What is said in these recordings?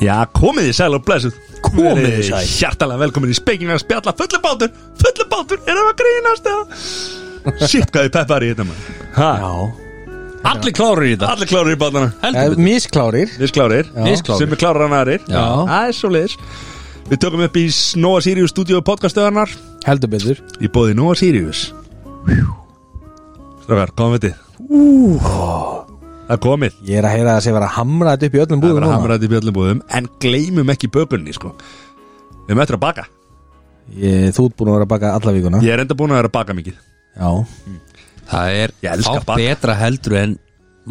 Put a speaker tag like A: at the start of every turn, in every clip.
A: Já, komið í sæl og blessuð
B: Komið þið sæl.
A: Hjartalega velkomin í spekingar að spjalla fullu bátur Fullu bátur, erum við að grínast eða Sitt hvað þið peppar í þetta maður
B: Já Eh, Allir klárir í þetta
A: Allir klárir í bátana
B: Heldur betur.
C: Mísklárir
A: Við sklárir
B: Misklárir.
A: Sem er klárar en aðrir
B: Já.
A: Það er svo leiðis Við tökum upp í Nova Sirius stúdíu podcastöðarnar
C: Heldur betur
A: Í bóði Nova Sirius Strafgar, komið við þið Það er komið
C: Ég er að heyra að það sé vera að hamra þetta upp í öllum
A: Það er
C: búðum
A: verið að
C: núna
A: hamra þetta í bjöllum búðum En gleymum ekki bökunni sko Við möttum að baka
C: ég, Þú ert búin að vera að baka alla vikuna
A: Ég er enda búin að vera að baka mikið
C: Já
B: Það er
A: Ég elska
B: fátt
A: bak.
B: betra heldur en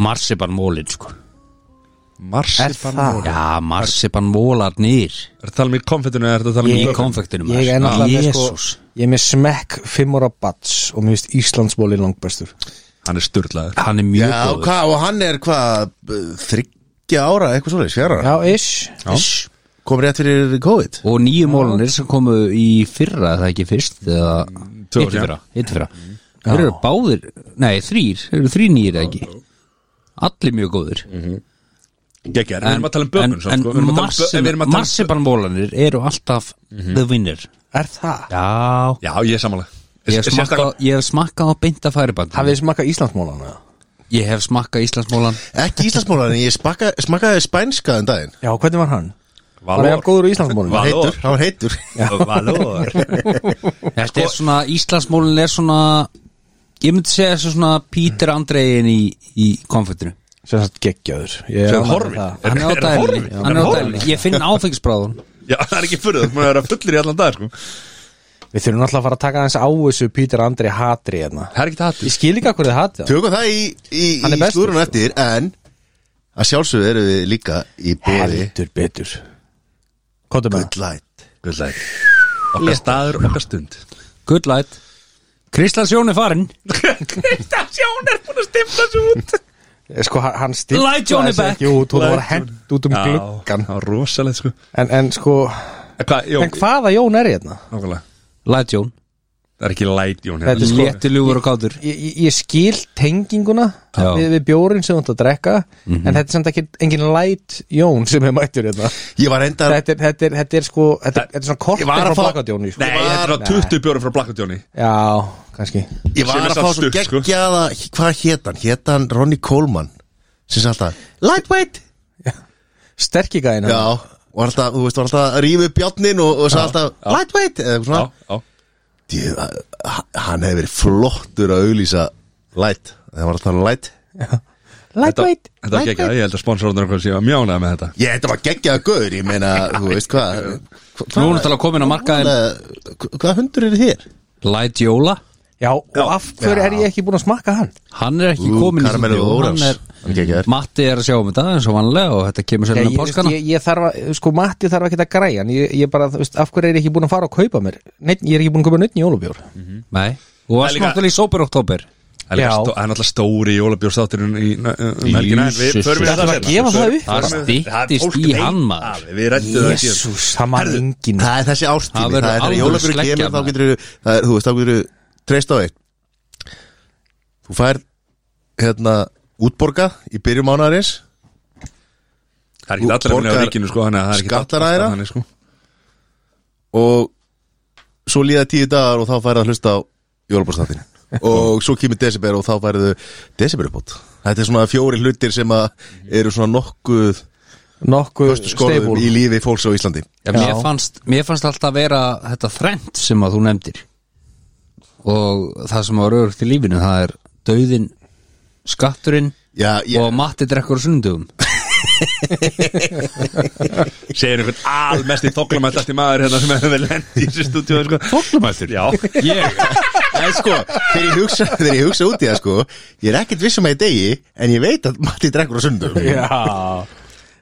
B: marsipanmólin sko
A: Marsipanmóli
B: Já, marsipanmólarnir
A: Er það tala um í konfettinu eða er það tala um
B: Í
A: bökunni?
B: konfektinum
C: Ég er náttúrulega með
B: Jésús
C: sko Ég er með smekk fimm ára bats Og mér finnst Íslandsbóli langbæstur
A: Hann er sturlaður
B: Hann er mjög
D: Já,
B: góður
D: hvað, og hann er hvað þryggja ára, eitthvað svoleiðis, fjara
C: Já, ish
B: Iss.
D: kom rétt fyrir COVID
B: Og nýju mólanir sem komu í fyrra er Það ekki fyrst eða
A: tvö ár
B: Hittu fyrra,
A: síðan.
B: hittu fyrra
A: Mm.
B: Þeir eru báðir, nei þrýr Þeir eru þrý nýjir eða ekki Allir mjög góður
A: Gekkjar, Mm. við erum að tala um bökun samt, sko. Við erum að tala um bö- Mhm. við erum að tala um-
B: marsipanmólanir eru alltaf the winner
C: Er það?
B: Já,
A: Já, ég er samanlega
B: ég hef smakkað ég hef smakkað á beinta færiband
C: Hafið þið smakka Íslandsmólana?
B: Ég hef smakkað Íslandsmólan
D: ekki íslensmólan, en ég spakka, smakkaði spænska um daginn
C: Já, hvernig var hann? Var ég góður í Íslandsmólana?
A: Valor.
D: heitur, hann var heitur
A: Valor Sko,
B: Þetta er svona, Íslandsmólin er svona Ég myndi segja þessu svona Pítur Andreiðin í, í konfektinu
C: Sem sagt geggjaður Ég er
A: Sem
C: ánægður með
A: horfinn.
C: það.
B: Hann er á
A: um Er- er
B: dælinni
A: horfinn?
B: Hann er á dælinni Ég finn áfengisbráðun
A: Já, það er ekki fyrir það Mér er að fullir í allan dag sko.
C: Við þurfum alltaf að fara að taka aðeins á þessu Pítur Andri hatri hérna
A: Það er ekki
C: Ég
A: hattis
C: skil ekki að hverju þið hatið hann.
D: tökum það í, í,
C: Hann er
D: í
C: bestur,
D: slúrun
C: sko.
D: eftir, en að sjálfsögðu eru við líka í bóði
C: Heldur betur Kóttu með það.
D: Good Light
A: Guðlæg Okkar staður, okkar stund
B: Good light Kristlands Jón er farinn
A: Kristans Jón er búin að stifla svo út
C: Eh, sko hann- hann
B: Light Johnny
C: stilkaði sig
B: back.
C: ekki út hún
A: Light
C: var hent út um
A: Já,
C: gluggan
A: það var rosalegt sko
C: en, en sko,
A: En hvað, Jón,
C: en hvaða Jón er hérna?
A: nákvæmlega
B: Light Jón
A: Það er ekki light Jón
C: Þetta
A: hérna
C: er sko-
B: Léttilugur og kátur
C: Ég, ég, ég skil tenginguna
B: Já.
C: við, við bjórin sem þú ætti að drekka en þetta er samt ekki engin light Jón sem er mættur hérna
D: ég var reyndar,
C: þetta er, þetta er, þetta er sko, þetta, er- þetta er svona kort
D: Ég var að
C: frá
D: fá-
C: Blackout Jóni sko.
A: Nei, þetta er á 20 bjóri frá Blackout Jóni
C: Já, kannski
D: ég
A: sem
D: var
A: er
D: að
A: samt
D: fá svo
A: stutt, sko.
D: geggjaða hvað hét hann, hét hann Ronny Coleman sem sagði alltaf, lightweight
C: Sterki gæðina
D: já, og alltaf, þú veist, var alltaf að rífa upp bjarnin og, og sagði alltaf, lightweight eða
A: Já,
D: eitthvað svona
A: já
D: Djú, hann hefur verið flottur að auglýsa light, það var alltaf light
C: Lightweight
A: Þetta var ekki
C: lightweight.
A: ég held að sponsorundur okkur séu að mjónaða með þetta
D: ég, þetta var geggjaða guður, ég meina, þú veist hvað
B: Nú er náttúrulega komin að um markaðin
D: hvað hundur eru þér?
B: Light Jóla
C: Já, og af hverju er ég ekki búin að smakka hann?
B: Hann er ekki komin í
D: karamellu og
B: stúdíó,
D: órans
B: hann er-
D: Hann er geggjaður.
B: Matti er að sjá um þetta eins og vanlega og þetta kemur
C: Já,
B: sérna
C: ég,
B: um páskana
C: ég, ég þarf að, sko Matti þarf ekki að græja en ég, ég bara, þú veist, af hverju er ég ekki búin að fara og kaupa mér Neitt, ég er ekki búin að kaupa neitt í jólubjór
B: Nei, og varst
A: líka-
B: náttúrulega í Sober Oktober
A: Það er líka
C: Já.
A: stó- það er náttúrulega stóri jólabjórsþátturinn í na- um helgina en Við
B: Jesus.
A: förum í
C: Þetta var að gefa það upp,
A: Það
B: bara. Styttist í hann, maður.
A: Við rættum það síðan
C: Jésús, það maður
A: Herðu,
C: engin
D: það er þessi
B: Það
D: ástími,
B: verður
D: það er þegar
B: alvöru
D: jólabjörn
B: sleggja,
D: kemur, þá
B: maður.
D: getur það er, þú veist, þá getur treyst á eitt þú fær hérna, útborga í byrjum mánaðarins
A: Það er ekki allir að vinna á
D: Borgar
A: ríkinu sko Þannig að það er ekki
D: skattar aðra.
A: þannig, sko.
D: og svo líða tíu dagar og þá færðu að hlusta á jólabjörnstáttin og svo kemur desember og þá færðu desember uppátt þetta er svona fjóri hlutir sem að eru svona nokkuð
C: Nokkuð
D: föstu
C: stable
D: skorðum í lífi fólks á Íslandi
B: Já,
C: Já.
B: mér, fannst, mér fannst alltaf vera þetta þrend sem að þú nefndir og það sem var örugt í lífinu það er dauðin skatturinn
D: Já, ég,
B: og Matti drekkur á sunnudum
A: Segir einhvern almest í þoklamættast í maður hérna sem hefur lendið í þessu stúdíu sko. Þoklamættur? Já,
B: Ég?
D: Nei, sko, þegar ég hugsa, þegar ég hugsa út í það, sko Ég er ekkert vissum að ég degi En ég veit að Matti drekkur á sundum
C: Já,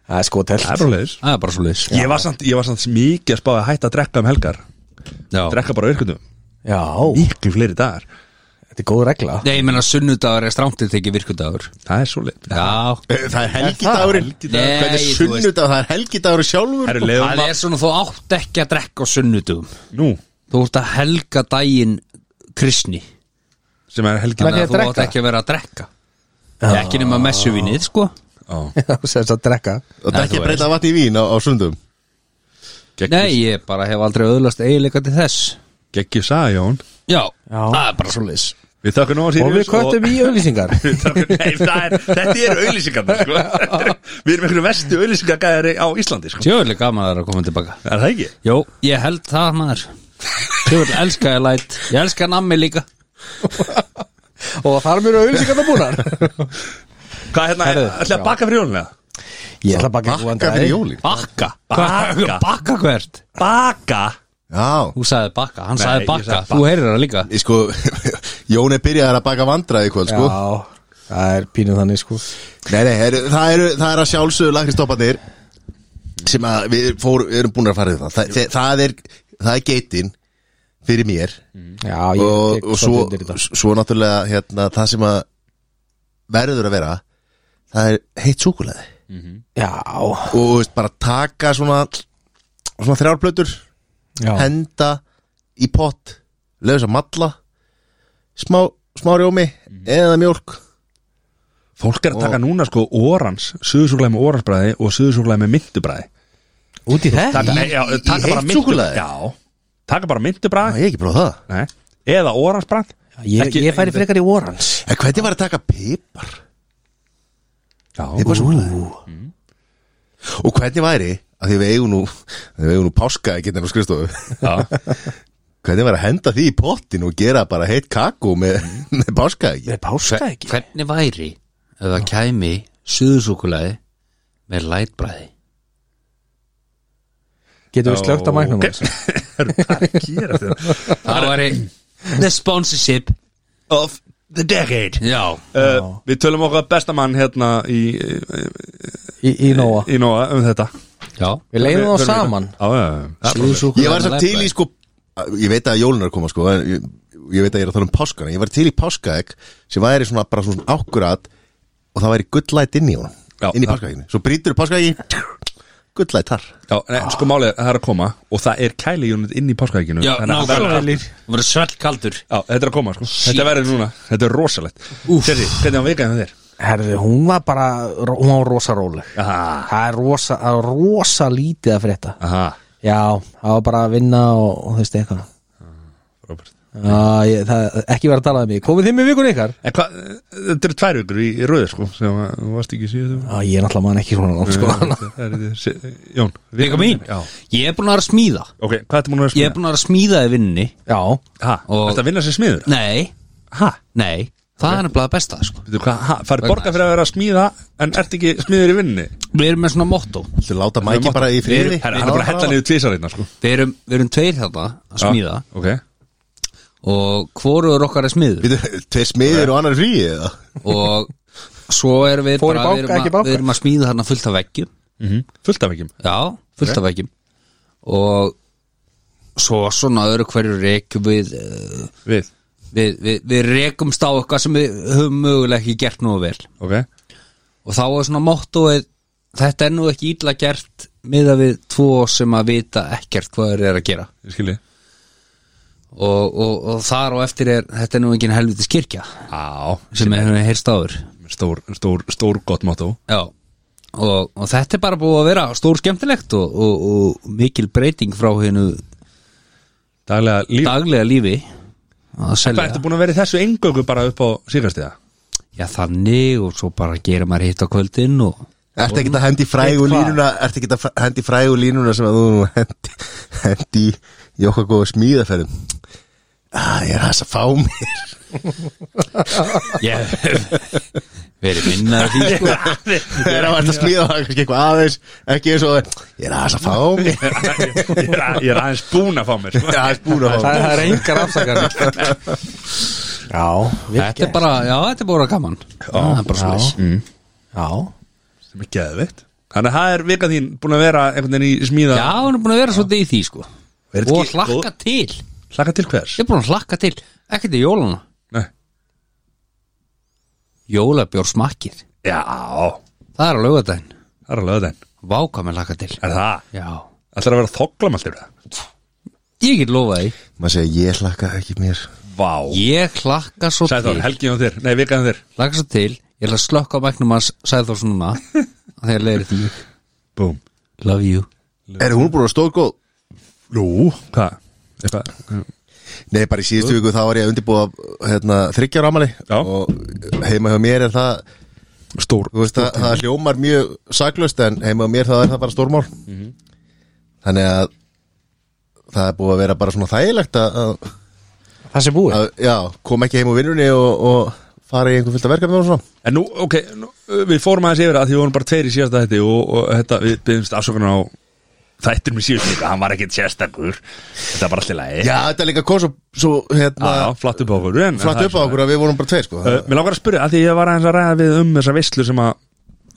C: það er sko telt
A: það er ráleis
B: Það er bara svo leis
A: Ég var samt, ég var samt mikið að spá að hætta að drekka um helgar
B: Já,
A: Drekka bara á virkundum
C: Já,
A: Miklu fleiri dagar
C: Þetta er góð regla
B: Nei, ég meina sunnudagur er strántið tekið virkudagur
A: Það er svo leið
B: Já
D: Það er helgidagurinn
B: Nei,
D: Hvernig
B: þú
D: sunnudag, það er helgidagur sjálfur
A: Herru, leiðum
B: Það er svona þú átt ekki að drekka á sunnudum
A: Nú,
B: Þú ert að helga daginn kristni
A: sem er helgin
B: Þannig
C: því að
B: að þú átt
C: drekka?
B: ekki að vera að drekka Ekki nema messuvinnið, sko
A: Já,
C: Sem þess að drekka
D: Og það
B: Nei,
D: er ekki
B: þú
D: að breyta vatni í vín á, á sundum
B: Nei, ég bara hef aldrei öðlast eiginleika til þess
A: geggjur sagði Jón
B: Já,
C: Já.
B: það er bara svo leis
A: Við þakkum nóg
C: Og við köttum í auðlýsingar
A: sko. Við þökkum- Nei, það er, þetta eru auðlýsingarnar sko. Við erum einhverju vestu auðlýsingagæðari á Íslandi sko.
B: Tjóðlega gaman að það er að koma tilbaka
A: Er það ekki?
B: Jó, ég held það maður Tjóðlega elska ég læt Ég elska nammi líka
C: Og þar mjög auðlýsingar það búnar
A: Hvað hérna,
C: Herðu,
A: ætlaði að
C: já.
A: baka fyrir jólina?
C: Ég ætla að baka góðan
D: Bakka fyrir
C: dag.
D: jólin
B: Bakka
A: Bakka.
B: Bakka hvert?
A: Baka?
D: Já
B: Þú sagði bakka, hann
A: Nei,
B: sagði
A: ég
B: bakka
A: sagði
B: Þú heyrir það líka
D: Ég sko, Jón er byrjaðar að baka vandraði í kvöld sko.
C: Já, það er pínuð þannig sko
D: Nei, nei, er, það, eru, það er að sjálfsögðu lakristopparnir sem að við fór, erum búin að fara í það Þa, það, það er, það er geitin fyrir mér
C: Já, ég
D: og,
C: tek
D: og
C: svolítið
D: svo,
C: undir þetta.
D: svo náttúrulega hérna, það sem að verður að vera það er heitt súkulaði
C: Já,
D: og þú veist, bara taka svona, svona þrjárblötur
C: já
D: henda í pott lögum sem matla smá, smá rjómi
C: Mhm.
D: eða mjólk
A: Fólk er að taka núna sko orans Suðusúklaði með oransbræði og suðusúklaði með myndubræði
C: Út í
A: Taka,
C: þetta
A: nei, já,
D: í
A: taka bara
D: heitt
A: myntu-
D: súkkulaði?
A: Já, taka bara
D: Æ,
A: myndubræði
D: ég hef ekki prófað það
A: Nei, eða oransbræð
C: Ég, ég færi frekar í orans
D: En hvernig var að taka pipar?
A: Já,
D: Pipar súkulaði
A: Mm.
D: Og hvernig væri að því við eigum nú við eigum nú páska ekki nefnum skrifstofu
A: já.
D: hvernig var að henda því í pottin og gera bara heitt kakó með,
A: Mm.
D: með páska ekki
C: Með páska ekki
B: Hvernig væri ef það kæmi suðusúkulaði með lætbræði
C: Getum við slögt á mæknum
A: Ok. Herru, Hvað er að gera þetta?
B: Það væri The sponsorship
A: Of the decade
B: Já
A: Uh, við tölum okkar bestamann hérna í,
C: í, í Nóa
A: í Nóa um þetta
B: Já
C: Við leiðum þá saman
A: Já, já, já.
D: Ég
B: Suðusúkulaði
D: var svo til í sko ég veit að jólunar koma sko en ég, ég veit að ég er að tala um páskana ég var til í páskaegg sem væri svona bara svona ákkurat og það væri gullæt inn í honum
A: Já,
D: inn í
A: það-
D: páskaegginu svo brýtur þú páskaeggin gullæt þar
A: Já, nei, sko málið er að það er að koma og það er kæli unit inn í páskaækinu
B: Já, nákvæmlega
A: Já,
B: Það var svellkaldur
A: þetta er að koma, sko Þetta verður núna, þetta er rosalegt Sérri, hvernig var vikaðið þér?
C: Herðu, hún var bara Hún var rosa róleg
A: Aha,
C: Það er rosa, það er rosa lítið að frétta
A: aha,
C: Já, það var bara að vinna og, og þú veist eitthvað
A: Robert
C: Já, ég, það, Ekki vera að tala um mig Komið þið með vikun ykkar?
A: En hvað, þetta eru tvær vikur í, í röðu, sko sem að- þú varst ekki síðu
C: Já, ég er náttúrulega mann ekki svona langt sko
A: Mm. Jón,
B: Vika mín
A: Já,
B: Ég er búin að vera að smíða
A: ok, hvað ertu múin að vera að
B: Ég er
A: smíða?
B: búin að vera að smíða í vinninni
C: Já,
A: Ha,
B: Og-
A: þetta vinna sem smiður?
B: Nei
A: Ha,
B: Nei Það er nefnilega besta sko
A: veitu hvað, ha, farið borga fyrir að vera að smíða en ert ekki smiður í vinninni?
B: Við erum með svona motto
D: Þú láta mæki bara í
A: Herra,
D: friði
A: Hann er bara að hella niður tvisarinn, sko
B: Við erum, við erum tveir þarna að
A: Já,
B: smíða
A: Ok,
B: Og hvoruður okkar er smiður
D: Býtu, Tveir smiðir og annar í fríi eða?
B: Og svo erum við
C: Fór í
B: bara
C: banka,
B: við, erum
C: ekki
B: að,
C: banka?
B: við erum að smíða þarna fullt af veggjum
A: fullt af ekki
B: Já, fullt af veggjum Og svo svona öðru hverju rekum við eh,
A: Við,
B: Við, við, við rekumst á eitthvað sem við höfum mögulega ekki gert nú vel
A: ok
B: og þá er svona mottóið þetta er nú ekki ítla gert miða við tvo sem að vita ekkert hvað þeir eru að gera
A: Ég skilji
B: og, og, og þar og eftir er þetta er nú engin helvitis kirkja
A: Á,
B: sem er hérna heyrst áður
A: stór, stór, stór gott motto
B: Já Og, og þetta er bara búið að vera stór skemmtilegt og, og, og mikil breyting frá hennu
A: Daglega líf
B: daglega lífi að
A: Hvað
B: selja
A: ertu búin að vera í þessu engöku bara upp á síkastiða?
B: Já þannig og svo bara gera maður hitt á kvöldin og
D: Ertu ekki að hendi frægu
C: Veit hvað?
D: línuna Ertu ekki að hendi frægu línuna sem að þú nú hendi hendi í okkar góða smíðaferðum ah, Ég er hans að fá mér
B: ég hef verið minnaður því sko
D: Það er að vera að smíða það er kannski eitthvað aðeins ekki eins og ég er hans að fá mér
A: ég, er að- ég er aðeins búin að fá mér sko.
D: Ég er hans búin að
C: það,
D: fá mér
C: það er engar afsakar Já,
B: Þetta er bara, já þetta er bara gaman Það er bara
C: já.
B: slis
C: Já,
A: Sem er geðveitt Þannig að það er vika þín búin að vera einhvern veginn í smíða
B: Já, hún er búin að vera svolítið í því sko
A: Er þetta
B: Og
A: ekki-
B: hlakka til
A: Hlakka til hvers?
B: Ég er búin að hlakka til, ekki til jólana
A: Nei
B: jólabjór smakkið
A: Já, það
B: Það er á laugardaginn
A: er alveg þenn
B: Váka með laka til
A: Er það?
B: Já
A: Ætlar að um vera þokklam alltaf það?
B: Ég get lofað því
D: Maður segja ég hlakka ekki mér
A: Vá
B: Ég hlakka svo
A: Sæður,
B: til
A: helgið um þér, nei vikaðum þér
B: Hlakka svo til Ég ætla að slökka á mæknum hans Sæður svo núna Þegar leiðir því
A: Búm
B: Love you
D: Er hún búin að stóð góð?
A: Nú, hvað? Eitthvað
D: Nei, bara í síðustu viku þá var ég að undirbúa hérna, þryggjar ámali
A: Já.
D: og heima hjá mér er það
A: Stór
D: þú veist, það, það hljómar mjög saklust en heima á mér það er það bara stórmál
A: Mhm.
D: þannig að það er búið að vera bara svona þægilegt að, að,
C: Það sé búið
D: að já, koma ekki heim úr vinnunni og, og fara í einhver fullt að verka með og svona
A: En nú, ok, nú, uh, við fórum aðeins yfir að því við vorum bara tveir í síðasta þetta og, og þetta, við byggjumst afsökunar á þættir með síðasta þetta, hann var ekkit sérstakur Þetta er bara allt í lagi
D: já, þetta er líka kom svo, svo
A: já,
D: hérna,
A: já, flatt upp á okkur en,
D: flatt upp á okkur að við vorum bara tveir sko.
A: uh, Mér langar að spyrja, að því ég var aðeins að ræða við um þessa veistlu sem að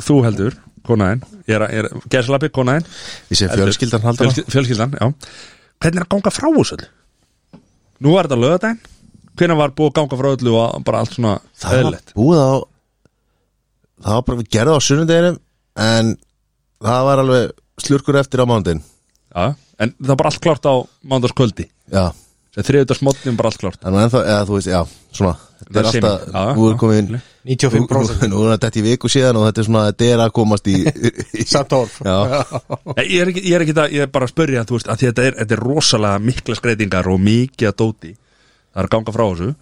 A: þú heldur, konaðin Ég er, að- ég er gæslappi, konaðin
D: ég sé fjölskyldan halda
A: Fjölsky- Fjölskyldan, já Hvernig er að ganga frá þessu? öllu? Nú var þetta lögadaginn Hvernig var búið að ganga frá öllu og bara allt svona
D: það var
A: eðlilegt?
D: búið á það var bara við gerða á sunnudeginum en það var alveg slurkur eftir á mándin
A: Já, en það var bara allt klárt á mándagskvöldi
D: já,
A: Þriðutarsmótnum bara allt klárt
D: þannig að ennþá, eða þú veist, já, svona þetta
A: Það
D: er
A: er
D: alltaf,
A: semi, já,
D: nú er
A: já,
D: komin
A: já.
C: 95%
D: nú- nú er þetta í viku síðan og þetta er svona, þetta er að komast í
C: Samt orf
D: já,
A: Nei, Ég er ekki, ég er ekki það, ég er bara að spyrja þú veist, að þetta er, þetta er rosalega mikla skreitingar og mikið að dóti Það er að ganga frá þessu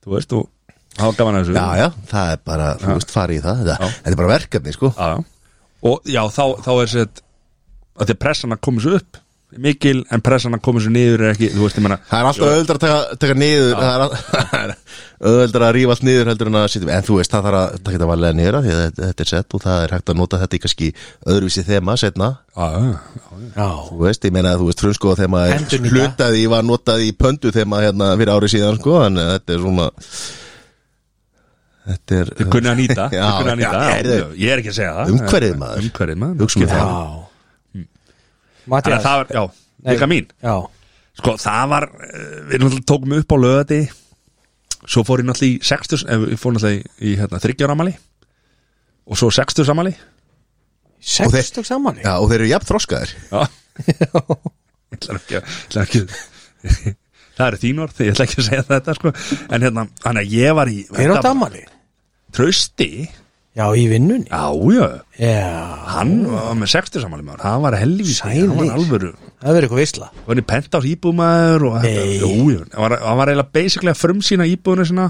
A: Þú veist, og hafa gaman að þessu
D: já, já, það er bara, þú veist, farið í það þetta, þetta er bara verkefni, sko
A: Já, já. Og já, þá, þá er sett að því að pressan að koma þessu upp er mikil, en pressan að koma þessu niður er ekki, þú veist, ég menna
D: það er alltaf öðuldar að taka, taka niður það er all- það er öðuldar að rífa allt niður heldur en að sitja, en þú veist, það þarf að taka þetta varlega niður af því að þetta- þetta er sett og það er hægt að nota þetta í kannski öðruvísi þema setna
C: Já
D: þú veist, ég meina að þú veist frumskóða þegar maður
C: Endurnýta.
D: hlutaði var notað í pöndu þegar maður hérna fyrir ári síðan sko, en þetta er svona þetta er
A: Þau kunni að nýta,
D: Já,
A: þau kunni að nýta
D: já,
A: já,
D: heyrðu.
A: Ég er ekki að segja það
D: Umhverfið, maður.
A: Umhverfið maður
D: Hugsum við það.
A: Mm. Þannig
C: Mattias
A: að það var, já, líka mín
C: Já
A: Sko, það var, eh, við náttúrulega tókum upp á lögati Svo fór ég náttúrulega í 60 eh, Ég fór náttúrulega í, í hérna, 30 ára amali Og svo 60 samali
D: Og þeir-
C: Sextug saman
D: eh, Já, og þeir eru jafn þroskaðir
A: Já Ég ætla ekki, að- ég ætla ekki að- Það eru þín orð, ég ætla ekki að segja þetta sko. En hérna, hann að ég var í
C: Þeir á
A: þetta-
C: damali
A: Trausti,
C: Já, í vinnunni
A: já, já
C: Já
A: Hann var með 60 samali maður Það var helvítið, hann
C: Sælir.
A: var alvöru
C: Það verður eitthvað veistla
A: var hann í pentás íbúðmaður og þetta,
C: Nei.
A: jú, jú, hann var, hann var eiginlega basically að frumsýna íbúðuna sína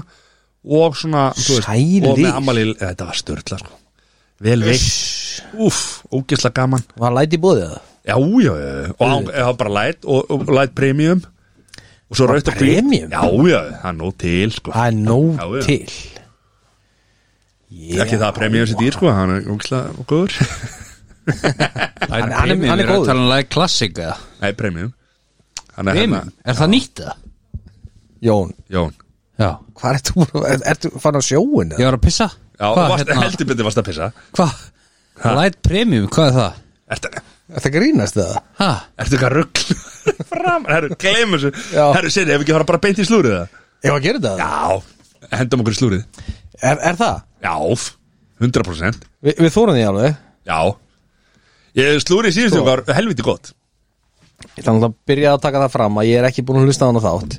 A: og svona, þú
C: Sælir.
A: og með ammali þetta var störtla, sko vel veitt, úff, ógisla gaman
C: Var læti í bóðið það?
A: já, já, já, já. og hann- það var bara light og, og light premium og svo rautt og hvítt.
C: premium?
A: já, já, það er nóg til, sko
C: Það er
A: Já,
C: nóg
A: já.
C: til
A: ekki það að premium sér dýr, sko, hann er ógisla og góður,
B: Hann,
C: hann er- hann er góður.
B: Hann er um klassika
A: nei, premium hann er hérna,
B: Premium, er það nýtt það?
C: Jón,
A: Jón
B: Já
C: hvað ertu búin að, er- ertu fann á sjóin?
B: Ég var að pissa
A: já,
B: Hvað,
A: varst,
B: hérna?
A: heldur betur varst að pissa
B: Hvað? Light Premium, hvað er það?
A: Ertu,
C: Það grínast það?
B: Ha?
A: Ertu eitthvað rugg fram? Herru, gleym þessu
C: Já.
A: Herru, sér, ef ekki fara bara beint í slúrið það?
C: Ég var að gera það?
A: Já, hendum okkur í slúrið
C: Er, er það?
A: Já, 100%
C: Vi, við þórum því alveg
A: Já Ég slúrið síðustu var helviti gott
C: Ég ætla náttúrulega að byrja að taka það fram að ég er ekki búin að hlusta á hana þátt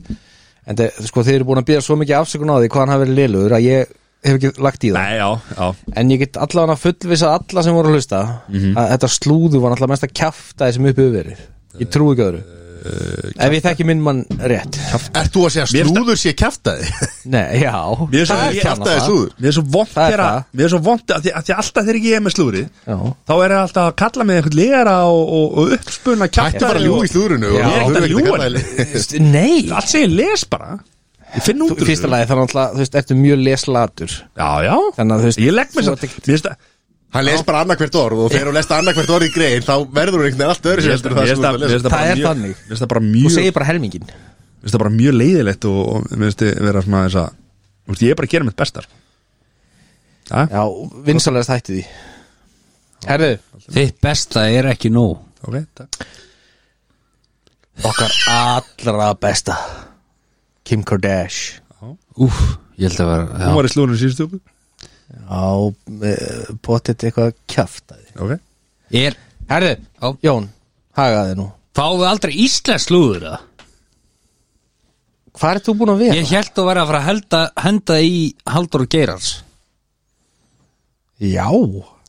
C: En þe, sko, þið eru búin að byrja svo mikið afsökun á því hvað hann hafi verið liðlugur að ég hef ekki lagt í það
A: Nei, já, já
C: En ég get allavega fullvisa alla sem voru að hlusta
A: Mhm.
C: að þetta slúðu var náttúrulega mest að kjafta því sem uppi hefur verið Ég trúi ekki öðru
A: Eh,
C: Ef ég þekki minn mann rétt
D: Ert þú að segja
A: Mér finnst
D: slúður sé kjaftaði?
C: Nei, já
A: Mér er svo-
C: Það
A: ég-
C: er kjafta
D: kjaftaði
C: það.
D: slúður
A: Mér er svo vont
C: Það er
A: þegar
C: það.
A: að- Mér er svo vont að því, að því alltaf þegar ég er með slúrið
C: Já.
A: Þá er það alltaf að kalla mig einhvern lera og, og, og uppspunna kjartar
D: Ættu bara að ljúga í slúðrinu og
A: Já, ég er ekkert að
D: þurfa
A: ljúga
D: kalla
A: henni.
D: það-
C: St- Nei,
A: Allt segir les bara Ég finn út
C: Þú- í
A: úr
C: fyrsta
A: þessu.
C: lagi þá náttúrulega, þú veist, ertu mjög leslatur
A: Já, já
C: Þannig að þú veist,
A: Ég legg mér
C: þú
A: svo
C: ert ekkert-
A: Mér finnst að
D: Hann les bara annarkvert orð og þegar hún lest annarkvert orð í grein þá verður hún einhvern veginn allt öðru
A: Mér
D: sér
A: finnst
D: heldur
A: að- mér
D: en það sem
A: finnst að-
D: hún er
A: mér
D: að
A: finnst að
D: lesa
A: bara
C: Það er
A: mjög-
C: þannig.
A: Mér finnst það bara
C: Þú
A: mjög
C: segir bara helmingin
A: Mér finnst það bara mjög leiðilegt og, og mér finnst þið vera svona þess að Þú veist, ég er bara að gera mitt sko. bestar Það,
C: Já, vinsalegast hætti því Herðu,
B: Þitt besta er ekki nóg
A: ok, takk
C: okkar allra besta Kim Kardashian
B: Úf, ég held að vera
A: Hún
B: já.
A: var í slúðunum síðustu okkur
C: Já, eh, pottet eitthvað kjafta
A: ok
B: Er,
C: Herðu,
B: Já.
C: Jón, hagaði nú
B: fáum við aldrei íslensk slúður það?
C: Hvað er þú búin að vera?
B: Ég held að vera að fara að henda, henda í Haldur og Geirars
C: Já,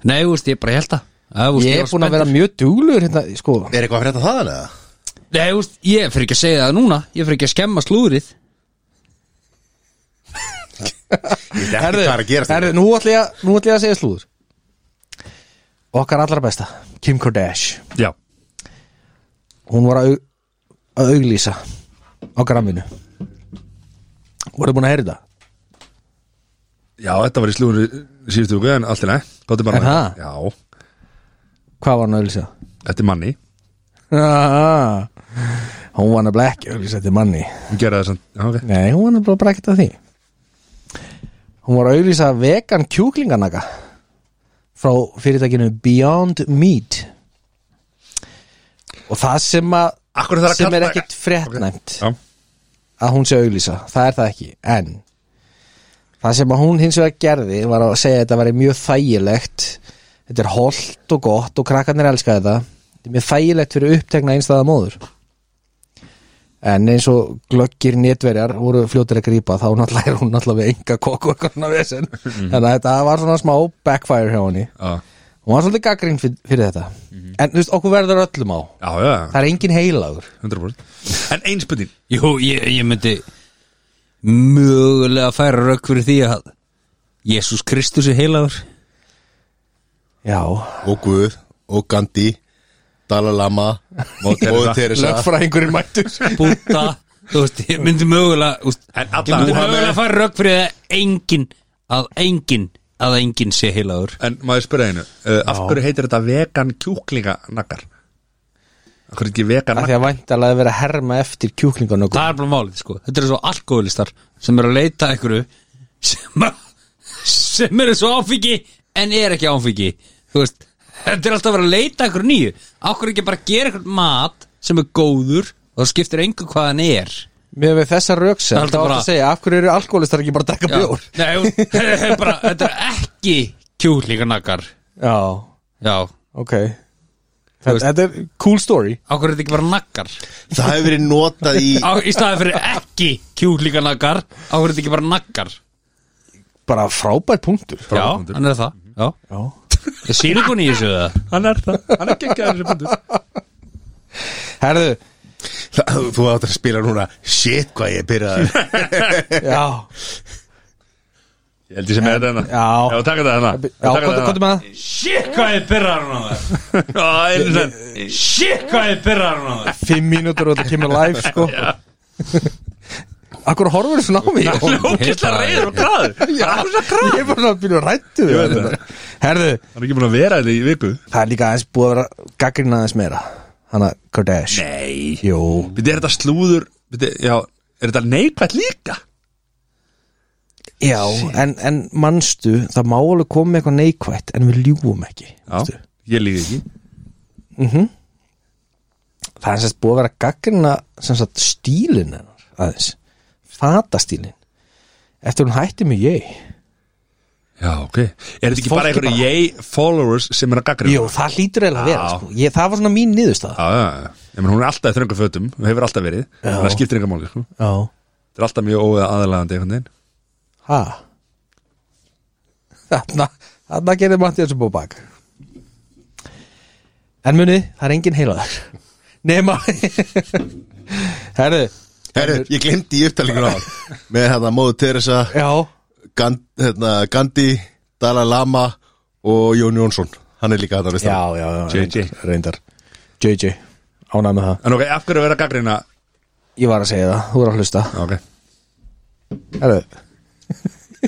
B: Nei, þú veist, ég bara held að Æ, þú veist,
C: ég
B: var
C: er búin að
B: spenntur.
C: vera mjög duglugur hérna, sko
D: Er eitthvað að frétta þaðan eða?
B: Nei, þú veist, ég fyrir ekki að segja það núna Ég fyrir ekki að skemma slúðrið
D: Ég veit ekki hvað er að gerast hérna.
C: herðu, nú ætla ég, að- nú ætla ég að segja slúður Okkar allra besta, Kim Kardashian
A: já,
C: Hún var að, au- að auglýsa á gramminu Voruð búin að heyra þetta?
A: já þetta var í slúður í síðustu viku en allt í næ, gott er bara
C: Er það?
A: já,
C: Hvað var hann að auglýsa?
A: þetta er manni
C: Ah, hún var nefnilega ekki að auglýsa eftir manni
A: hún gera þessan, já ok
C: Nei, hún var nefnilega bara ekkert að því Hún var að auglýsa vegan kjúklinganaka frá fyrirtækinu Beyond Meat og það sem að
A: Akkur er það að
C: sem er
A: kalla-
C: ekkit frettnæmt
A: já,
C: að hún sé að auglýsa, það er það ekki en það sem að hún hins vegar gerði var að segja að þetta væri mjög þægilegt þetta er holdt og gott og krakkarnir elska þetta þetta er mjög þægilegt fyrir upptekna einstæða móður en eins og glöggir netverjar voru fljótir að grípa þá náttúrulega er hún náttúrulega við enga kokku og eitthvað svona vesen
A: Mhm.
C: þannig að þetta var svona smá backfire hjá henni
A: já,
C: hún var svolítið gaggrind fyrir, fyrir þetta
A: Mhm.
C: en þú veist okkur verður öllum á
A: já, já,
C: það er engin heilagur
A: 100% en einspöndin,
B: Jú, ég, ég myndi mögulega færa rauk fyrir því að Jésús Kristus er heilagur
C: já,
D: Og Guð, og Gandhi, Dalai Lama, Móður Teresa
C: lögfræðingurinn mættur
B: Búta Þú veist, ég myndi mögulega þú veist,
A: En
B: Ég myndi
A: allan-
B: mögulega færa rauk fyrir því að engin að engin að engin sé heilagur
A: en maður spyrja einu uh, af hverju heitir þetta vegan kjúklinganakkar af hverju ekki vegan
C: af því að væntalega vera að herma eftir kjúklingan og
B: Það er bara málið, sko Þetta eru svo alkoholistar sem eru að leita að einhverju sem, að- sem eru svo áfengi en er ekki áfengi Þú veist, þetta er alltaf að vera að leita að einhverju nýju Akkur ekki bara gera einhvern mat sem er góður og það skiptir engu hvað hann er
C: með við þessa röksa
B: Það er
C: þá áttu
B: bara-
C: að segja af hverju eru alkoholistar ekki bara að drekka bjór
B: Nei, þú- þetta er bara, þetta er ekki kjúlinganakar
C: já,
B: Já,
C: ok þetta, þetta er cool story
B: akkur er þetta ekki bara nakkar
D: Það hefur verið notað í
B: Á, Í staði fyrir ekki kjúlinganakar Akkur er þetta ekki bara nakkar
C: bara frábær punktur
B: Já, hann er það Já,
C: já.
B: það sýr ykkur nýju þessu það
A: hann er það, hann er geggjað þessi bundur
C: herðu,
D: Það- Þú átt að spila núna Shit, hvað ég byrjaði
C: já
A: ég held ég sem er þetta hennar
C: Já.
A: já, taka þetta hérna. hennar
C: já, hvað er með það?
B: Shit hvað ég byrrar hún á það Shit hvað ég byrrar hún á það
C: fimm mínútur og þetta kemur live sko akkur horfur þetta svona á mig Jón?
A: ókislega reyður og græður
C: Já, ég er bara svona að byrja að rættu
A: Ég veit
C: þetta herðu,
A: hann er ekki búin að vera þetta í viku
C: það er líka aðeins búið að vera gaggrina aðeins meira hann að Kardashian
A: nei
C: jú
A: Við er þetta slúður við, já, er þetta neikvægt líka?
C: Já, en, en mannstu það má alveg koma með eitthvað neikvætt en við ljúum ekki veistu.
A: Já, ég líði ekki
C: Það er sérst búið að vera að gaggrina sem sagt stílin hennar aðeins fatastílin eftir hún hætti með ég
A: Já, ok Er þetta ekki
C: Fólk
A: bara
C: er
A: einhverju
C: bara-
A: yay followers sem er að gaggrið?
C: Jú, það hlýtur eiginlega að vera
A: Já.
C: sko. ég, það var svona mín niðurstað
A: Já, já, já Ég menn, hún er alltaf í þröngu fötum Hún hefur alltaf verið
C: Já.
A: Það skiptir enga máli, sko
C: Já,
A: Það er alltaf mjög óeða aðalagandi einhvern veginn
C: ha Þarna, þarna gerði Matti þessu búið bak En munið, það er engin heilaðar Nema Herðu,
D: Herru, ég glemdi í upptalningur á Með hérna Móður Teresa,
C: já
D: Gand, hérna, Gandhi, Dalai Lama og Jón Jónsson Hann er líka þetta veist
C: já, já, já,
A: JJ.
C: reyndar, reyndar JJ, ánæg með það
A: En ok, af hverju vera gaggrina?
C: Ég var að segja það, þú voru að hlusta
A: Ok
C: Herðu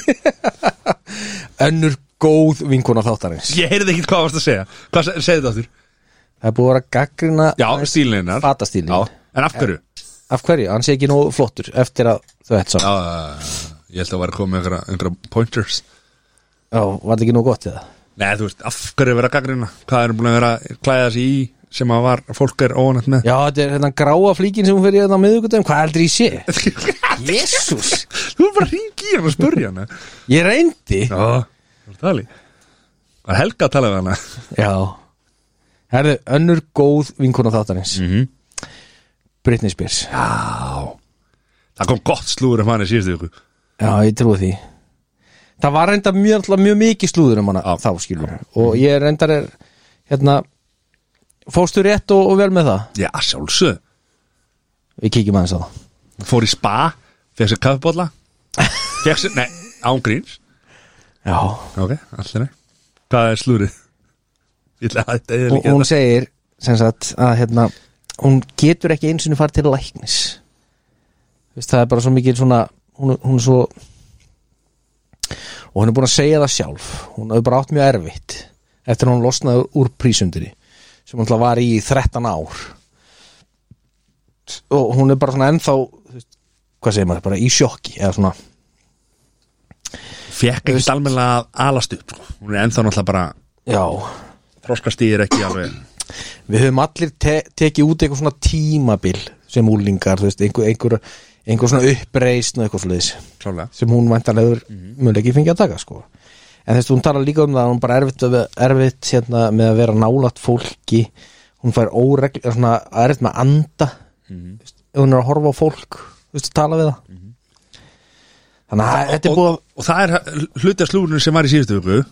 C: Önnur góð vinkona þáttarins
A: Ég heyrði ekki hvað varst að segja Hvað se- segðu þetta áttur?
C: Það er búið að vera gaggrina
A: Já, stílinnar
C: Fatastílinn.
A: En af hverju?
C: Af hverju, hann sé ekki nóg flottur eftir að þau
A: Já,
C: þetta sá
A: ég held að vera að koma með einhverja- einhverja pointers
C: Já, var það ekki nóg gott eða
A: Nei, þú veist, af hverju vera gaggrina? Hvað er búin að vera að klæða sig í sem að var, fólk er óanætt með?
C: Já, þetta er hérna gráa flíkin sem hún fyrir hérna á miðvikudagum Hvað heldur ég sé? Jésús
A: Þú er bara að ringi í hann og spurja hann
C: Ég reyndi
A: Já Það er helga að tala við hana
C: Já Herðu, önnur góð vinkona þáttanins mm -hmm. Britney Spears Já,
A: Það kom gott slúður um hann í síðustu viku
C: ég trúi því Það var reynda mjög, náttúrulega mjög mikið slúður um hana þá skilum og ég reyndar er hérna fórstu rétt og, og vel með það
A: Já, sjálfsög
C: Við kíkjum aðeins á það
A: Fór í spa, fekk sér kaffibólla Fekk sér, nei, ángríns
C: Já
A: Ok, allir nei Hvað er slúrið? Ég ætla að þetta er
C: Og
A: líka hérna.
C: hún segir sem sagt að hérna hún getur ekki eins og farið til læknis Vist, það er bara svo mikið svona hún, hún er svo og hún er búin að segja það sjálf hún hefur bara átt mjög erfitt eftir að hún losnaði úr prísundinni sem hún var í 13 ár og hún er bara svona ennþá þú veist, hvað segir maður, bara í sjokki eða svona
A: Fekk ekki almenlega að alast upp sko. Hún er ennþá náttúrulega bara
C: já,
A: Þroskastýr ekki alveg
C: við höfum allir te tekið út eitthvað svona tímabil sem úlingar, þú veist, einhver, einhver, einhver svona uppreisn og eitthvað svoleiðis
A: Klálega
C: sem hún væntanlegur mm -hmm. mjög ekki fengið að taka sko. en þú veist, hún talar líka um það að hún bara erfitt, að- erfitt hérna, með að vera nálat fólki hún fær óregl svona, erfitt með að anda mm -hmm. hún er að horfa á fólk þú veist, að tala við það þannig að þetta er búið
A: og,
C: að- Mm.
A: og það er hluti af slúrunum sem var í síðustu viku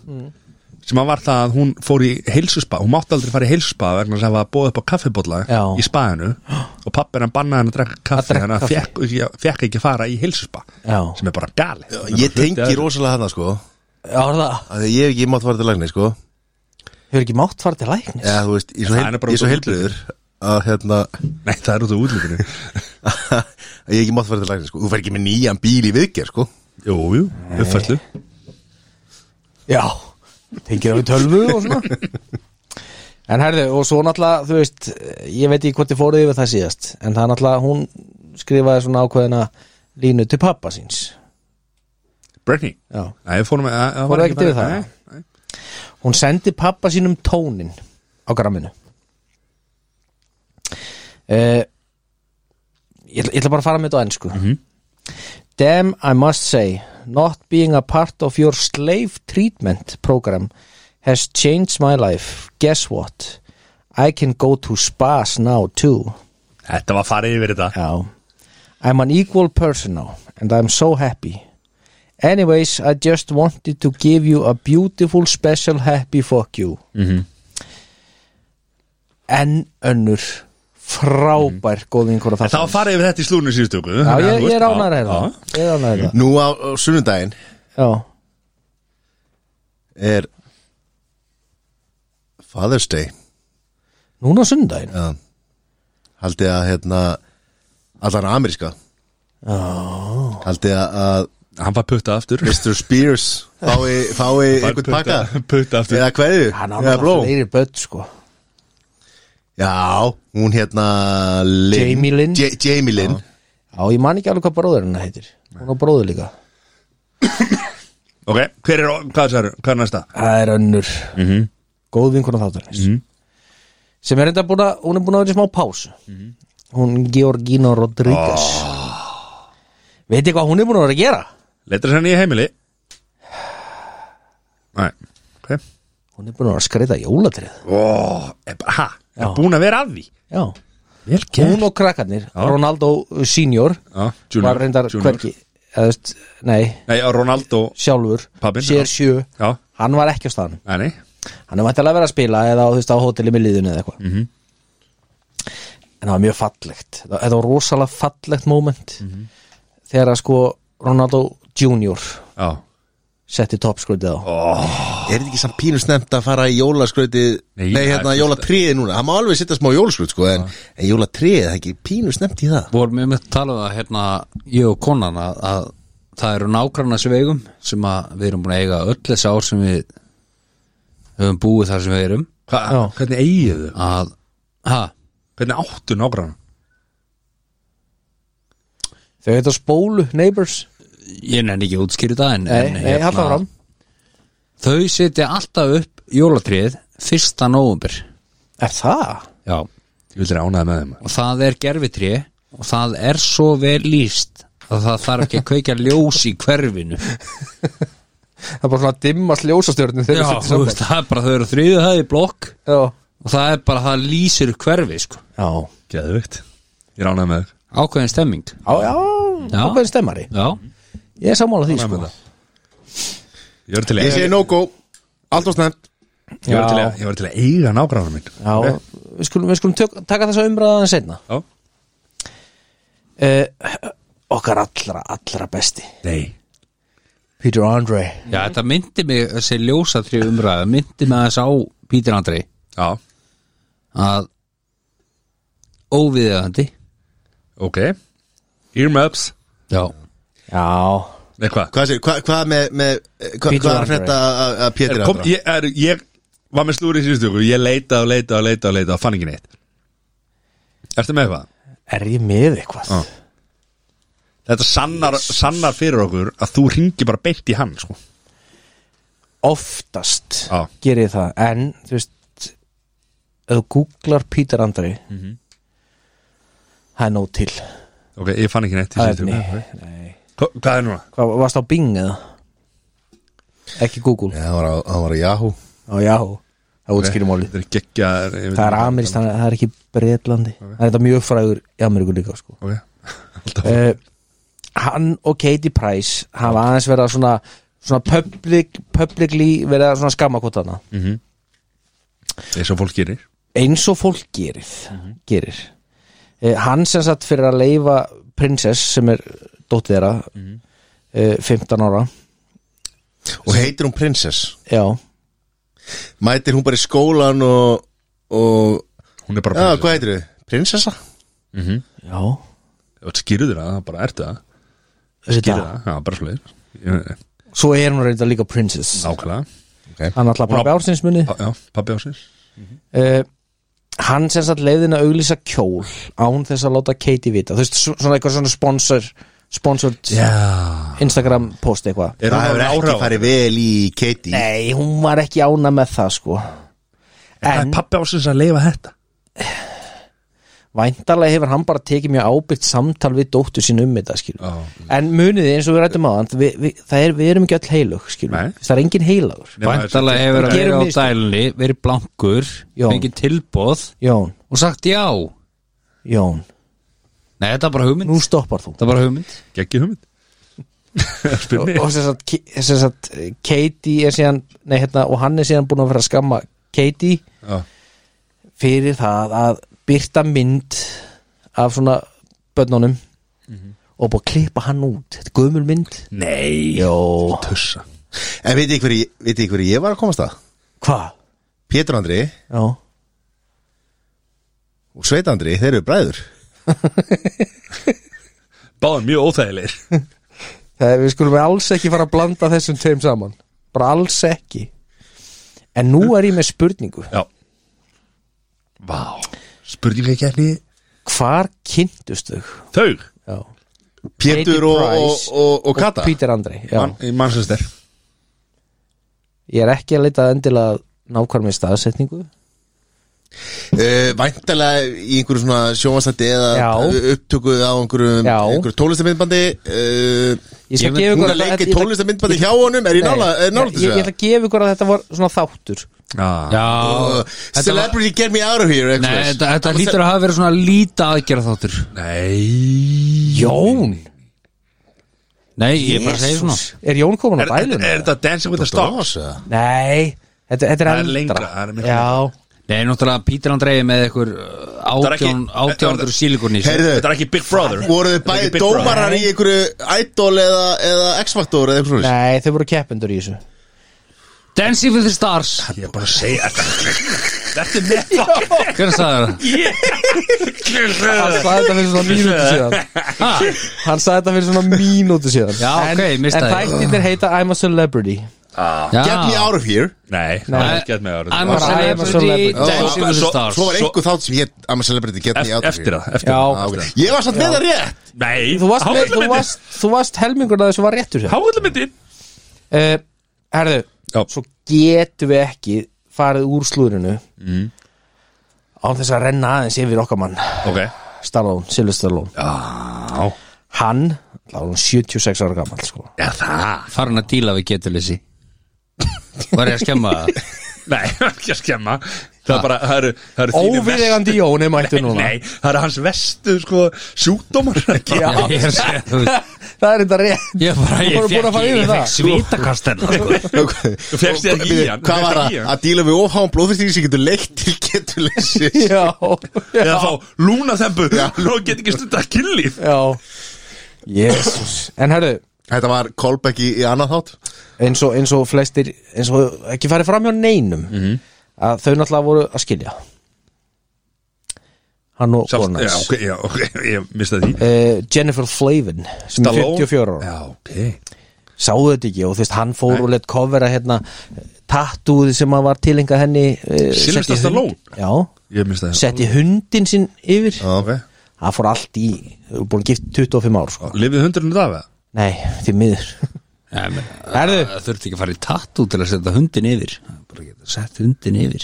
A: sem að var það að hún fór í heilsuspa, hún mátti aldrei fara í heilsuspa vegna þess að hafa bóð upp á kaffibólla
C: Já.
A: í spaðinu og pappir hann bannaði hann að drekka kaffi
C: drekka
A: þannig að
C: kaffi.
A: fekk, ekki- fekk ekki fara í heilsuspa
C: Já.
A: sem er bara gali
D: Ég tengi rosalega hana sko
C: Já, er það
D: að ég hef ekki mátt fara til lækni sko
C: hefur ekki mátt fara til læknis
D: eða þú veist, ég er svo
A: Það
D: heil-
A: er bara
D: ég er
A: út
D: svo
A: af
D: heilbriður að hérna
A: Nei, það er út á útlítinu
D: að ég hef ekki mátt fara til lækni sko þú fer ekki með nýjan bíl í viðgerð sko
A: Jú, jú, uppfærslu
C: Já, tengir það við tölvu og svona En herðu, og svo náttúrulega, þú veist ég veit ekki hvort þið fóruð yfir það síðast en það er náttúrulega, hún skrifaði svona ákveðina línu til pappa síns
A: Britney
C: Já.
A: Nei, við fórum að- að- að-
C: Fóruðu ekkert yfir það?
A: Nei, nei.
C: Hún sendi pappa sínum tónin á gramminu uh, ég, ætla- ég ætla bara að fara með þetta á ennsku Damn, I must say not being a part of your slave treatment program has changed my life Guess what? I can go to spas now too
A: Þetta var farið yfir þetta
C: Já I'm an equal person now and I'm so happy Anyways, I just wanted to give you a beautiful special happy fuck you mm
A: Mhm.
C: -hmm. En önnur frábær
A: Mhm.
C: mm. góð einhverja
A: Það var farið yfir þetta í slúrunum síðustu viku
C: Já,
A: þannig að
C: ég,
A: þú
C: ég er
A: veist-
C: ánæður
A: Já,
C: hérna
A: já.
C: Ég er ánæður hérna
D: nú á, á sunnudaginn
C: Já,
D: er Father's Day
C: núna á sundaginn
D: Já. haldið að hérna allan ameríska oh. haldið að- að
A: Hann var puttað aftur
D: Mr. Spears fái, fái einhvern pakka
A: Puttað aftur
D: eða hverju,
C: Hann á
D: eða
C: náttúrulega
D: blóm
C: fleiri börn sko
D: já, hún hérna Lynn.
C: Jamie Lynn.
D: Ja- Jamie Lynn
C: Já, ég man ekki alveg hvað bróður hennar heitir Hún á bróður líka
A: Ok, hver er, hvað sagður, hvað er næsta?
C: Það er önnur
A: Mhm.
C: Góð vinkona þáttarins Sem er enda búin að, hún er búin að vera í smá pásu
A: Mhm.
C: Hún Georgina Rodríguez oh.
A: Ah.
C: Veit ég hvað hún er búin að vera að gera?
A: Letur þess að nýja heimili Nei, ok
C: Hún er búin að vera að skreita jólatrið
A: Ó, er bara, ha, er
C: Já.
A: búin að vera að því
C: Já,
A: Vel
C: hún og krakkarnir Ronaldo senior
A: Já, junior,
C: Var reyndar
A: junior.
C: hverki eða, þú veist, Nei,
A: Nei, og Ronaldo
C: sjálfur
A: Pabbinn, já.
C: Sér sjö
A: Já,
C: Hann var ekki á staðan
A: nei, nei
C: hann er vantilega að vera að spila eða á, þú veist, á hóteli með liðinu eða eitthvað -hmm. en það var mjög fallegt Þetta- þetta var rosalega fallegt moment þegar að sko Ronaldo Junior
A: Já,
C: setti toppskröndið á
D: er þetta ekki samt pínu snemt að fara í jólaskröti
A: Nei,
D: nei,
A: það er
D: hérna
A: fyrst-
D: jólatriði núna hann má alveg setja smá jólaskröti sko en, en jólatriði, það er ekki pínu snemt í það
B: vorum við með að tala um það hérna ég og konan að, að það eru nágrannasvegum sem að við erum búin að eiga öll þessi ár sem við höfum búið þar sem við erum
A: Hva,
C: Já.
A: hvernig eigið þau?
B: að, ha,
A: Hvernig áttu nágrann?
C: þau heita spólu, neighbors
B: ég nenni ekki að útskýra það en,
C: nei,
B: en hérna,
C: nei, halda fram
B: þau setja alltaf upp jólatrið fyrsta nóvumbir
C: er það?
B: já, og
A: Ég vil þeirra ánaði með þeim
B: það er gerfitrið og það er svo vel líst að það þarf ekki að kveika ljós í hverfinu
C: það er bara svona að dimmast ljósastjörnum þegar
B: Já,
C: þetta er
B: þú veist,
C: saman.
B: það er bara þau eru þriðu það í blokk
C: Já.
B: og það er bara, það lýsir upp hverfi sko.
C: Já.
A: Geðvikt Ég ránaði með þér
B: ákveðin stemming
C: Já, já,
B: Já.
C: ákveðin stemmari
B: Já,
C: Ég er sammála því,
A: Ánægður
C: sko
A: með það. Ég var til
D: Ég
A: að
D: segi
A: eiga
D: no-go, allt og snemmt
A: Ég var til að, ég var til að eiga nágráðan minn
C: Já, við skulum, við skulum tök, taka þessa umræðan setna
A: Já.
C: uh, Okkar allra, allra besti
A: Nei
C: Peter Andre
B: já þetta myndi mig þessi ljósatri umræða, myndi mig þess á Pítur Andri
A: Já,
B: að óviðjöðandi
A: ok Earmups
B: Já,
C: Já,
A: Nei, hvað?
D: Hvað segir, hvað, hvað með, með eh, hva,
C: Peter
D: Hvað er að
C: Andre.
D: frétta að- að Pétur
A: Er, kom,
D: Andra?
A: ég, er, ég var með slúri í síðustu viku Ég leitaði og leitaði og leitaði og leitaði og fann ekki neitt Ertu með eitthvað?
C: er ég með eitthvað?
A: Já. Þetta sannar, sannar fyrir okkur að þú ringir bara beint í hann sko.
C: Oftast
A: Já.
C: gerir ég það En, þú veist Ef þú googlar Peter Andre
A: Mhm.
C: Það er nóg til
A: Ok, ég fann ekki neitt í
C: Það er
A: síðustu viku.
C: ný.
A: Hva- Hvað er núna?
C: Hvað, varst á Bing eða? Ekki Google
D: Já, hann var, á- hann var á Yahoo
C: Já, já, það útskýrir máli
A: Þetta er geggjaðar ég veit
C: Það er
A: ekki-
C: Amirist, það er ekki Bretlandi Það er þetta mjög frægur í Ameríku líka sko.
A: Ok, alltaf
C: uh, Hann og Katie Price hafa aðeins verið að svona, svona public, publicly verið að svona skamma hvort hana
A: Mm. eins og fólk gerir
C: eins og fólk gerir,
A: Mhm.
C: gerir. Uh, Hann sem satt fyrir að leifa Princess sem er dóttið þeirra mm
A: Mhm.
C: 15 ára
D: Og heitir hún Princess
C: Já,
D: Mætir hún bara í skólan og, og
A: Hún er bara
D: Já, hvað heitir þið? Prinsessa?
C: já
A: Skýrðu þér að það, bara ertu það
C: Þessi
A: Skýrðu
C: dag.
A: það, já, bara svolítið
C: Svo er hún reynda líka Princess
A: Nákvæmlega
C: Hann alltaf pappi
A: Hún á-
C: ársins
A: Já, Já, pabbi ásins
C: uh, hann sem sagt leiðin að auglýsa kjól án þess að láta Katie vita þú veist, svo- svona eitthvað svona sponsor sponsored
A: Já
C: Instagram post eitthvað
A: Er hún
D: Það hefur
A: orðin
D: ekki
A: áhrif
D: farið vel í Katie
C: nei, hún var ekki ána með það sko
A: Það er
C: en
A: pabbi ásins að leifa þetta
C: væntarlega hefur hann bara tekið mjög ábyrgt samtal við dóttu sín um þetta skilur
A: Já.
C: en muniði eins og við rættum á hann við, við, það er, við erum ekki öll heilug skilur
A: Nei.
C: það er engin heilagur
B: væntalega hefur að
C: Gerum
B: vera á
C: mistök.
B: dælunni verið blankur,
C: Já.
B: fengið tilbóð
C: Jón,
B: og sagt já
C: Jón,
B: Nei, þetta er bara hugmynd
C: nú stoppar þú
B: Þetta er bara hugmynd
A: Geggi hugmynd Spyr
C: og,
A: mig
C: og sem sagt, Ki- sem sagt eh, Katie er síðan nei, hérna, og hann er síðan búin að vera að skamma Katie
A: Já.
C: fyrir það að byrta mynd af svona börnunum og búin að klippa hann út þetta er gömul mynd
A: Nei
C: Jó,
A: Tussa
D: En veit ég hverju veit ég hverju ég var að komast að?
C: hvað?
D: Pétur Andri
C: Já,
D: og Sveit Andri, þeir eru bræður
A: Báðum mjög óþægilegir
C: það er, við skulum alls ekki fara að blanda þessum tveim saman bara alls ekki en nú er ég með spurningu
A: Já Vá Spurninga kefni
C: hvar kynntust þau?
A: Þau
C: Já.
D: Pétur og, og,
C: Price
D: og, og Kata
C: Peter Andrei já.
A: Man- í Manchester
C: ég er ekki að leita endilega nákvæmni staðsetningu
D: uh, Væntalega í einhverju svona sjónvastandi eða
C: Já.
D: upptökuð á einhverju,
C: Já.
D: einhverju tólistamindbandi uh,
C: Ég
B: Ég
C: skal
B: veit-
C: gefa
D: Hún
C: ykkur
D: er leikið
C: ég ætla-
D: tólistamindbandi hjá honum Er ég
C: Nei,
D: nála,
C: ég,
D: nála
C: ég
D: þessu?
C: ætla að gefa ykkur að þetta var svona þáttur Ah.
A: Já
B: Já
D: Uh,
B: Þetta var-
D: Celebrity get me out of here
B: Nei, þetta, þetta hlýtur að hafa verið svona líta aðgerða þáttur
A: Nei
C: Jón
B: Nei, ég bara segi svona
C: Er Jón komin á
A: Er, er,
C: bælun?
A: er þetta Dancing with the Stars?
D: Dósa
C: Nei, þetta, þetta er
A: Það er
C: eldra
A: lengra, það er miklu
C: Já,
B: Nei, náttúrulega Pítur Andrei með einhver uh,
A: er ekki-
B: átján átjándur sílikurni
D: Heyrðu,
A: Þetta er ekki Big Brother
D: Voruð þið
A: Þetta er ekki
D: bæði
A: Big Brother.
D: dómarar í einhverju Idol eða, eða X-Factor eða eitthvað svona
C: nei, þau voru keppendur í þessu
B: Dancing with the Stars
A: Ég er bara að segja Þetta er með fucking
B: Hvernig sagði það?
C: Hann
B: Ha?
C: sagði þetta fyrir svona mínútu síðan Hann sagði þetta fyrir svona mínútu síðan
B: Já,
C: En,
B: ok,
C: en
B: mistaði.
C: þættirnir heita I'm a
B: Já.
C: Celebrity
D: Get me out of here
A: Nei, það er
C: Nei.
A: ekki að með
B: I'm
A: ára
B: a
C: Bara I'm a
B: celebrity,
C: celebrity.
B: dancing with the
A: Ah, Svo-
B: stars
D: Svo var einhver þátt sem ég I'm a celebrity, get me out of
A: Eftir
D: here
A: það, eftir
C: Já.
A: það
D: Ah, okay. Ég var samt með það rétt
A: Nei,
C: Þú varst, með, þú
A: háhullamyndin.
C: varst, þú varst helmingurna þessu var réttur sér
A: Háhullamyndin
C: uh, Herðu,
A: Já.
C: svo getum við ekki farið úr slúrinu
A: Mm.
C: án þess að renna aðeins yfir okkar mann
A: Ok
C: Stallone, Sylvester Stallone
A: Já,
C: hann, þá er hann 76 ára gammal sko.
A: er það
B: Farin að díla við getuleysi Var ég að skemma það?
A: Nei, ekki að skemma Það er bara, það eru, það eru þínir
C: Óviðegandi Jóni mættu
A: vestu-
C: núna
A: Nei, það eru hans vestu, sko, sjúkdómar
C: Já.
B: Ég er að segja, þú veist,
C: Það er þetta rétt
B: Ég bara,
C: Þú
B: ég
C: voru búin að
B: fekk,
C: fara
B: ég, ég
C: yfir það.
B: fekk
A: hérna.
B: svítakastel
D: Þú
A: fékkst þér ekki í hann, þú fékkst
D: Hvað var
A: ekki í
D: það?
A: hann.
D: Að díla við ofháum blóðfyrstíði sem getur leitt til getuleysi
C: Já,
A: Eða
C: já,
A: þá lúna þembu Nú get ekki stund að kynlíf
C: já. Jésús En herðu,
D: Þetta var callback í, í annað þátt
C: eins og, eins og flestir eins og ekki farið fram hjá neinum
A: Mhm.
C: að þau náttúrulega voru að skilja Hann og
A: Sjálft-
C: konan
A: Já,
C: hans
A: ok, já, ok, ég mista því
C: uh, Jennifer Flavin sem er 44 ára
A: Já, ok
C: sáu þetta ekki og þú veist hann fór og lett covera hérna tattúð sem að var tilhengað henni uh,
A: Sylvester Stallone?
C: já,
A: Ég mista því
C: setti hundin sinn yfir
D: Já, Ah, ok
C: það fór allt í, þau voru búin að gift 25 ár sko.
A: Lifið hundurinn af það?
C: nei, því miður
B: Erðu? Það þurfti ekki að fara í tattoo til að setja hundin yfir Bara geta sett hundin yfir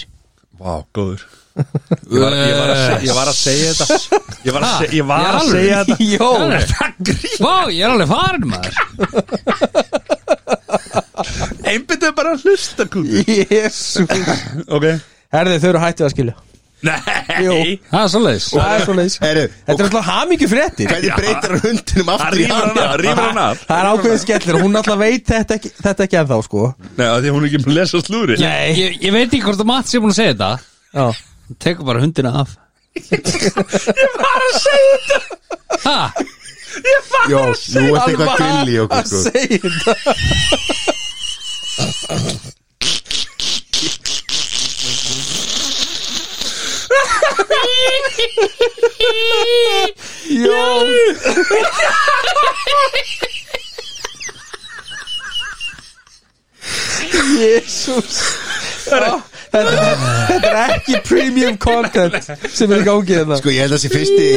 A: Vá, góður Ég var, ég, var að, se- ég var að segja þetta Ég var að, se, ég
B: Í
A: var að
B: alvöru?
A: segja þetta
B: Jó.
A: Það grín
B: Vá, ég er alveg farin maður
A: Einbyttu bara að hlusta kúti
C: jésu
A: Ok
C: herði þau eru hættið að skilja
A: Nei
C: Jú.
B: Það er svoleiðis
C: það er svoleiðis
D: Heyrðu,
C: þetta er alltaf hamingju fréttir
D: Hvernig breytir hann hundinum
A: Það
D: aftur í
A: rýfur hann af, rýfur hann af
C: það er ákveðin skellur, hún alltaf veit þetta ekki, þetta ekki ennþá sko
A: Nei, af því að hún er ekki með að lesa slúri
B: Ég, ég, ég veit ekki hvort að Mats er búin að segja þetta
C: já,
B: Hún tekur bara hundina af Ég var að segja þetta
D: Jó, nú er eitthvað grill í okkur sko.
C: segja þetta Jésús þetta, þetta er ekki premium content sem er í gangi hérna
D: Sko ég held að þessi fyrsti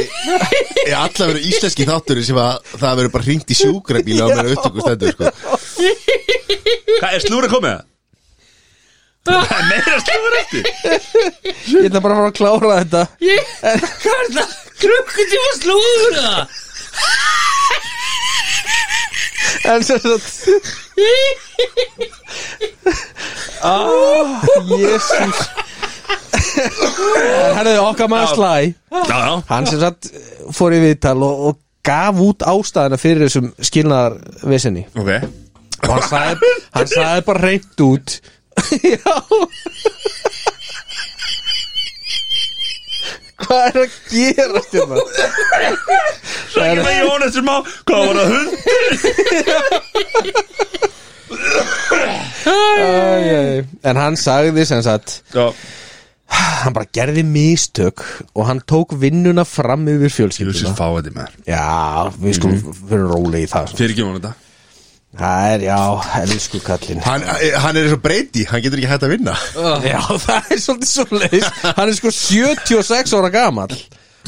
D: er alla verið íslenski þáttur sem að það verið bara hringt í sjúkrabíla og meira upptöku stendur sko
A: Hvað, er slúri komið það? Það er meira slúri eftir
C: ég ætla bara að fara að klára þetta
B: Ég, hvað er það? Krukkutíma slúður það?
C: En sem sagt Ah, Jésús En herðu okkar maður slæ
A: Já, já
C: Hann sem sagt eh, fór í viðtal og, og gaf út ástæðina fyrir þessum skilnaðar vissinni
A: Ok
C: og hann sagði, hann sagði bara reynt út Já Hvað er að gera stjórna?
A: Það er ekki með Jón eftir má Hvað var það hund?
C: En hann sagði sem sagt
A: Já
C: hann bara gerði mistök og hann tók vinnuna fram yfir
A: Júsins
C: fjölskylduna
A: fá þetta með
C: Já, við skulum
A: Mhm.
C: mm. fyrir róli í það
A: Fyrir ekki þetta
C: Það er, já, elsku kallinn
D: Hann, eh, hann er eins og breyti, hann getur ekki hægt að vinna
C: Já, það er svolítið svoleiðis Hann er sko 76 ára gamall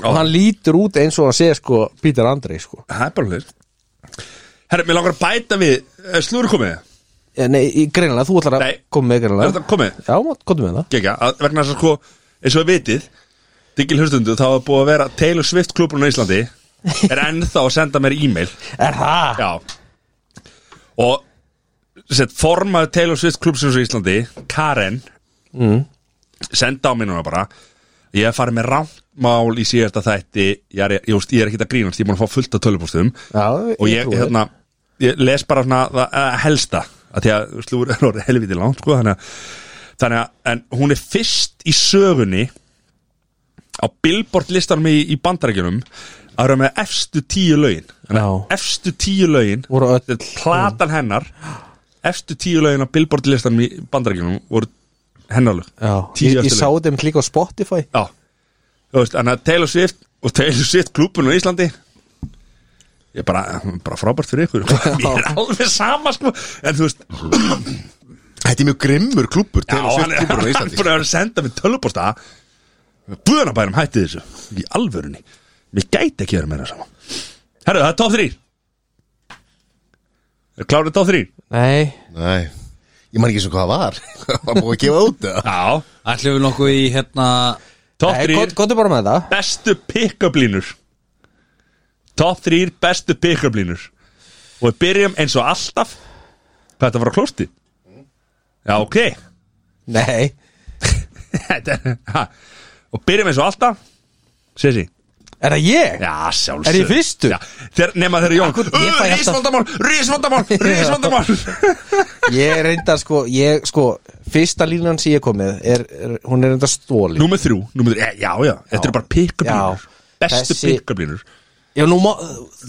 C: og hann lítur út eins og hann sé sko Peter Andrei sko
A: Það er bara hlut Herra, mér langar að bæta við Slúri komið það?
C: Eh, Nei, í- greinilega, þú ætlar að
A: Nei.
C: koma með
A: Er þetta
C: greinilega
A: komið?
C: Já, komdu með það
A: Gekja, að vegna þess að sko eins og við vitið Diggil hlustundu þá er búið að vera Taylor Swift klubbrun á Íslandi er ennþá að senda mér e-mail
C: Er það?
A: Já Og sett, formaður Taylor Swift klubsins á Íslandi Karen mm. senda á mínuna bara ég hef farið með rámál í síðasta þætti ég er, ég, veist, ég er ekki að grínast, ég er búin að fá fullt af tölupústum
C: Já,
A: og ég,
C: trúi þér.
A: hérna, ég les bara svona það eh, helsta að því að slúr er orðið helviti langt sko, þannig, að, þannig að en hún er fyrst í sögunni á Billboard listanum í, í bandarækjunum að vera með efstu tíu lögin Þannig að
C: Já.
A: efstu tíu lögin
C: Voru öll-
A: þetta er platan hennar efstu tíu lögin á Billboard listanum í bandarækjunum voru hennarlög
C: Já,
A: tíu
C: ég, ég
A: efstu
C: sá
A: lögin.
C: þeim líka á Spotify
A: Já, þú veist, þannig að Taylor Swift og Taylor Swift klúbun á Íslandi ég er bara, bara frábært fyrir ykkur mér er alveg sama sko en þú veist,
D: Þetta er mjög grimmur klúppur
A: já,
D: til að
A: hann
D: svift
A: er
D: klúppur á
A: hann er
D: Íslandi
A: búin að vera að senda með tölvuposta Guðanabærum hætti þessu í alvörunni, mér gæti ekki verið meira saman Herru, það er top 3 Er klárið top 3?
C: Nei,
D: Nei, ég man ekki eins og hvað það var Hann var búið að gefa út það
A: Já,
B: Ætlum við nokkuð í hérna
A: top
C: Nei
A: 3
C: gott- gottu bara með það
A: bestu pick-up línur Top 3 bestu pick-up línur Og við byrjum eins og alltaf Hvað þetta var á klósti Já, ok
C: Nei,
A: Þetta er- ha. Og byrjum eins og alltaf Sessi
C: er það ég?
A: Já, sjálfsög
C: Er ég fyrstur?
A: Já, þeir, nema þeirra Jón
C: Akkur- ég fæ alltaf-
A: Rísvandamál, rísvandamál, rísvandamál
C: Ég reyndar sko, ég sko Fyrsta línan sem ég kom með er, er, Hún er reyndar stóli
A: Númer þrjú, númer þrjú, Eh, já, já Þetta eru bara pikkablínur
C: Já.
A: Bestu
C: Þessi-
A: pikkablínur
C: Já, nú má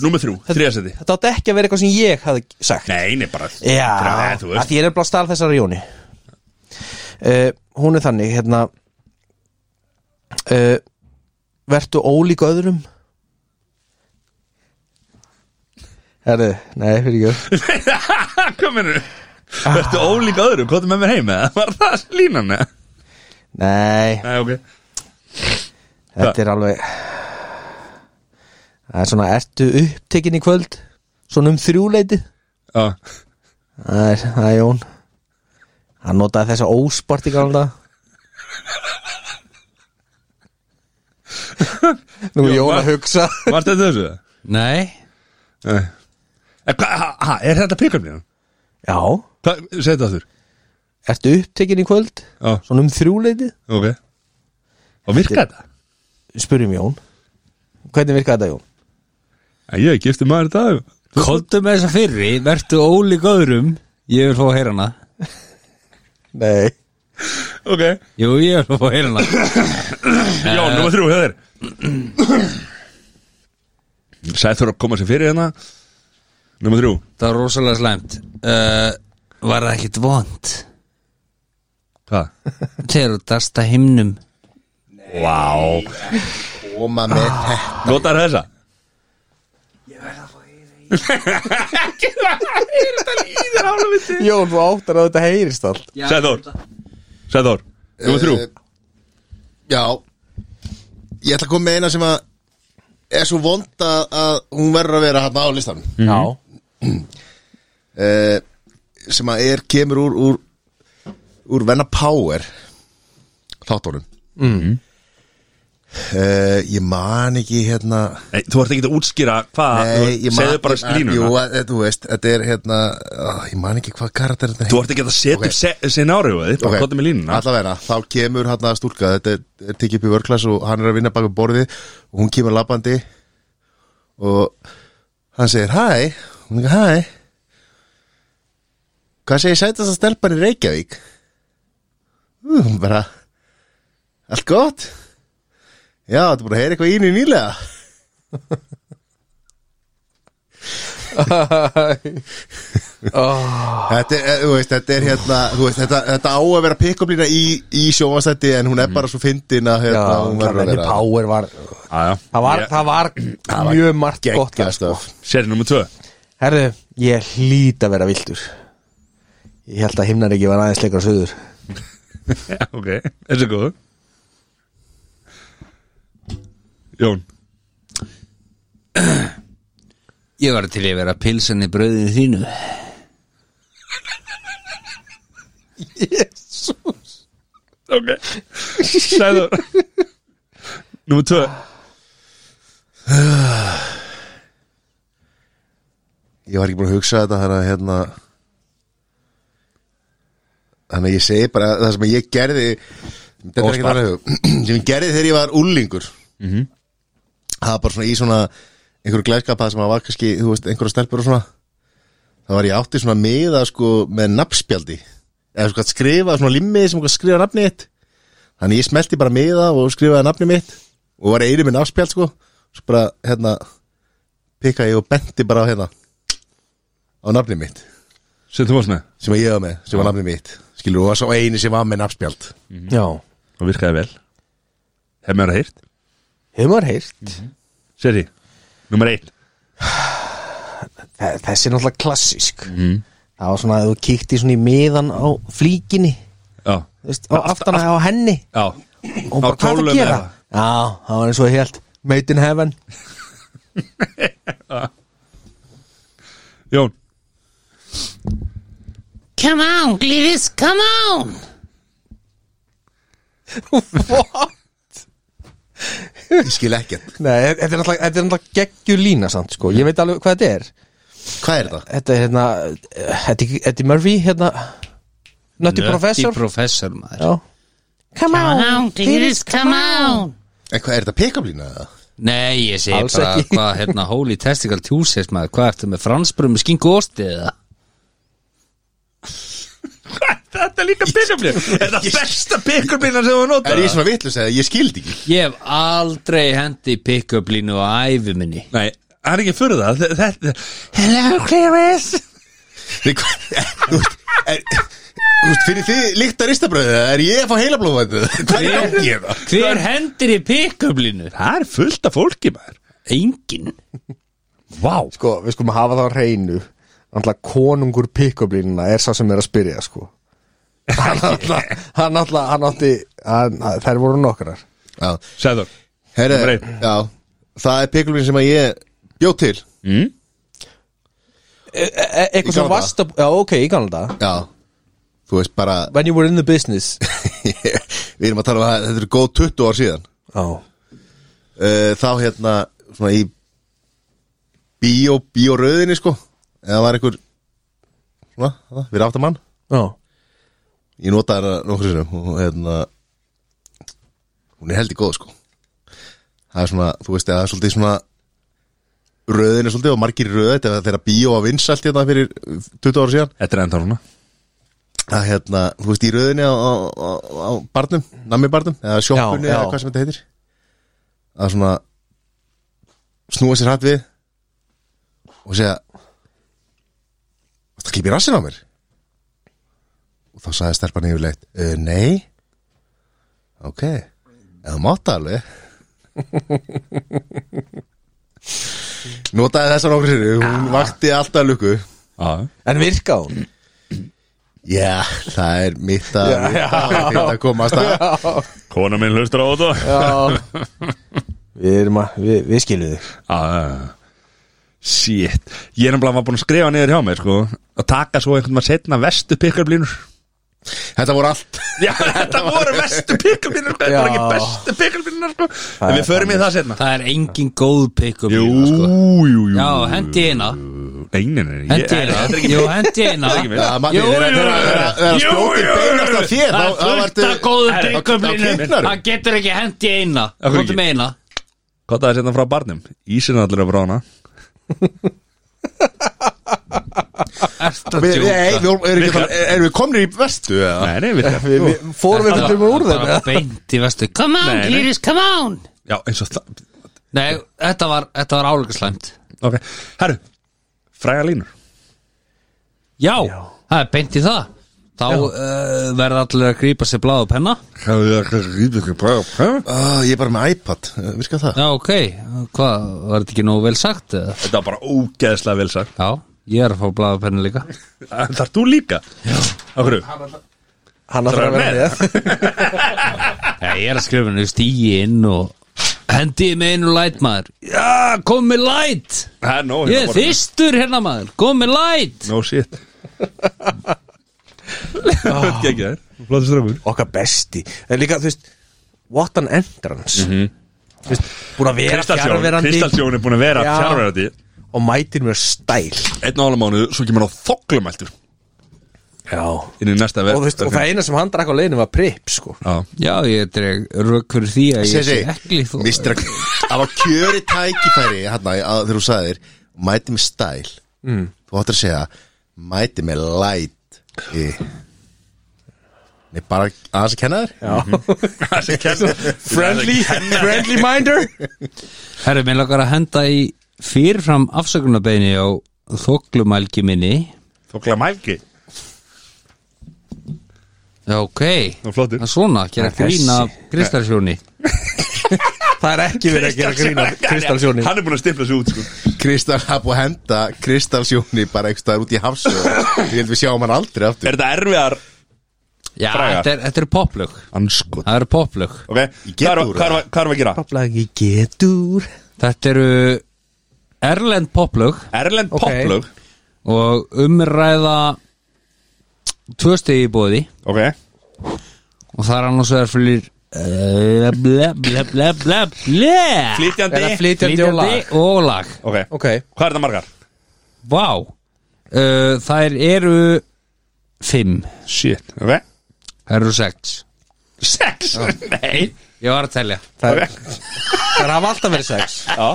A: Númer þrjú, þriðasetti
C: Þetta átti ekki að vera eitthvað sem ég hafði sagt
A: Nei, nei, bara
C: Já,
A: Nei, þú
C: að
A: veist
C: því ég er bara starf þessari Jóni uh, Hún er þannig hérna uh, Vertu ólík öðrum Herðu, nei, fyrir ekki
A: Hvað mennur Ertu ólík öðrum, hvað með mér heim eða? Var það línan eða?
C: Nei,
A: Nei, ok
C: þetta er alveg Það er svona, ertu upptekinn í kvöld? Svona um þrjúleiti?
A: Já,
C: Það er, það er Jón Hann notaði þessa ósport í gamla daga. Nú er
A: Jón,
C: Jón
A: hvað?
C: að hugsa
A: varst þetta þessu? eða?
B: Nei
A: Nei En hvað- ha- ha, Er þetta pikkablínan?
C: Já,
A: Hvað, segðu þetta aftur
C: ertu upptekinn í kvöld?
A: Já,
C: Svona um þrjúleiti?
A: ok Og virka þetta?
C: Spurjum Jón Hvernig virkaði þetta Jón?
A: En ég er giftið maður í dag
B: Kontu með þessa fyrri, vertu ólík öðrum Ég vil fá að heyra hana
C: Nei
A: Ok
B: Jú, ég vil fá að heyra hana
A: Já, nummer þrjú, hefur Sæð þurfa að koma sér fyrir hérna Nummer þrjú
B: Það var rosalega slæmt uh, Var það ekkit vond
A: Hvað?
B: Þegar þú dasta himnum
A: Vá
D: Koma með þetta
A: Notar þessa?
C: Jón, þú áttar að þetta heyrist allt
A: Sæð Þór Sæð Þór Nummer þrjú
D: Eh, Já Ég ætla að koma með eina sem að er svo vond að, að hún verður að vera hérna á listanum
C: Já
D: uh, sem að er kemur úr úr, úr Venna Power þáttunum mm. Ég man ekki hérna
A: Nei, þú ert ekki að útskýra hvað
D: Nei, ég
A: þú-
D: man
A: Segðu bara
D: ég man- Jú,
A: línuna
D: að- þú veist, þetta er hérna ó, Ég man ekki hvað karakter þetta
A: Þú ert ekki að setja
D: Ok.
A: upp se- scenario eða Bara kottum með línuna
D: Allavega, þá kemur hann að stúlka Þetta er, er tekið upp í vörklass og hann er að vinna bak við borðið og hún kemur labbandi og hann segir hæ hún er hæ Hvað segir sætast að stelpan í Reykjavík? Ú, Hún bara Allt gott? Já, þetta er búin að heyra eitthvað í henni nýlega Þetta er, þú veist, þetta er hérna þú veist, þetta, þetta á að vera pikkublína í, í sjónvastætti en hún er bara svo fyndin
C: Mm. Já,
D: að hérna, hún verður að
C: Venni
D: vera
C: Power var Það var,
A: Jæja
C: það var mjög margt gott þar, sko.
D: geggjastöf
A: Seri nummer tvö
C: Herðu, ég hlýt að vera viltur Ég held að himnar ekki var aðeins leikar söður
A: Já, ok, þessi er góð Jón
B: Ég var til að vera pilsan í brauðinu þínu
A: Ok, sæður Númer tvö
D: Ég var ekki búin að hugsa þetta þannig að hérna Þannig að ég segi bara það sem ég gerði Þetta er ekki
A: Óspart.
D: þannig hug sem ég gerði þegar ég var úlingur Það var bara svona í svona einhverju glæskapað sem að var kannski þú veist, einhverja stelpur og svona Það var ég átti svona miða sko með nafnspjaldi eða svona skrifa svona limmið sem eitthvað skrifa nafnið þitt Þannig ég smelti bara miða og skrifaði nafnið mitt og var einu með nafnspjald sko svo bara hérna pikkaði ég og benti bara á hérna á nafnið mitt
A: Sem þú varst með
D: sem að ég var með, sem var nafnið mitt skilur, og það sá eini sem var með nafnspjald
C: Já,
A: Og virkaði vel Hef mér að heyrt
C: hefur maður heyrt
A: Seri, númer eitt
C: Þe- Þessi er náttúrulega klassisk Það var svona að þú kíkti svona í miðan á flíkinni
A: Já,
C: þú veist, á aftana á henni
A: já
C: og
A: Á
C: bara hvað er
A: kjólum
C: að gera
A: eða?
C: Já, það var eins og helt Made in heaven
A: Jón
E: Come on, Clevis, come on!
D: ég skil ekkert,
C: Nei, e-, þetta er náttúrulega, þetta er náttúrulega geggjur lína samt sko. Ég veit alveg hvað þetta er
D: hvað er þetta?
C: Þetta er hérna eh, Þetta er- þetta er Murphy hérna Nötti professor
B: professor maður
C: Já.
E: Come on, Glyðis, come on.
D: En hvað, er þetta pick-up-lína? eða?
B: Nei, ég segi
C: Alls
B: bara
C: ekki.
B: hvað, hérna, holy testicle tjúsis maður Hvað ertu með fransbrum með skinku og osti eða?
A: Þetta er líka pick-up-lið Þetta er besta pick-up-lina sem þú
D: Er
A: notar
D: ég svona vitlust eða ég skildi ekki?
B: Ég hef aldrei hendi pick-up línu á ævi minni
A: Nei, það er ekki fyrir það Þe- Þetta Hello, Clarice
D: Nei, hvað- Þú veist, er- þú veist, fyrir þið líkta ristabröðið Er ég að fá heila blóðvætið? Hvað er gangi ég það?
B: Hver hendir í pick-up línu?
A: Það er fullt af fólki maður
B: Engin
A: Vá
C: Sko, við skulum hafa það á reynu Náttúrulega konungur pikkoblínuna er sá sem er að spyrja sko Hann náttúrulega, hann náttúrulega, hann átti hann, Þær voru nokkrar
D: Já,
A: Sæður Númer
D: herri,
A: einn.
D: já Það er pick-up-lína sem að ég bjóð til
A: mm?
D: Í
C: E, Eitthvað
D: sem gamla varst
C: að, já ok, í gamla dag
D: Já, þú veist bara
C: When you were in the business
D: Við erum að tala um að þetta eru góð 20 ár síðan
C: Já,
D: uh, þá hérna svona í bíó, bíóröðinni sko eða var einhver svona, það, fyrir aftamann
C: já,
D: ég nota hana nokkur sinum og hérna hún er heldig góð sko það er svona, þú veist, það er svolítið svona röðin er svolítið og margir röð þegar þeirra bíó að vinsalt hérna fyrir 20 ára síðan
A: Þetta er enda núna
D: að hérna, þú veist, í röðinni á, á, á, á barnum, nammi barnum eða sjoppunni
C: Já, já.
D: eða hvað sem þetta heitir að svona snúa sér hatt við og segja Það klipi rassin á mér og þá sagði stelpan yfirleitt uh, Nei Ok, eða mátt alveg Notaði þessa nokkur sér Hún vakti alltaf lukku
A: Já
C: en virka hún
D: Já, það er mitt að mitt að komast að
A: Kona minn hlustur á þetta Já,
C: Já Við erum að, við, við skiljum þig
A: já, já Shit Ég er nefnilega var búin að skrifa niður hjá mér sko Að taka svo einhvern veginn setna vestu pick-up-línur
D: Þetta voru allt
A: Já, þetta voru vestu pick-up-línur sko. Þetta voru ekki
C: Já.
A: bestu pick-up-línur sko En við förum í það setna
B: Það er engin góð pick-up
A: Jú,
B: lína sko.
A: jú, jú
B: Já, hendi eina
A: Nei, nei, nei ég-
B: Hendi eina
A: Þetta er ekki
B: Jú, hendi eina
A: Það er ekki minn.
D: Já, Matti,
B: Jú, jú,
D: þegar- þegar-
B: jú.
D: þegar- þegar
A: Jú,
D: skjótið
A: jú, jú.
D: beinast að þér
B: Það er fullt af góðu pick-up línu
D: línu
B: Það getur ekki hendi eina
A: Af hverju
B: Góttum
A: ekki?
B: eina
A: Hvað það er setna frá barnum? Ísinn allir að brána
B: Ertu að djóka?
D: Erum við komnir í vestu? eða?
A: Nei, nei, við það
C: Við, við, fórum við fyrir úr þeim
B: Bara
C: eða?
B: beint í vestu
E: Come on,
A: Nei, nei.
E: Glyðis, come on.
A: Já, eins og það
B: Nei, þetta var, þetta var álega slæmt
A: Ok, herru Fræga línur
B: Já, það er beint í það Þá uh, verða allir að grípa sér bláðu penna
A: Hvað er það rýðið ekki bara Þetta
D: Ah, Ég er bara með iPad, eh, virka það?
B: Já, ok, hvað, var þetta ekki nógu vel sagt? eða?
A: var bara ógeðslega vel sagt
B: Já, ég er að fá bláðu penna líka
A: Þar þú líka Já Okkur
C: Hann að
A: Það er
C: þarf að vera með
B: Nei, ég er að skrifa henni stíi inn og hendiði með einu light maður Já, kom með light
A: Það er nóg
B: Ég er þystur hérna maður, kom með light
A: No shit Þetta ekki þær Flóttur strömmur
C: Okkar besti En líka, þú veist What an entrance mm -hmm. Þú veist, búin að vera
A: Kristalsjón Kristalsjón er búin að vera
C: Já.
A: fjárverandi
C: Og mætir mér stæl
A: Einn og ála mánuð Svo kemur hann á þoklumæltur
C: Já
A: Inn í næsta
C: Og,
A: verð
C: þú veist, og það eina sem hann drakk á leiðinu var prip sko.
A: Já
B: Já, ég dreg rök fyrir því að ég sé
D: Sessi,
B: ekki þú
D: Mr. Það var kjöri tækifæri hérna, að þegar þú sagðir Mæti með stæl
B: Mm.
D: Þú ættir að segja Mæti með light í. Nei, bara aðeins að kenna þér
C: Mhm.
A: Friendly
C: Friendly minder
B: Herru, minn lakar að henda í fyrirfram afsökunarbeini á þoklumælgi minni
A: Þoklamælgi
B: Já, ok
A: Nú, flottur.
B: Það er svona, gera
C: Það er
B: grína kristarsjóni
C: Það er ekki verið að gera grína Kristalsjóni
A: Hann er búin að stimpla sig út sko
D: Kristal hafði búið að henda Kristalsjóni bara einhvers staðar út í hafsöðu Ég held við sjáum hann aldrei aftur
A: Er þetta erfiðar
B: Já,
A: Frægar.
B: þetta er, þetta er poplög
A: Anskot
B: Það eru poplög
A: Ok,
D: Ég
A: hvað
D: get
A: erum
D: úr
A: hvað erum- hvað erum við að gera?
C: Paplagi getur
B: Þetta eru erlend poplög
A: Erlend
C: Ok.
A: poplög
B: og umræða tvö stegi í bóði
A: Ok
B: og það er annars vegar fyrir eh, ble, ble, ble, ble, ble
A: Flytjandi
C: Eða flyt- Flytjandi og lag.
B: og lag
A: Ok,
C: Ok
A: hvað er þetta margar?
B: Vá uh, Þær Eh, eru 5
A: Shit, ok
B: Það eru 6
A: Sex, nei
B: Ég var að telja
C: Það,
A: Ok.
C: það hafa alltaf verið sex
A: Já,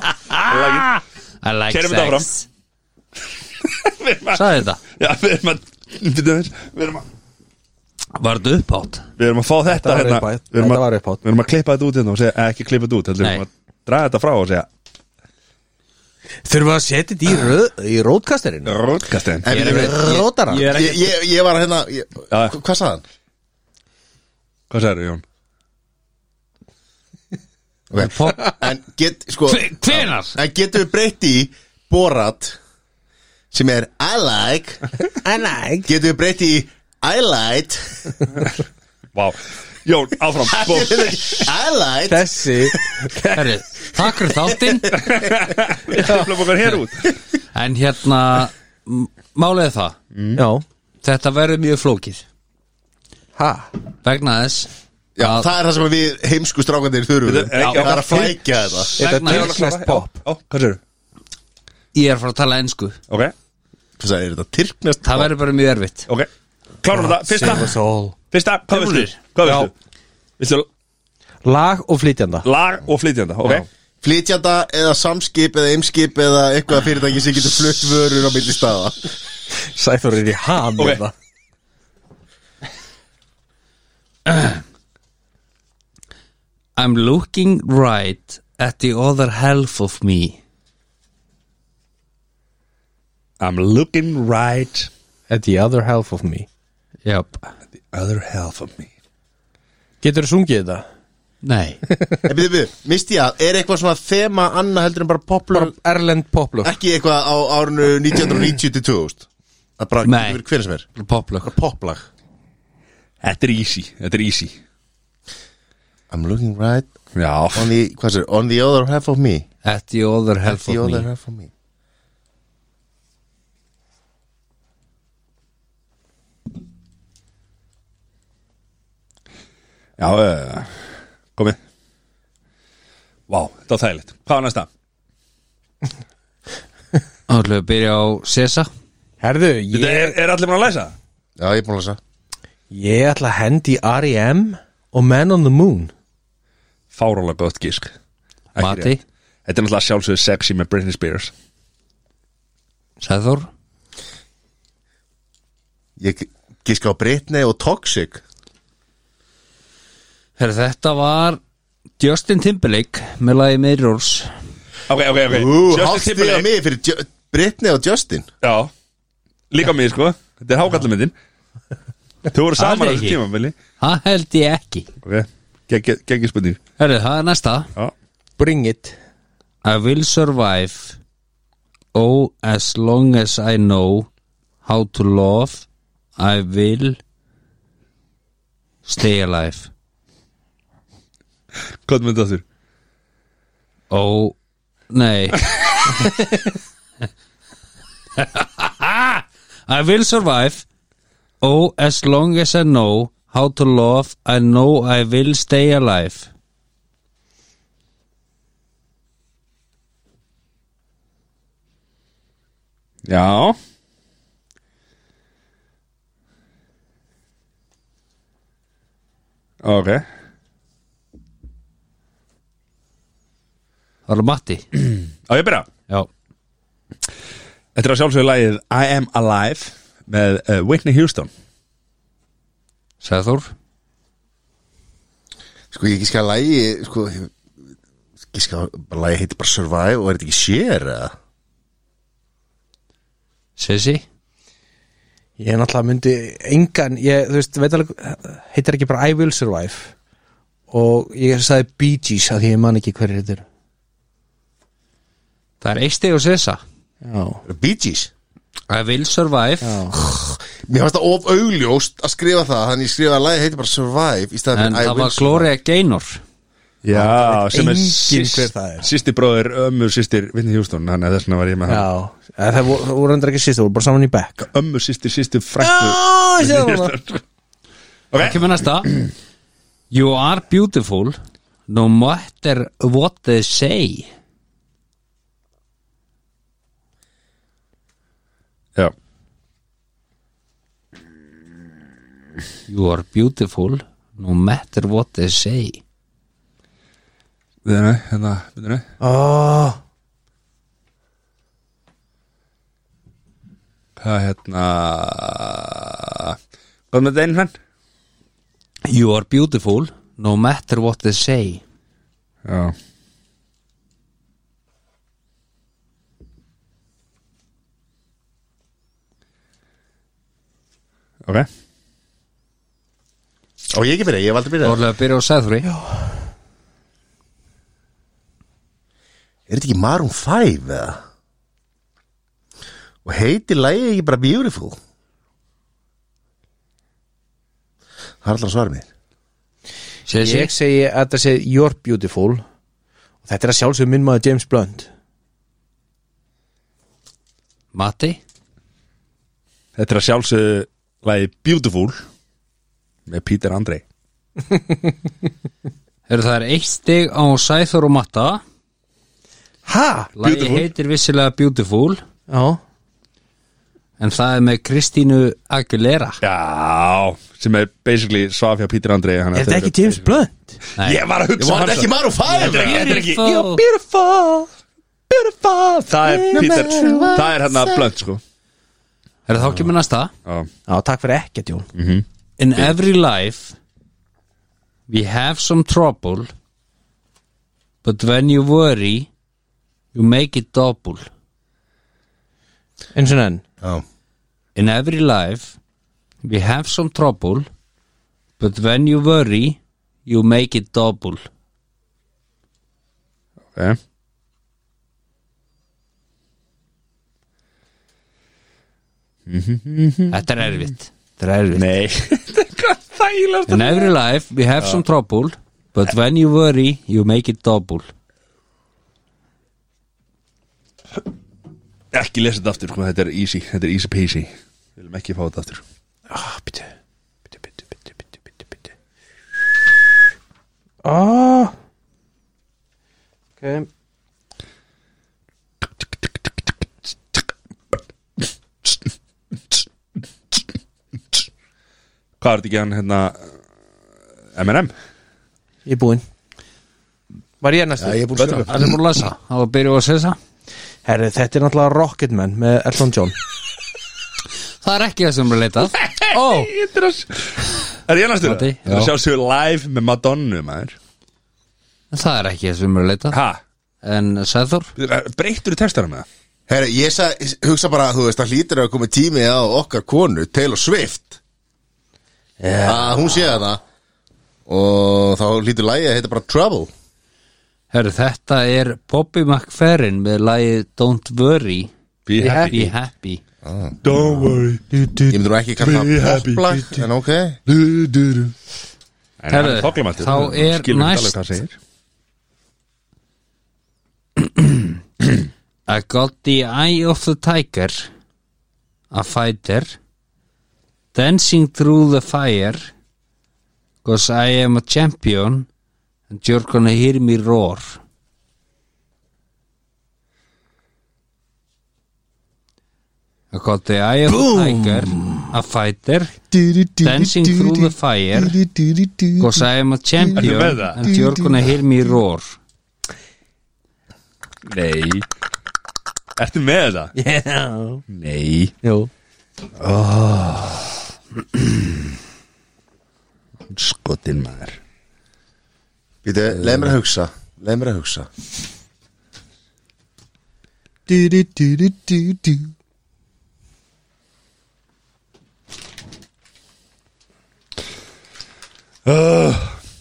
B: I like
A: Keyrum þetta áfram.
B: sex Sæði þetta
A: Já, við erum að bíddu aðeins, Við erum að
B: Var þetta uppátt?
A: Við erum að fá þetta
C: Þetta var
A: hérna
C: upphátt.
A: Við erum
C: Þetta var
A: að-
C: upphátt.
A: við erum að klippa þetta út hérna og segja eh, Ekki klippa þetta út, heldur við
B: Nei.
A: erum að draga þetta frá og segja
C: Þurfum við að setja þetta í, röð- í rótkastarinn
A: Rótkastin
D: En
B: Ég er
D: ég-
B: ekkert-
D: ég-
C: Rótara
B: Ég er
D: Ég,
B: ekkert
D: ég, ég var að hérna ég,
A: Já.
D: Hvað sagði hann?
A: Hvað sagði Jón?
D: Okay. En, get, sko,
B: Hve- Hvenar?
D: en getum við breytt í Borat sem er I like
C: I like
D: getum við breytt í I light
A: Vá, Jón, áfram Bó-
D: I light
C: Þessi
B: Herri, takk fyrir þáttinn
A: Við klipum okkur hér út
B: En hérna m- Málið er það
C: Já
B: Þetta verður mjög flókið
C: Ha
B: Vegna þess
D: Já,
B: að-
D: það er það sem við heimsku strákandir þurfum
A: Þetta- já,
D: Það er að
A: já.
D: flækja þetta
C: Þetta
B: Vegna
C: er tilknæst pop
A: Ó, hvað sagði
B: Ég er að fara að tala ensku
A: Ok,
D: Hvað sagði, er þetta tyrknast?
B: Það verður bara mjög erfitt
A: ok Klárum þetta,
C: Silver
A: fyrsta
C: Soul.
A: Fyrsta, hvað
B: Tilbúnir?
A: veistu? Hvað veistu? Viltu
C: Lag og flytjanda
A: lag og flytjanda, ok?
D: Flytjanda eða samskip eða eimskip eða eitthvað fyrirtæki sem getur flutt vörur á milli staða
C: Sæþór er í ham
A: Ok.
C: hérna.
B: I'm looking right at the other half of me
A: I'm looking right
C: At the other half of me
B: Jáp
A: the other half of me
C: Getur þú sungið þetta?
B: Nei
D: En byrju, byrju, misti ég að, er eitthvað svona þema annað heldur en bara poplar
C: Bara Erlend poplög
D: Ekki eitthvað á árinu 1990 til 2000 Það er bara
B: Nei.
D: getur verið hver sem er
B: Poplög
D: Poplag
A: Þetta er easy, þetta er easy
D: I'm looking right
A: Já,
D: on the, hvað sér, on the other half of me
B: At the other half
D: The
B: of
D: other
B: me
D: half of me
A: já uh, komið Vá, þetta var þægilegt Hvað var næsta?
B: Þá ætlum við að byrja á Sesa
C: Herðu,
A: Þetta
C: ég,
A: Er, er allir búin að læsa?
D: Já, ég er búin að lesa
C: ég ætla að hendi í R.E.M. og Man on the Moon
A: Fáróla gott gísk Ekki
B: Mati.
A: rétt. Þetta er náttúrulega sjálfsögðu sexy með Britney Spears
B: Sæður
D: Ég gíska á Britney og Toxic
B: Herra, þetta var Justin Timberlake með lagi Mirrors
A: Ok, ok, ok
D: Ú,
A: Justin
D: hálft stiga
A: Timberlake.
D: mig fyrir Ju- Britney og Justin
A: Já, líka mig sko Þetta er hákallamindin Þú voru
B: Það er
A: saman á þessu
B: ekki.
A: tímabili
B: Það held ég ekki
A: Ok, geggjur spurning
B: Herru, það er næsta
A: Já,
C: Bring it
B: I will survive Oh, as long as I know How to love I will Stay alive
A: hvað myndi það þurr?
B: Ó, nei I will survive Oh, as long as I know How to love I know I will stay alive
A: Já Ok
B: Það var Matti
A: Á ég byrja
B: Já,
A: Þetta er að sjálfsögðu lagið I Am Alive með uh, Whitney Houston
B: Sæður
D: Sko, ég gíska að lægi Sko, ég gíska að lægi heitir bara Survive og er þetta ekki Share eða?
B: Sissi
C: Ég náttúrulega myndi engan ég, þú veist, veit alveg, heitir ekki bara I Will Survive og ég sagði Bee Gees að því ég man ekki hverju þetta er
B: Það er eitt steg og Sissa
C: Já,
D: Bee Gees
B: I will survive
D: Mér fannst það of augljóst að skrifa það Þannig ég skrifa að lægi heitir bara Survive Í
B: En
D: staðan
B: það var Gloria Gaynor
A: Já, Ah, sem er
C: enginn
A: sýst-
C: hver það er.
A: Sýsti bróðir ömmu sýstir Whitney Houston Þannig að þess vegna var ég með
C: já, eða það voru, það voru endur ekki sýst, það voru bara saman í back
A: hann Ömmu sýstir sýstir fræktu
C: Já, ég sé það núna.
B: Það kemur næsta You are beautiful No matter what they say
A: Já
B: You are beautiful no matter what they say
A: Við erum, hérna, við erum
C: oh,
A: Hvað hérna Hvað með þetta einu fenn?
B: You are beautiful no matter what they say
A: Já Ok
D: Á ég ekki byrja, ég hef aldrei byrjað
B: Þorlega að byrja á Sæðfri
D: Er þetta ekki Maroon 5 eða? Og heiti lægi ekki bara Beautiful Það er alltaf svarið mér
B: Sér
C: Ég segi að þetta segi You're beautiful og þetta er að sjálfsögum minn maður James Blunt
B: Matti
A: Þetta er að sjálfsögðu lagi Beautiful með Peter Andrei
B: Eru það er eitt stig á Sæþór og Matta
C: Ha?
B: Lagi
A: Beautiful.
B: heitir vissilega Beautiful
C: Já
B: En það er með Kristínu Aguilera
A: Já, sem er basically svaf hjá Peter Andrei
C: Er þetta ekki James Blunt?
B: Nei.
A: Ég var að hugsa
D: Þetta er ekki Maroon 5 eða?
A: Þetta er ekki
B: Beautiful.
C: Beautiful Beautiful
A: Það er Peter, það er hérna blönd sko
B: Er það ekki með næsta?
A: Já,
C: Já, takk fyrir ekkert Jón
B: In every life we have some trouble but when you worry you make it double
C: Eins og enn
D: Já,
B: In every life we have some trouble but when you worry you make it double
A: ok
B: Þetta er erfitt Þetta er erfitt
A: Nei Þægilegast
B: In every life we have some trouble but when you worry you make it double
A: Ekki lesa þetta aftur, sko, þetta er easy Þetta er easy peasy Við viljum ekki fá þetta aftur sko.
C: Ah, bitu Bitu, bitu, bitu, bitu, bitu, bitu Ah Ok
A: Hvað er þetta ekki hann hérna M&M?
C: Ég er búinn Var ég hérna næstu?
D: Já, ég er búin að skjóða
B: Það er búin að lesa Það var að byrja á að segja það
C: Herri, þetta er náttúrulega Rocketman með Elton John
B: Það er ekki það sem er leitað Ó,
A: Er ég næstur?
B: Mati,
A: Það
B: já.
A: sjá sig live með Madonna maður
B: það er ekki það sem er leitað
A: Ha?
B: En Sæður
A: Breyttur í textana með það?
D: Herra, ég sa, hugsa bara, þú veist, það hlýtur að koma tími á okkar konu, Taylor Swift að hún sé það og þá hlýtur lægi að heita bara Trouble
B: Herru, þetta er Bobby McFerrin með lagið Don't Worry
A: Be
B: Be Happy
A: Don't worry
D: Ég myndi nú ekki kalla
A: Be
D: það
A: happy.
D: poplag, en ok
B: Herðu, þá er næst- I got the eye of the tiger A fighter Dancing through the fire Cause I am a champion And you're gonna hear me roar I got the eye of the tiger A fighter Dancing through the fire Cause I am a champion
A: með það?
B: And you're gonna hear me roar
A: Nei Ertu með þetta?
C: Yeah
A: Nei
C: Jú
A: Skotin maður
D: Býtu, leið mér að hugsa leið mér að hugsa
C: Du, du, du, du, du, du.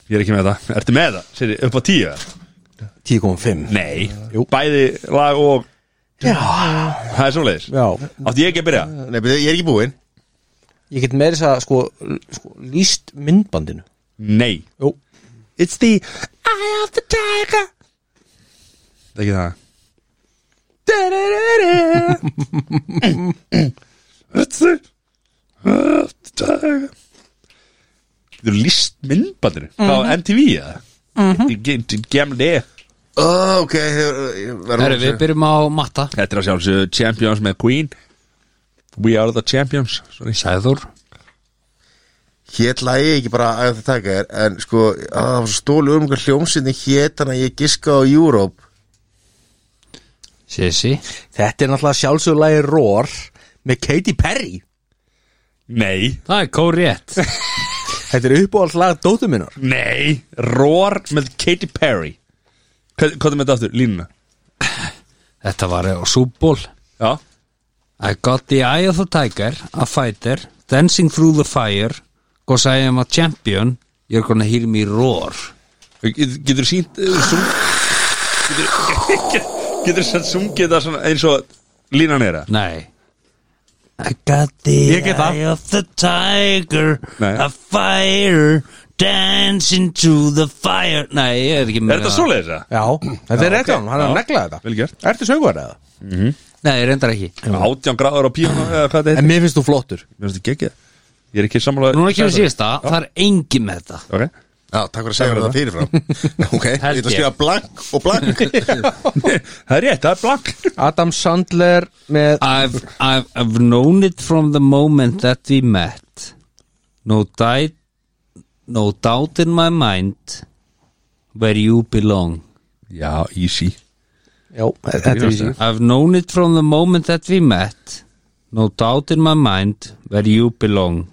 A: Ég er ekki með þetta Ertu með þetta? Sér, upp á tíu?
C: 10.5
A: Nei Jú. Bæði lag og Já Það er svoleiðis
C: Já
A: Átti ég ekki að byrja?
D: Nei, býtu, ég er ekki búinn
C: Ég get meira þess að sko, l- sko líst myndbandinu
A: Nei
C: Jú
A: It's the eye of the tiger Það er ekki það Da-da-da-da It's the eye of the tiger Þú líst myndbandinu mm -hmm. á MTV eða? -hmm. Gemli
D: Ó, ok, ég verður
B: Herru, við byrjum á matta
A: Þetta er að sjálfsögðu Champions með Queen We are the champions Sorry.
B: Sæður
D: Hétt lagi ekki bara að þetta taka er En sko, að það var svo stólu um einhver hljómsinni Hétt hann að ég giska á Europe
B: Sissi
C: Þetta er náttúrulega sjálfsögulegi Roar með Katy Perry
A: Nei,
B: Það er kórétt
C: Þetta er uppáhaldslag dóttu minnar
A: nei Roar með Katy Perry Hvað hvað er með þetta aftur? Línuna?
B: Þetta var á súból
A: Já
B: I got the eye of the tiger A fighter Dancing through the fire Cause I am a champion You're gonna hear me roar
A: Getur sínt sung, Getur Getur sann sungið það svona eins og línan er það
B: Nei I got the
A: Ég get það.
B: eye of the tiger
A: Nei.
B: A fire Dancing through the fire Nei, ég er ekki með
A: Er þetta svoleiðis það?
C: Já, þetta er rétt á hann, hann er að
A: Já.
C: negla þetta
A: Vel gert.
C: Ertu sögur eða?
B: Nei, reyndar ekki
A: Átján gráður á píónu eða hvað þetta heitir
C: En mér finnst þú flottur
A: Mér finnst þetta gekkið Ég er ekki sammála
B: Núna kemur síðasta Það er engin með þetta
A: Ok
D: Já, takk fyrir að segja mér það fyrirfram Ok, ég
B: Held
D: ætla að
B: ég.
D: skrifa blank og blank
A: Það er rétt, það er blank
C: Adam Sandler með
B: I've, I've, I've known it from the moment that we met. No, di- no doubt in my mind where you belong.
A: Já, easy
C: Jó, þetta er vísi
B: I've known it from the moment that we met. No doubt in my mind where you belong.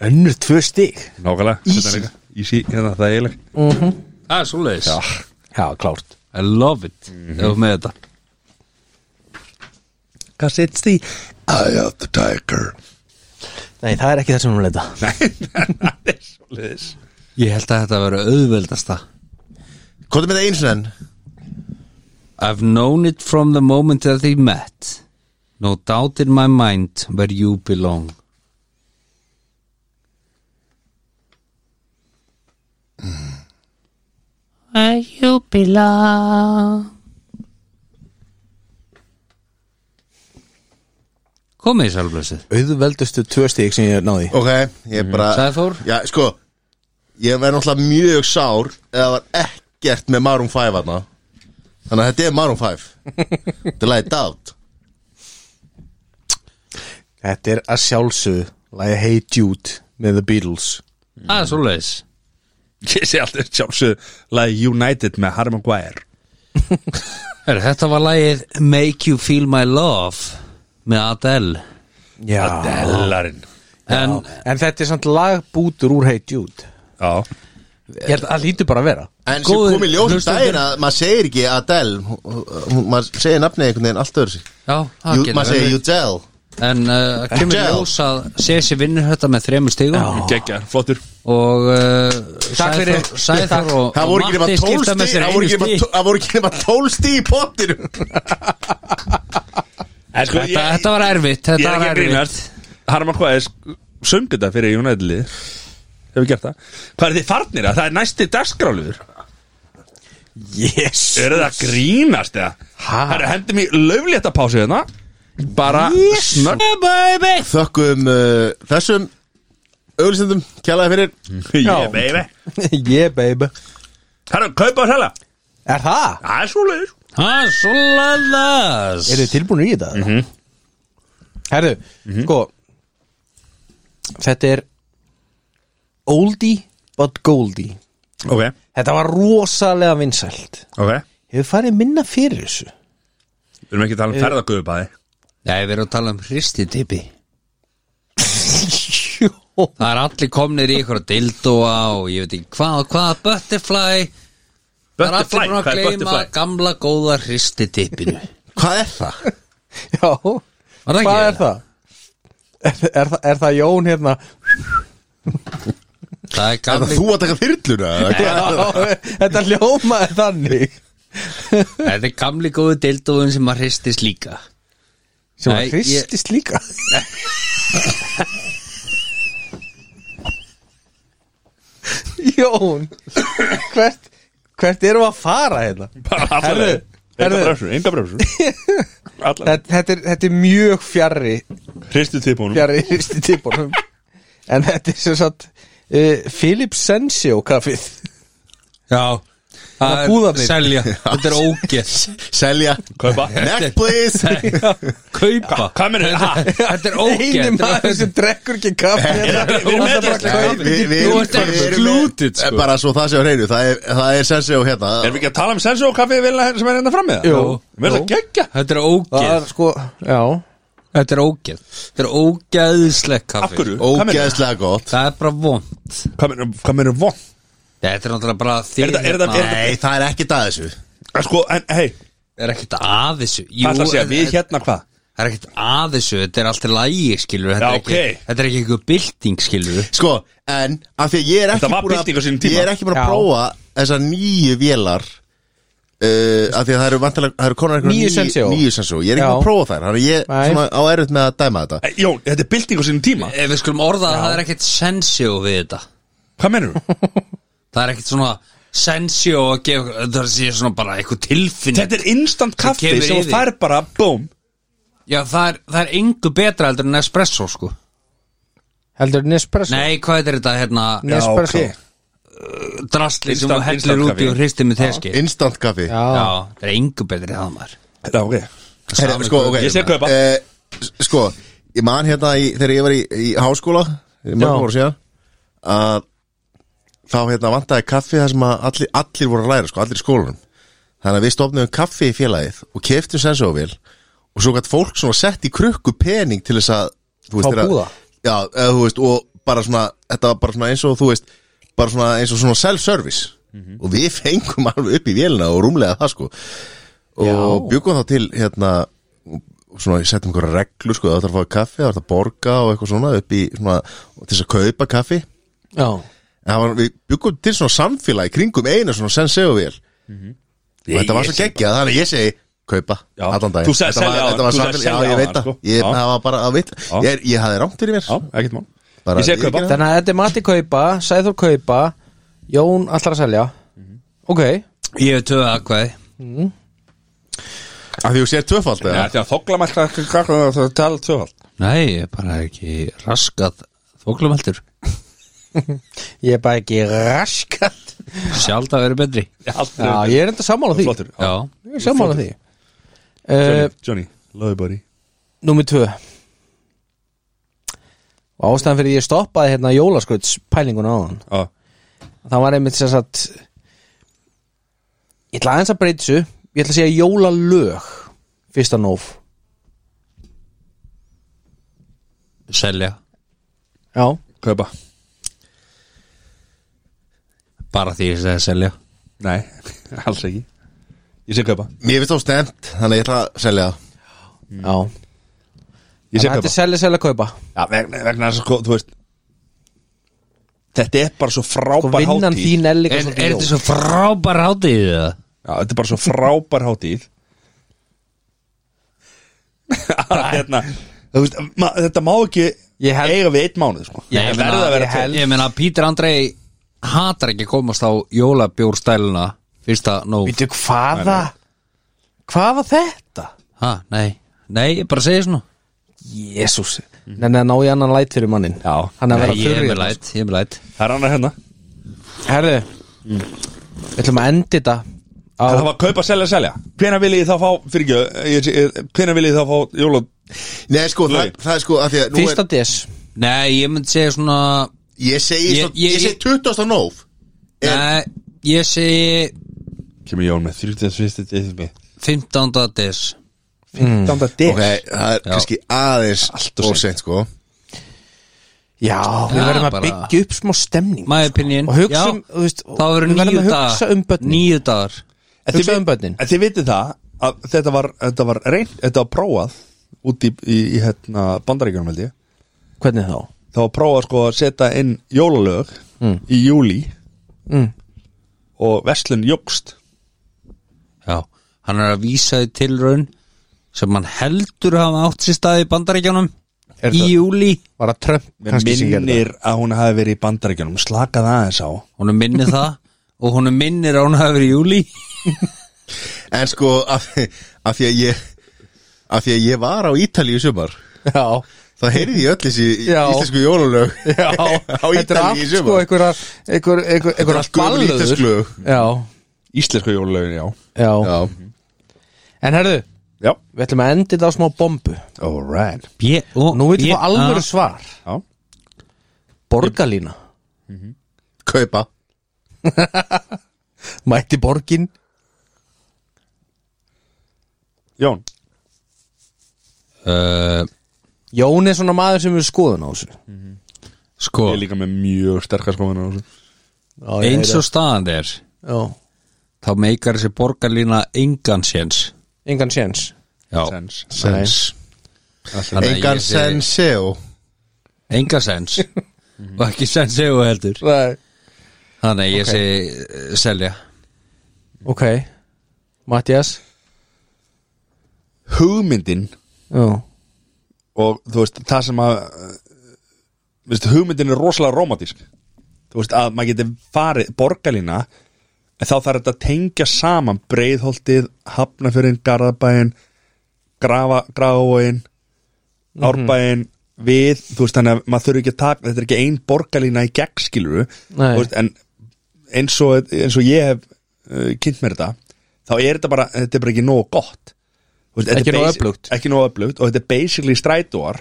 C: Önnur tvö stík
A: Nákvæmlega Easy líka. Easy, hérna, það er eiginlega
B: Það er svoleiðis.
C: Já, klárt
B: Ah, I love it. Mm -hmm. með þetta.
A: Cause it's the eye of the tiger
C: Nei, það er ekki það sem hún leita
A: Það er svoleiðis
B: Ég held að þetta verið auðveldasta.
D: Kóttu með það eins og enn
B: I've known it from the moment that we met. No doubt in my mind where you belong.
E: Where you belong.
B: Komið í sælblössið.
C: Auðveldustu tvö stík sem ég náði
D: Ok, ég er bara
B: Sæþór?
D: Já, sko Ég verð náttúrulega mjög sár Eða það var ekkert með Maroon 5 hana Þannig að þetta er Maroon 5 Þetta er lagið Doubt
C: Þetta er að sjálfsög Læja Hey Jude með The Beatles
B: Það er svoleiðis.
A: Ég sé alltaf sjálfsög Lagi United með Harry Maguire
B: Her, þetta var lagið Make You Feel My Love með Adele
C: Já
A: Dellarinn
B: en
C: En þetta er samt lagbútur úr Hey Jude
A: Já
C: Ég held að það lítur bara að vera
D: En sem
B: Góðir
D: kom í ljósum
B: hlustendur.
D: daginn að maður segir ekki Adele hún- hún- Maður segir nafnið einhvern veginn allt öðru sig
B: já, það getur
D: Maður segir
B: verið.
D: Udell
B: en uh, kemur í
D: Adele.
B: ljós að Sessi vinnur þetta með þremur stigum
A: Gekkja, flottur
B: og uh,
C: fyrir.
B: Sæþór Sæþór og,
D: Það
B: og
D: voru ekki nema
B: Matti
D: tólf
B: skipta með
D: stíð
B: sér
D: Það
B: einu
D: voru ekki nema
B: stíð
D: tó- það voru ekki nema tólf stíð í pottinum
A: en, sko,
B: þetta, þetta var erfitt
A: Ég
B: þetta
A: er
B: var
A: ekki að
B: erfitt
A: grínast Harman Kvæðis söng þetta fyrir United-lið Hefur gert það Hvað er þið farnir að? Það er næsti dagskráluður
C: Yes
A: Er það að grínast eða?
C: Ha?
A: Það er hendum í löflétta pásu hérna Bara yes. snögg
D: Þökkum uh, þessum Öglisendum, kjælaði fyrir
A: yeah, baby.
C: Yeah baby
A: Herra, kaupa og selja
C: Er það?
A: Það er svo leiður
B: það er svoleiðis
C: Er þið tilbúinu í þetta? Mm
B: Mhm.
C: -hmm. Herðu, sko Þetta er Oldie but Goldie
A: Ok,
C: Þetta var rosalega vinsælt
A: ok
C: Hefur farið minna fyrir þessu
A: Við erum ekki að tala um ferðagöfubæði
B: Nei, við erum að tala um hristitipi
C: Jó
B: það er allir komnir í ykkur dildoa og ég veit ekki hvað og hvað butterfly það er
A: Butterfly, hvað
B: allir búin að
A: er
B: gleyma
A: butterfly?
B: gamla góða hristitipinu
D: Hvað er það?
C: Já
B: Var það ekki
C: Hvað er
B: eða?
C: það? Er, er, það- er það Jón hérna?
B: það er
D: Er það
B: gamli
D: þú að taka þyrluna? eða hvað er það?
C: Þetta ljómaði þannig
B: Þetta er gamli góðu dildóðun sem að hristist líka
C: Sem
B: Nei,
C: að
B: ég-
C: hristist líka Jón Hvert Hvert erum við að fara hérna?
A: Bara allar
C: Herðu,
A: leið Enga
C: herðu.
A: bremsur, enga bremsur Allar
C: Þetta, þetta, er, þetta er mjög fjarrri
A: Hristu tippunum
C: Fjarrri hristi típunum En þetta er sem sagt uh, Philip e, Sensio kaffið
B: Já Það er
C: búðarnir.
B: Selja, þetta er ógeð
D: Selja
A: Kaupa.
D: Neck please
B: Kaupa
A: Hvað mennur þetta?
B: Þetta er ógeð
C: Einu maður sem drekkur ekki hérna. kaffi
A: erum með
C: Það
A: þetta.
C: er bara
D: Nei,
C: kaup.
D: við- við-
B: Þú ert
D: við- við-
B: excluded, sko.
D: Bara svo það sé á hreinu Það er, það er sensi á hérna
A: Erum við ekki að tala um sensu og kaffi vilja sem er hérna fram með það?
C: Jú.
A: Mér er það geggja
B: Þetta er
C: Það er
B: ógeð
C: sko, já
B: Þetta er ógeð Þetta er ógeðsleg kaffi
A: Af hverju? Hvað meinarðu?
D: Ógeðslega gott
B: Það er bara vond
A: Hvað mennur, hvað mennur von?
B: Þetta er náttúrulega bara þér
A: Er þetta- er þetta-
B: hérna.
A: er þetta-
D: Nei, það er ekki það þessu
A: En Sko, en hei,
B: er ekkert að þessu Jú,
A: hvað ætlar að segja,
B: en-
A: við hérna hvað?
B: Það er ekkert að þessu, þetta er alltaf lægi skilur Þetta
A: Já,
B: er ekki,
A: ok.
B: þetta er ekki einhver bylting skilur
D: Sko, en af því að ég er ekki
A: Þetta var
D: búin að-
A: bylting á sínum tíma.
D: Ég er ekki búin
C: Já.
D: að prófa þessar nýju vélar uh, af því að það eru vantilega það eru konar einhverjar
C: Nýju Senseo.
D: Nýju sensjó, ég er ekki
C: Já.
D: búin að prófa þær Þannig að ég
C: Nei.
D: svona, á erut með að dæma þetta
A: Eh, Jón, þetta er bylting á sínum tíma
B: Ef við skulum orða að það er ekkert sensjó við þetta
A: Hvað mennur þú?
B: Það er ekkert svona sensjó að gefa Það er sér svona bara eitthvað tilfinning
A: Þetta er instant kaffi
B: kemur
A: sem
B: í
A: þú
B: þig.
A: fær bara, búm
B: Já, það er, það er engu betra heldur en espresso sko
C: Heldur Nespresso
B: Nei, hvað er þetta hérna
C: Nespresso
A: Já, ok.
B: drastli sem þú
A: Instant-
B: hellir
A: instant
B: út í
A: kaffi.
B: og hristi með teski Já,
D: Instant kaffi
C: Já,
B: það er engu betri það maður
A: Já, ok
D: Herri,
B: Sama
D: sko,
B: hvað
D: ok
A: Ég sé kaupa.
D: Eh, s- Sko, ég man hérna í, þegar ég var í, í háskóla
C: Já.
D: mörgum voru síðan að þá hérna vantaði kaffi þar sem að allir, allir voru að læra sko, allir í skólanum þannig að við stofnum kaffi í félagið og keftum sensóvél og svo gætt fólk svona sett í krukku pening til þess að þú
C: Fá
D: þegar að-
C: búða.
D: Já, eða, þú veist, og bara svona þetta var bara svona eins og þú veist bara svona eins og svona self-service
C: Mhm.
D: og við fengum alveg upp í vélina og rúmlega það sko og byggum þá til hérna svona, ég settum einhverja reglu sko, það þarf að fá kaffi, það þarf að borga og eitthvað svona upp í svona, til þess að kaupa kaffi en
C: já
D: það var, við byggum til svona samfélagi kringum eina svona senseovél
A: Mhm.
D: og þetta var svo geggjað, þannig að ég segi kaupa,
A: Já.
D: allan dag
A: Þú sagði
D: þetta var,
A: selja á hann,
D: þetta var
A: þú sagði
D: samfélagi,
A: selja
D: já
A: á
D: ég
A: hann,
D: veit það
A: sko. Já.
D: ég, það var bara að veit, ég, er- ég hafði rámt fyrir mér
A: Já, ekkert mál
D: Bara-
A: Ég sé
D: ég
A: kaupa
D: gerði
C: Þannig að þetta er Matti kaupa, Sæður kaupa Jón allar að selja
A: Mhm.
C: Ok,
B: Ég hef töðu aðkvæði
D: af því þú sér tvöfald
A: Nei,
D: eða?
A: Þetta er að þokla mælt að það er talað tvöfald
B: Nei, ég er bara ekki raskað þóklamaldur
C: ég er bara ekki raskat
B: Sjálf það verið betri
C: Já, ég er enda sammála því
A: Flottur
B: Já,
C: Ég er sammála því
A: Johnny,
C: uh,
A: Johnny, love you buddy
C: Númer tvö Og ástæðan fyrir ég stoppaði hérna jólaskrauts pælinguna á hann
A: Já,
C: Það var einmitt sem sagt Ég ætla aðeins að breyta þessu Ég ætla að segja jólalög Fyrsta nóf
B: selja
C: Já,
A: kaupa
B: Bara því ég segi selja
A: Nei, alls ekki Ég sé kaupa
D: mér finnst þá stemt, þannig að ég ætla að selja
C: já
D: það
A: Mm. Ég sé
C: Þannig að Þetta
A: kaupa
C: er selja, selja, kaupa
A: Já, vegna, vegna þess að sko, þú veist Þetta er bara svo
C: Og
A: frábær
C: Sko, vinnan
A: hátíð
C: þín er líka
B: Er, er
C: svolítið
B: þetta
C: jól
B: svo frábær hátíð það?
A: Já, þetta er bara svo frábær hátíð Að hérna, þú veist, ma, Þetta má ekki
C: Ég held-
A: eiga við einn mánuð sko.
B: Ég
A: Það verður að vera tveir.
B: ég held- Ég meina, Pítur Andrei hatar ekki að komast á jólabjórstæluna Fyrsta nóg
C: Vítu, hvaða Hvaða þetta?
B: Ha, nei, nei, ég bara segi svona
C: Jésús Nei, nei, ná ég annan læt fyrir mannin
A: Já.
C: Hann er
B: Nei,
C: að vera
B: ég er
C: þurrið
B: með læt, ég er með læt
A: Það er annar hérna
C: Herðu Við ætlum að endi þetta á
A: Það var kaupa, selja, selja Hvena viljið þið þá fá, fyrir ekki eh, Hvena viljið þið þá fá jóla
D: nei sko, það,
A: Nei.
D: það er sko, af því að nú
C: Fyrsta
D: er,
C: des
B: Nei, ég myndi segja svona
D: ég segi,
B: Ég-
D: ég,
B: ég-
D: ég, ég segi 20. nóf
B: Nei, ég segi
A: Kemur Jón með 31. desember
B: 15. des
A: 15. des
D: Ok, það er kannski aðeins Allt og seint sko
C: Já, við
B: Já,
C: verðum að
B: bara-
C: byggja upp smá stemning
B: My opinion
C: Og hugsa um, þú veist,
B: Já, Það verður
C: við verðum
B: nýju
C: að
B: dagar
C: hugsa um börnin.
B: Nýju dagar
A: En þið
C: hugsa
A: vi-
C: um börnin.
A: En þið vitið það að þetta var, þetta var reynd, þetta var prófað út í, í, í hérna bandaríkjörnum held ég
C: Hvernig þá?
A: Það var prófað sko að setja inn jólalög í júli
C: Mm.
A: og veslun jógst
B: Já, hann er að vísa í tilraun sem hann heldur að hafa átt sér stað í bandaríkjánum
C: Er
B: í
C: það-
B: júli
C: Var að Trump
A: Mér minnir að hún hafi verið í bandaríkjörnum slakað aðeins á
B: Hún er minnið það og hún er minnir að hún hafi verið í júli
D: En sko, af, af því að ég Af því að ég var á Ítalíu í sumar
C: Já,
D: Það heyrði ég öll þessi
C: Já.
D: íslensku jólalög
C: Já,
D: á
C: þetta er
D: Ítalíu
C: allt
D: í
C: sko
D: sumar
C: einhverja einhver, einhver,
D: Þetta er
C: einhver
D: allt gömul íslensk lög.
C: já,
A: Íslensku jólulögin, já
C: já,
D: Já,
C: En herðu,
A: Já,
C: við ætlum að enda þetta á smá bombu
A: alright
B: B- og-
C: Nú veitum
B: B-
C: við
B: A-
C: alvöru svar
A: Já,
C: Borgarlína
D: kaupa
C: Mætti borgin
A: Jón
B: Uh,
C: Jón er svona maður sem við skoðum á þessu
B: Sko,
A: Ég er líka með mjög sterkar skoðan á þessu
B: eins og staðan er
C: Já,
B: þá meikar þessi borgarlína engan séns
C: engan séns
B: Já,
A: Sens.
B: sens. Þannig að
D: Engan
B: ég segi-
D: senseo
B: engan sens og ekki sens eða heldur
C: Nei.
B: þannig að ég segi uh, selja
C: Ok, Mattias
A: Hugmyndin
C: Já,
A: og þú veist, það sem að uh, veist, hugmyndin er rosalega romantísk þú veist, að maður getur farið borgarlína en þá þarf þetta að tengja saman breiðholtið, hafnafjörinn, garðabæinn grafa, grafavóin árbæinn við, þú veist, þannig að maður þurfi ekki að taka þetta er ekki ein borgarlína í gegnskiluru
C: Nei.
A: veist, en eins og, eins og ég hef uh, kynnt mér þetta þá er þetta bara, þetta er bara ekki nógu gott Þú veist, þetta
C: Ekki
A: er
C: nógu
A: basi-
C: öflugt.
A: ekki nógu öflugt og þetta er basically strætóar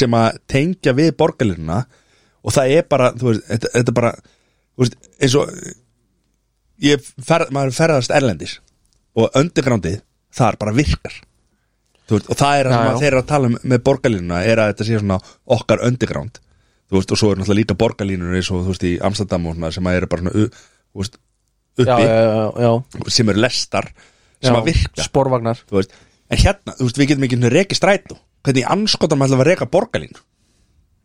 A: sem að tengja við borgarlínuna og það er bara, þú veist, þetta, þetta er bara þú veist, eins og ég fer, maður ferðast erlendis og undergroundið þar bara virkar Þú veist, og það er það sem
C: Já,
A: að
C: já.
A: þeir eru að tala um með borgarlínuna er að þetta sé svona okkar underground þú veist, og svo er náttúrulega líka borgarlínur eins og þú veist í Amsterdam og svona sem að eru bara svona, u- þú veist,
C: já,
A: uppi
C: já, já,
A: sem eru lestar sem
C: já.
A: að virka
C: Sporvagnar
A: þú veist, en hérna, þú veist, við getum ekki einu sinni rekið strætó, hvernig anskotanum ætlum við að reka borgarlínu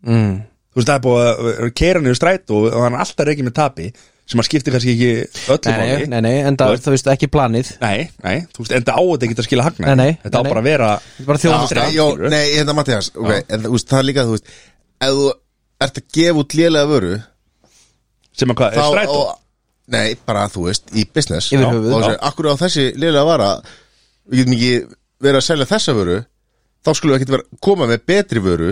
C: mm.
A: þú veist, það er búið að keira niður strætó og hann er alltaf rekið með tapi sem að skipti kannski ekki öllu
C: Nei, nei,
A: máli
C: nei, nei, en það,
A: Þú veist-
C: þú veist ekki planið
A: nei, nei, þú veist, enda á þetta ekki að skila hagna
C: Nei, nei,
A: þetta á
C: nei, nei.
A: bara að vera
C: Þetta er bara þjónusta.
A: Já,
D: Já,
A: skilurðu.
D: nei, hérna Mattias okay. En þú veist, það er líka, þú veist Ef þú ert að gefa út lélega vöru
A: sem að hvað, er strætó
D: og- Nei, bara, þú veist, í business
C: Yfir
D: Já,
C: höfuð.
D: og þú segir, Akkur á þessi lélega vara Við getum ekki verið að selja þessa vöru Þá skulum við ekkert vera koma með betri vöru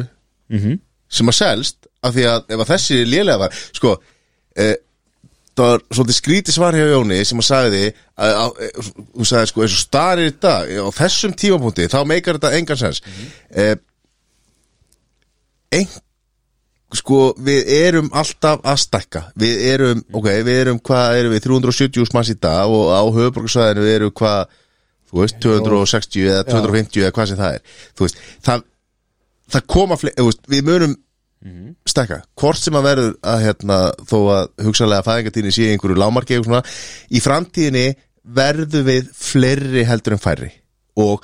D: Sem að selst Af því að ef að þessi lélega var Sko, eh, það var svolítið skrítið svar hjá Jóni sem að sagði að, að, að, hún sagði sko eins og starir í dag e, á þessum tímapunkti þá meikar þetta engan sens mm ein, sko við erum alltaf að stækka við erum, ok, við erum hvað erum við 370 manns í dag og á höfuborgarsvæðinu við erum hvað þú veist, 260 eða 250 eða hvað sem það er þú veist, það, það koma fle- þú veist, við munum stekka, hvort sem að verður að hérna, þó að hugsanlega fæðingatíðinni sé í einhverju lámarki eða svona, í framtíðinni verður við fleiri heldur en færri og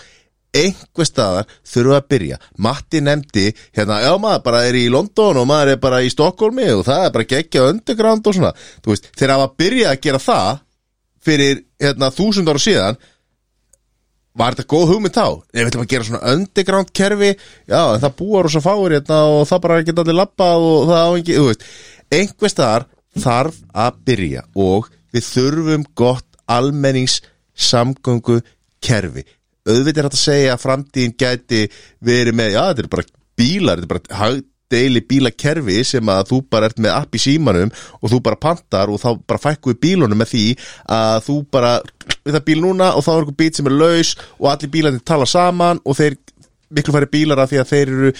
D: einhver staðar þurfa að byrja Matti nefndi, hérna, já maður bara er í London og maður er bara í Stokkólmi og það er bara geggja underground og svona þú veist, þegar að byrja að gera það fyrir, hérna, þúsund ára síðan Var þetta góð hugmynd þá? Ég veitum að gera svona underground kerfi Já, en það búar og svo fáir hérna og það bara geta allir labbað og það á engi þú veist, Einhvers þar þarf að byrja og við þurfum gott almenningssamgöngu kerfi Auðvitað er hægt að segja að framtíðin gæti verið með, já þetta er bara bílar þetta er bara hagdeili bílakerfi sem að þú bara ert með app í símanum og þú bara pantar og þá bara fækku við bílunum með því að þú bara við það bíl núna og þá er einhver bíl sem er laus og allir bílarnir tala saman og þeir miklu færi bílar af því að þeir eru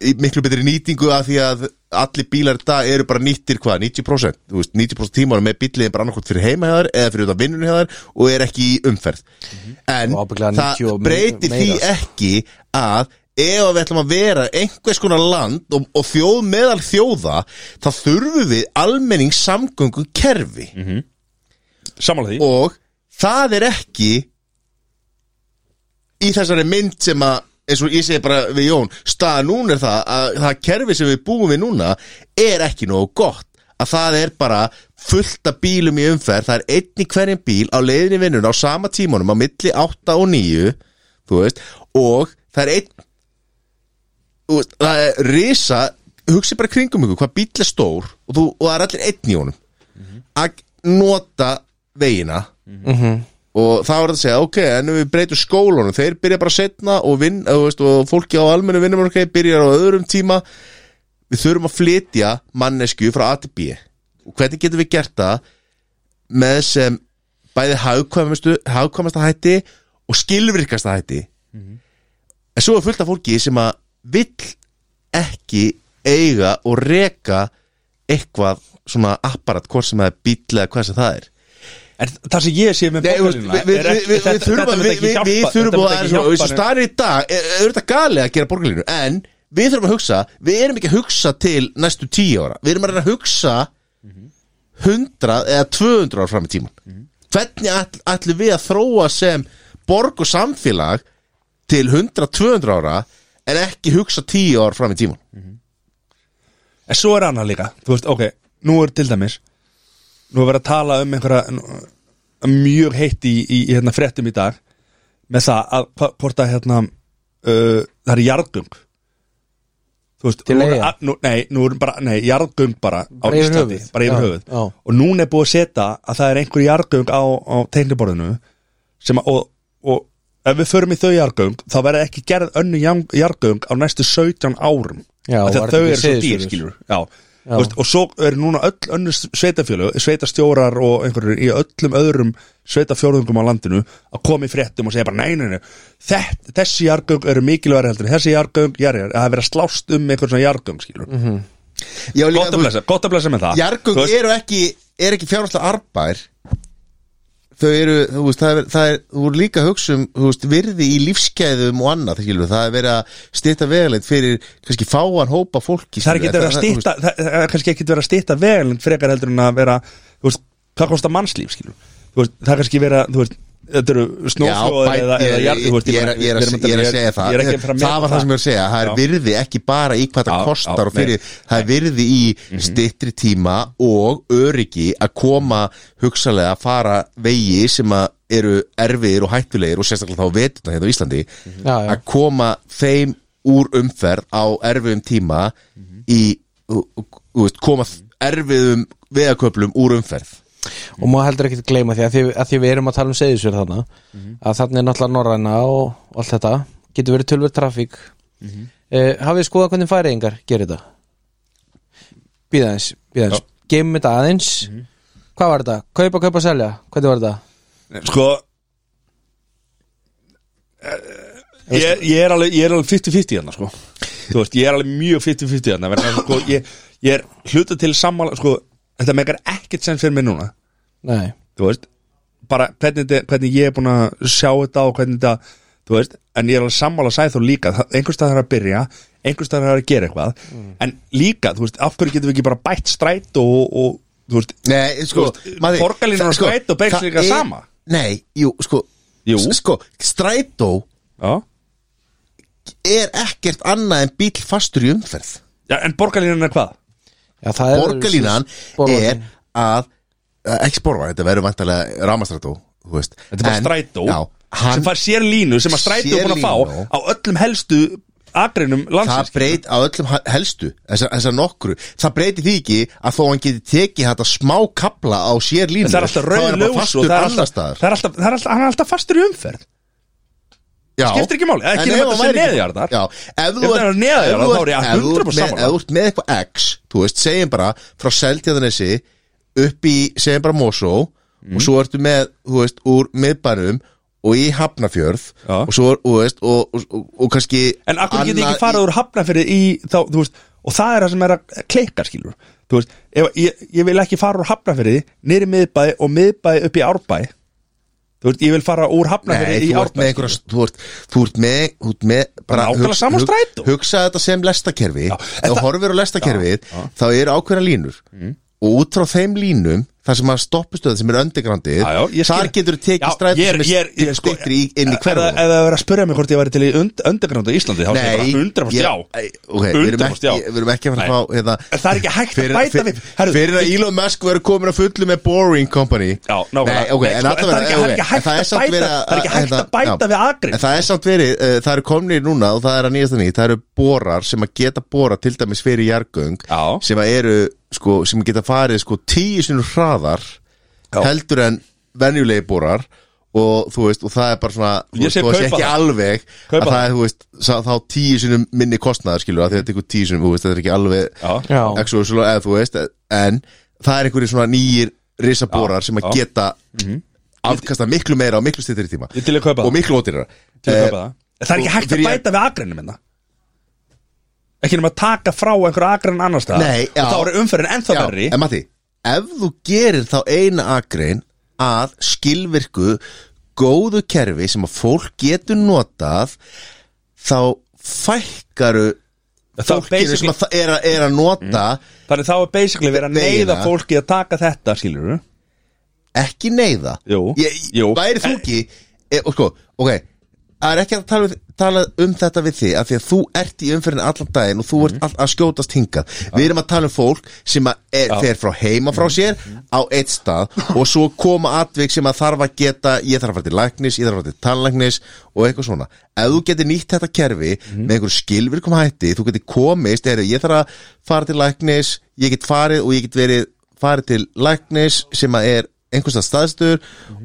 D: í miklu betri nýtingu af því að allir bílar í dag eru bara nýttir hvað, 90% þú veist, 90% tímanum með bíllið bara annarkot fyrir heimahjáðar eða fyrir utan vinnunni hjá þær og er ekki í umferð
C: Og ábyggilega 90
D: en það
C: og me-
D: breytir því
C: meira, sko.
D: ekki að ef að við ætlum að vera einhvers konar land og, og þjóð meðal þjóða þá þurfum við almenning samgöngu kerfi
A: samanlega því
D: og það er ekki í þessari mynd sem að eins og ég segi bara við Jón staða núna er það að það kerfi sem við búum við núna er ekki nógu gott að það er bara fullt af bílum í umferð, það er einn í hverjum bíl á leiðinni vinnun á sama tímanum á milli 8 og 9 þú veist, og það er einn þú veist, það er risa hugsi bara kringum ykkur hvað bíl er stór og,
C: Mhm.
D: þú, og það er allir einn í honum að nota veginna og það var þetta að segja, ok, en ef við breytum skólunum þeir byrja bara setna og, vin, og, veist, og fólki á almennu vinnumörkei byrjar á öðrum tíma við þurfum að flytja mannesku frá A til B og hvernig getum við gert það með sem bæði hagkvæmustu, hagkvæmasta hætti og skilvirkasta hætti en svo er fullt af fólki sem að vill ekki eiga og reka eitthvað svona apparat hvort sem það er bíll eða hvað sem það er
A: En það sem ég sé með
D: Nei, við,
A: borgarlínuna
D: við, við,
A: er ekki-
D: við, við
A: þetta-
D: þurfum
A: þetta
D: að
A: myndi
D: við,
A: ekki
D: við,
A: hjálpa-
D: við þurfum
A: þetta myndi
D: að er
A: ekki
D: svona,
A: hjálpa
D: þessu
A: neinum.
D: staðan er í dag er er auðvitað galið að gera borgarlínu en við þurfum að hugsa, við erum ekki að hugsa til næstu tíu ára, við erum að reyna að hugsa 100 eða 200 ára fram í tíman hvernig all, ætlum við að þróa sem borg og samfélag til 100-200 ára en ekki hugsa 10 ára fram í tíman
A: En svo er annað líka, þú veist, ok, nú er til dæmis Nú er verið að tala um einhverja nú- mjög heitt í, í, í hérna, fréttum í dag með það að hva- hvort að hérna, uh, það er jarðgöng Þú veist,
C: Til
A: nú er,
C: eyja?
A: að- nú, nei, nú er bara, nei, jarðgöng bara á
C: Bara yfir
A: Íslandi,
C: höfuð.
A: bara yfir
C: Já,
A: höfuð
C: já.
A: og núna er búið að setja að það er einhver jarðgöng á, á teikniborðinu sem að, og, og ef við förum í þau jarðgöng þá verður ekki gerð önnu jarðgöng á næstu 17 árum
C: Já,
A: Af því
C: var
A: að þau
C: þetta
A: eru svo
C: ekki
A: dýr
C: Seyðisfjörður?
A: skilur já. Já. Veist, og svo eru núna öll önnur sveitafjölug sveitastjórar og einhverjur í öllum öðrum sveitafjórðungum á landinu að koma í fréttum og segja bara nei, nei, nei þett, þessi jargöng eru mikilværi heldur en þessi jargöng, jargöng, að það er verið að slást um einhvern svona jargöng, skilur mm -hmm.
D: Já, líka,
A: gott, að
D: Mhm. þú-
A: blessa, gott að blessa með það
D: Jargung
A: Þú veist,
D: eru ekki, er ekki fjárhaldslega arbær Þau eru, þú veist, það er, það er þú voru líka að hugsa um, þú veist, virði í lífskeiðum og annað, það skilur, það er verið að stýta vegaleit fyrir, kannski fáan hópa
A: það er
D: fólki skilurðu,
A: ekki verið að
D: það- þú
A: stýta það það er kannski ekki verið að stýta vel en frekar heldur en að vera þú veist, hvað kostar mannslíf, skilur Þú veist, það er kannski verið að þú veist, þetta eru snjóflóður
D: Já,
A: eða,
D: bæ-
A: eða
D: ég-
A: jarð, þú veist,
D: ég er-
A: meina,
D: ég er
A: við erum um
D: að- ég er að segja það
A: ég er ekki að fara að
D: Það
A: meta
D: var það sem ég var að segja, það er
A: Já.
D: virði ekki bara í hvað
A: Já,
D: það
A: já,
D: kostar
A: nei.
D: og
A: Mhm.
D: fyrir, það er virði í stittri tíma og öryggi að koma hugsalega að fara vegi sem að eru erfiðir og hættulegir og sérstaklega þá vetuna hérna á Íslandi
A: Mhm.
C: Já, já.
D: að koma þeim úr umferð á erfiðum tíma
A: Mhm.
D: í, þú þú veist, koma erfiðum vegaköplum úr umferð
C: og maður heldur ekki að gleyma því að því að því við erum að tala um seðisverð þarna að þarna er náttúrulega norræna og allt þetta getur verið tölvöld trafík mm hafið þið skoðað hvernig færiðingar gerir þetta býða eins, býða eins geymum þetta aðeins hvað var þetta, kaupa, kaupa, selja hvernig var þetta,
A: Sko eh, ég, ég er alveg ég er alveg 50-50 hérna sko Þú veist, ég er alveg mjög 50-50 hérna vegna þess að, sko, ég, ég er hluta til sammála sko, þetta megar ekkert sem fyrir mig núna
C: nei
A: þú veist bara hvernig, þetta- hvernig ég er búin að sjá þetta og hvernig þetta, þú veist en ég er alveg sammála sæð þú líka það- einhvers staðar er að byrja, einhvers staðar er að gera eitthvað en líka, þú veist, af hverju getum við ekki bara bætt stræt og, og þú veist,
D: Nei, sko
A: Þú veist, borgarlínan
D: það-
A: og strætó beygst
D: það
A: líka
D: er-
A: sama.
D: Nei, jú, sko
A: Jú.
D: s- Sko, strætó
A: já
D: er ekkert annað en bíl fastur í umferð
A: Já, en borgarlínan er hvað?
C: Já, það er-
D: Borgarlínan
C: Borgarlínan.
D: er að eh, ekki sporvar, þetta verður vantarlega rámastrætó þú veist.
A: Þetta er bara
D: En-
A: strætó
D: Já, hann,
A: sem fær sér línu sem að strætó er búin að
D: Sérlínu.
A: fá á öllum helstu agrinum
D: það
A: landsins
D: breyt á öllum ha- helstu þessar, þessar nokkru, það breyti því ekki að þó hann geti tekið þetta smá kapla á sér línu
A: En það er alltaf
D: þá
A: rauð
D: hann bara
A: ljós og
D: fastur
A: það er
D: annars
A: alltaf,
D: staðar.
A: það er alltaf, það er alltaf, hann er alltaf fastur í umferð
D: Já.
A: Skiptir ekki máli, ekki
D: En
A: nema
D: ef
A: þetta
D: hann
A: sé
D: væri ekki-
A: neðjarðar.
D: Já, ef
A: Ef
D: þú
A: það eru neðjarðar, þá er ég
D: ef þú
A: 100%
D: ert með-
A: sammála.
D: Ef þú ert með eitthvað X, þú veist, segjum bara frá Seltjarnanesi upp í, segjum bara Mosó
A: Mm.
D: og svo ertu með, þú veist, úr miðbænum og í Hafnafjörð
A: Já.
D: og svo, þú veist, og, og, og, og kannski
A: en akkur getur
D: annað
A: ekki farið úr hafnafyrir í þá, þú veist, og það er það sem er að kleika skilur, þú veist, ef, ég, ég vil ekki fara úr hafnafyrir niður í miðbæ og miðbæ upp í árbæ þú veist, ég vil fara úr hafnafyrir
D: Nei,
A: í
D: þú ert
A: árbæ
D: með einhverja, þú ert, þú ert með, þú ert með bara
A: nákvæmlega
D: hugsa-
A: sama
D: hug-
A: strætó.
D: Hugsa þetta sem lestakerfi,
A: Já, en
D: ef
A: það- Mm.
D: þú horfir á lestakerfið, þá eru ákveðna línur og út frá þeim línum, þar sem að stoppistöð sem er öndigrandið,
A: Já, já, ég skil.
D: þar getur þú
A: Já,
D: tekið strætó
A: ég er-
D: sem
A: ég er- ég
D: er
A: er sko-
D: styttri í- inn í
A: Ef það-
D: hverfum
A: ef það verður að spyrja mig hvort ég væri til í und, undirgrundu í Íslandi þá segir ég bara 100% já
D: ok, við erum
A: 100% já.
D: ekki, við erum ekki að fara
A: Nei.
D: að fá hérna,
A: En það er ekki hægt
D: fyrir,
A: að bæta
D: fyrir,
A: við Herru,
D: fyrir að Elon Musk verður komin að fullu með Boring Company
A: Já, nákvæmlega.
D: Nei, ok,
A: Nei,
D: en
A: sko, en
D: allavega,
A: það er ekki-
D: ok,
A: það er ekki
D: en það
A: hægt
D: er
A: að
D: samt
A: bæta-
D: verið
A: það er ekki hægt
D: hérna,
A: að bæta
D: já,
A: við akrein.
D: en það er samt verið, uh, það eru komnir núna og það er að nýjast að nýja, það eru borar sem að geta bora til dæmis fyrir jargöng
A: Já.
D: sem að eru, sko, sem geta farið sko tíu sinni hraðar
A: Já.
D: heldur en venjulegi borar og þú veist, og það er bara svona þú
A: Ég
D: veist,
A: segi
D: þú veist,
A: kaupa
D: ekki
A: það.
D: alveg
A: Kaupa
D: að það
A: það.
D: er, þú veist, sá, þá tíu sinum minni kostnaðar, skilur, að því að þetta er tíu sinum þú veist, þetta er ekki alveg
A: Já,
C: Já,
D: exosilo, eða þú veist, en það er einhverjir svona nýjir risaborar sem að
A: já. Mhm.
D: geta afkasta miklu meira á miklu stýttir tíma
A: ég til að kaupa
D: og
A: það
D: miklu ódýrara
A: Til að
D: Eh,
A: kaupa það Það er
D: og
A: ekki hægt að
D: fyrir ég-
A: bæta við agrinu minna Ekki nema að taka frá einhverja agrinu annar stað
D: Nei, já.
A: Og þá er umferðin ennþá
D: Já,
A: verri
D: En Matti, ef þú gerir þá eina agrein að skilvirku góðu kerfi sem að fólk getur notað þá fækkaru
A: Það er
D: fólkinu sem
A: basically- Mm.
D: að það er, að- er að nota
A: Þannig þá er basically verið að neyða
D: Vegina.
A: fólki að taka þetta, skilur við
D: ekki neyða
A: Jú,
D: ég,
A: jú. Eh.
D: Væri þú ekki e, og sko, ok Það er ekki að tala, við- tala um þetta við þig af því að þú ert í umferðin allan daginn og þú
A: Mhm.
D: ert all, að skjótast hingað Við erum að tala um fólk sem að er, fer frá heima
A: Mhm.
D: frá sér á eitt stað og svo koma atvik sem að þarf að geta ég þarf að fara til læknis, ég þarf að fara til tannlæknis og eitthvað svona. Ef þú getur nýtt þetta kerfi
A: Mhm.
D: með einhverju skilvirkum hætti þú getur komist, er, ég þarf að fara til læknis, ég get farið og ég get verið farið til læknis sem að er einhverstað staðstur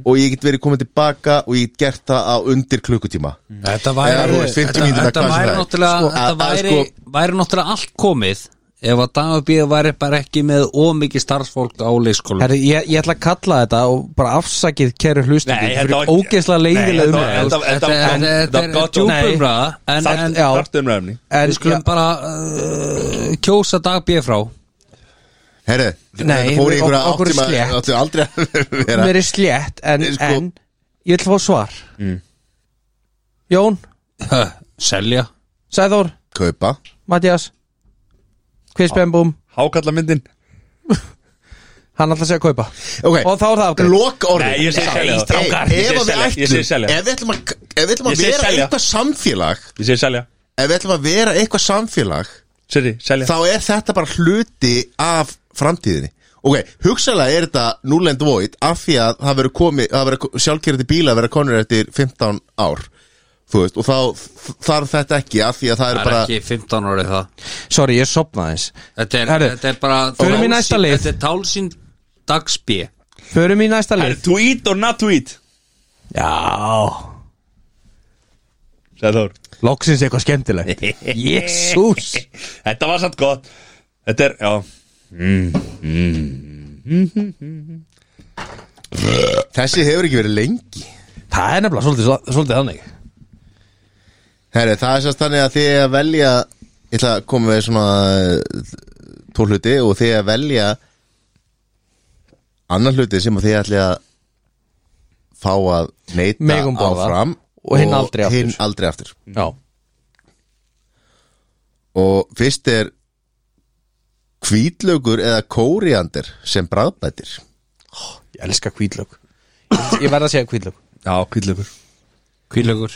D: og ég get verið komið tilbaka og ég get gert það á undir klukkutíma
B: Þetta
D: Eða, þú
B: væri
D: veist, 50
B: þetta-
D: mínútur,
B: þetta
D: hvað sem
B: væri
D: það er.
B: náttúrulega
D: Sko,
B: Þetta
D: að- að
B: væri,
D: sko-
B: væri náttúrulega allt komið ef að Dagabíð væri bara ekki með ómikið starfsfólk á leikskólu
C: Herri, ég, ég ætla að kalla þetta og bara afsakið kæru hlustendur
A: Nei,
C: fyrir
A: þetta var-
C: ógeðslega leiðilega
A: Nei, þetta var-
C: umræðu.
A: þetta- þetta-
B: Þetta þetta er
A: þetta-
B: djúpa
A: Nei.
B: umræða en-
A: Þart-
B: en
C: já.
A: Þarftu umræðumni
C: En
B: við skulum
C: já, Eh,
B: bara uh, kjósa Dagabíð frá
D: Herru,
C: Nei,
D: þetta fór í
C: við-
D: einhverja
C: okkur er
D: áttum að
C: slétt.
D: áttu aldrei að vera
C: mér er slétt en,
D: Nei, sko-
C: en ég ætla að fá svar Jón,
B: Huh, Selja
C: Sæður,
D: kaupa
C: Mattias Kvistbembum,
A: Hákalla myndin
C: hann ætla að segja að kaupa
D: Ok.
C: og þá er það afgreitt
D: Lok orðið
A: Nei, ég segi selja það.
D: Strákar,
A: Ég
D: Ef
A: segi
D: að við
A: selja, ég
D: ætlum
A: segi selja.
D: Ef við ætlum að, ef við ætlum
A: Ég
D: að
A: segi
D: vera
A: selja.
D: eitthvað samfélag
A: Ég segi selja
D: Ef við ætlum að vera eitthvað samfélag
A: Seri, selja
D: Þá er þetta bara hluti af framtíðinni Ok, hugsalega er þetta null and void Af því að það verður komið Það verður sjálfkerði bíla að vera konur eftir 15 ár Þú veist, og þá þarf þetta ekki Af því að það
B: Það
D: er
B: er
D: bara
B: ekki 15 árið það
C: Sorry, ég sopnaði eins
B: Þetta er,
C: Herru,
B: þetta er bara
C: förum í
B: tálsýn-
C: næsta lið.
B: Þetta er tálsinn Dagspíð
C: Förum í næsta
A: Er
C: lið
A: to eat or not to eat
C: Já,
A: Sæður
C: loksins eitthvað skemmtilegt Jésús
A: Þetta var satt gott Þetta er, já
D: Þessi hefur ekki verið lengi
C: Það er nefnilega svolítið, svolítið þannig
D: Herri, það er sérst þannig að þið að velja Ég ætla að koma með svona Tólhuti og þið að velja Annan hluti sem að þið ætli að Fá að neyta
C: Megum borða.
D: áfram
C: Og hinn aldrei aftur.
D: hinn aldrei aftur
C: Já,
D: og fyrst er hvítlaugur eða kóriander sem bræðbætir
C: ég elska kvítlög Ég verð að segja kvítlög
A: Já, kvíðlöfur
B: Kvílögur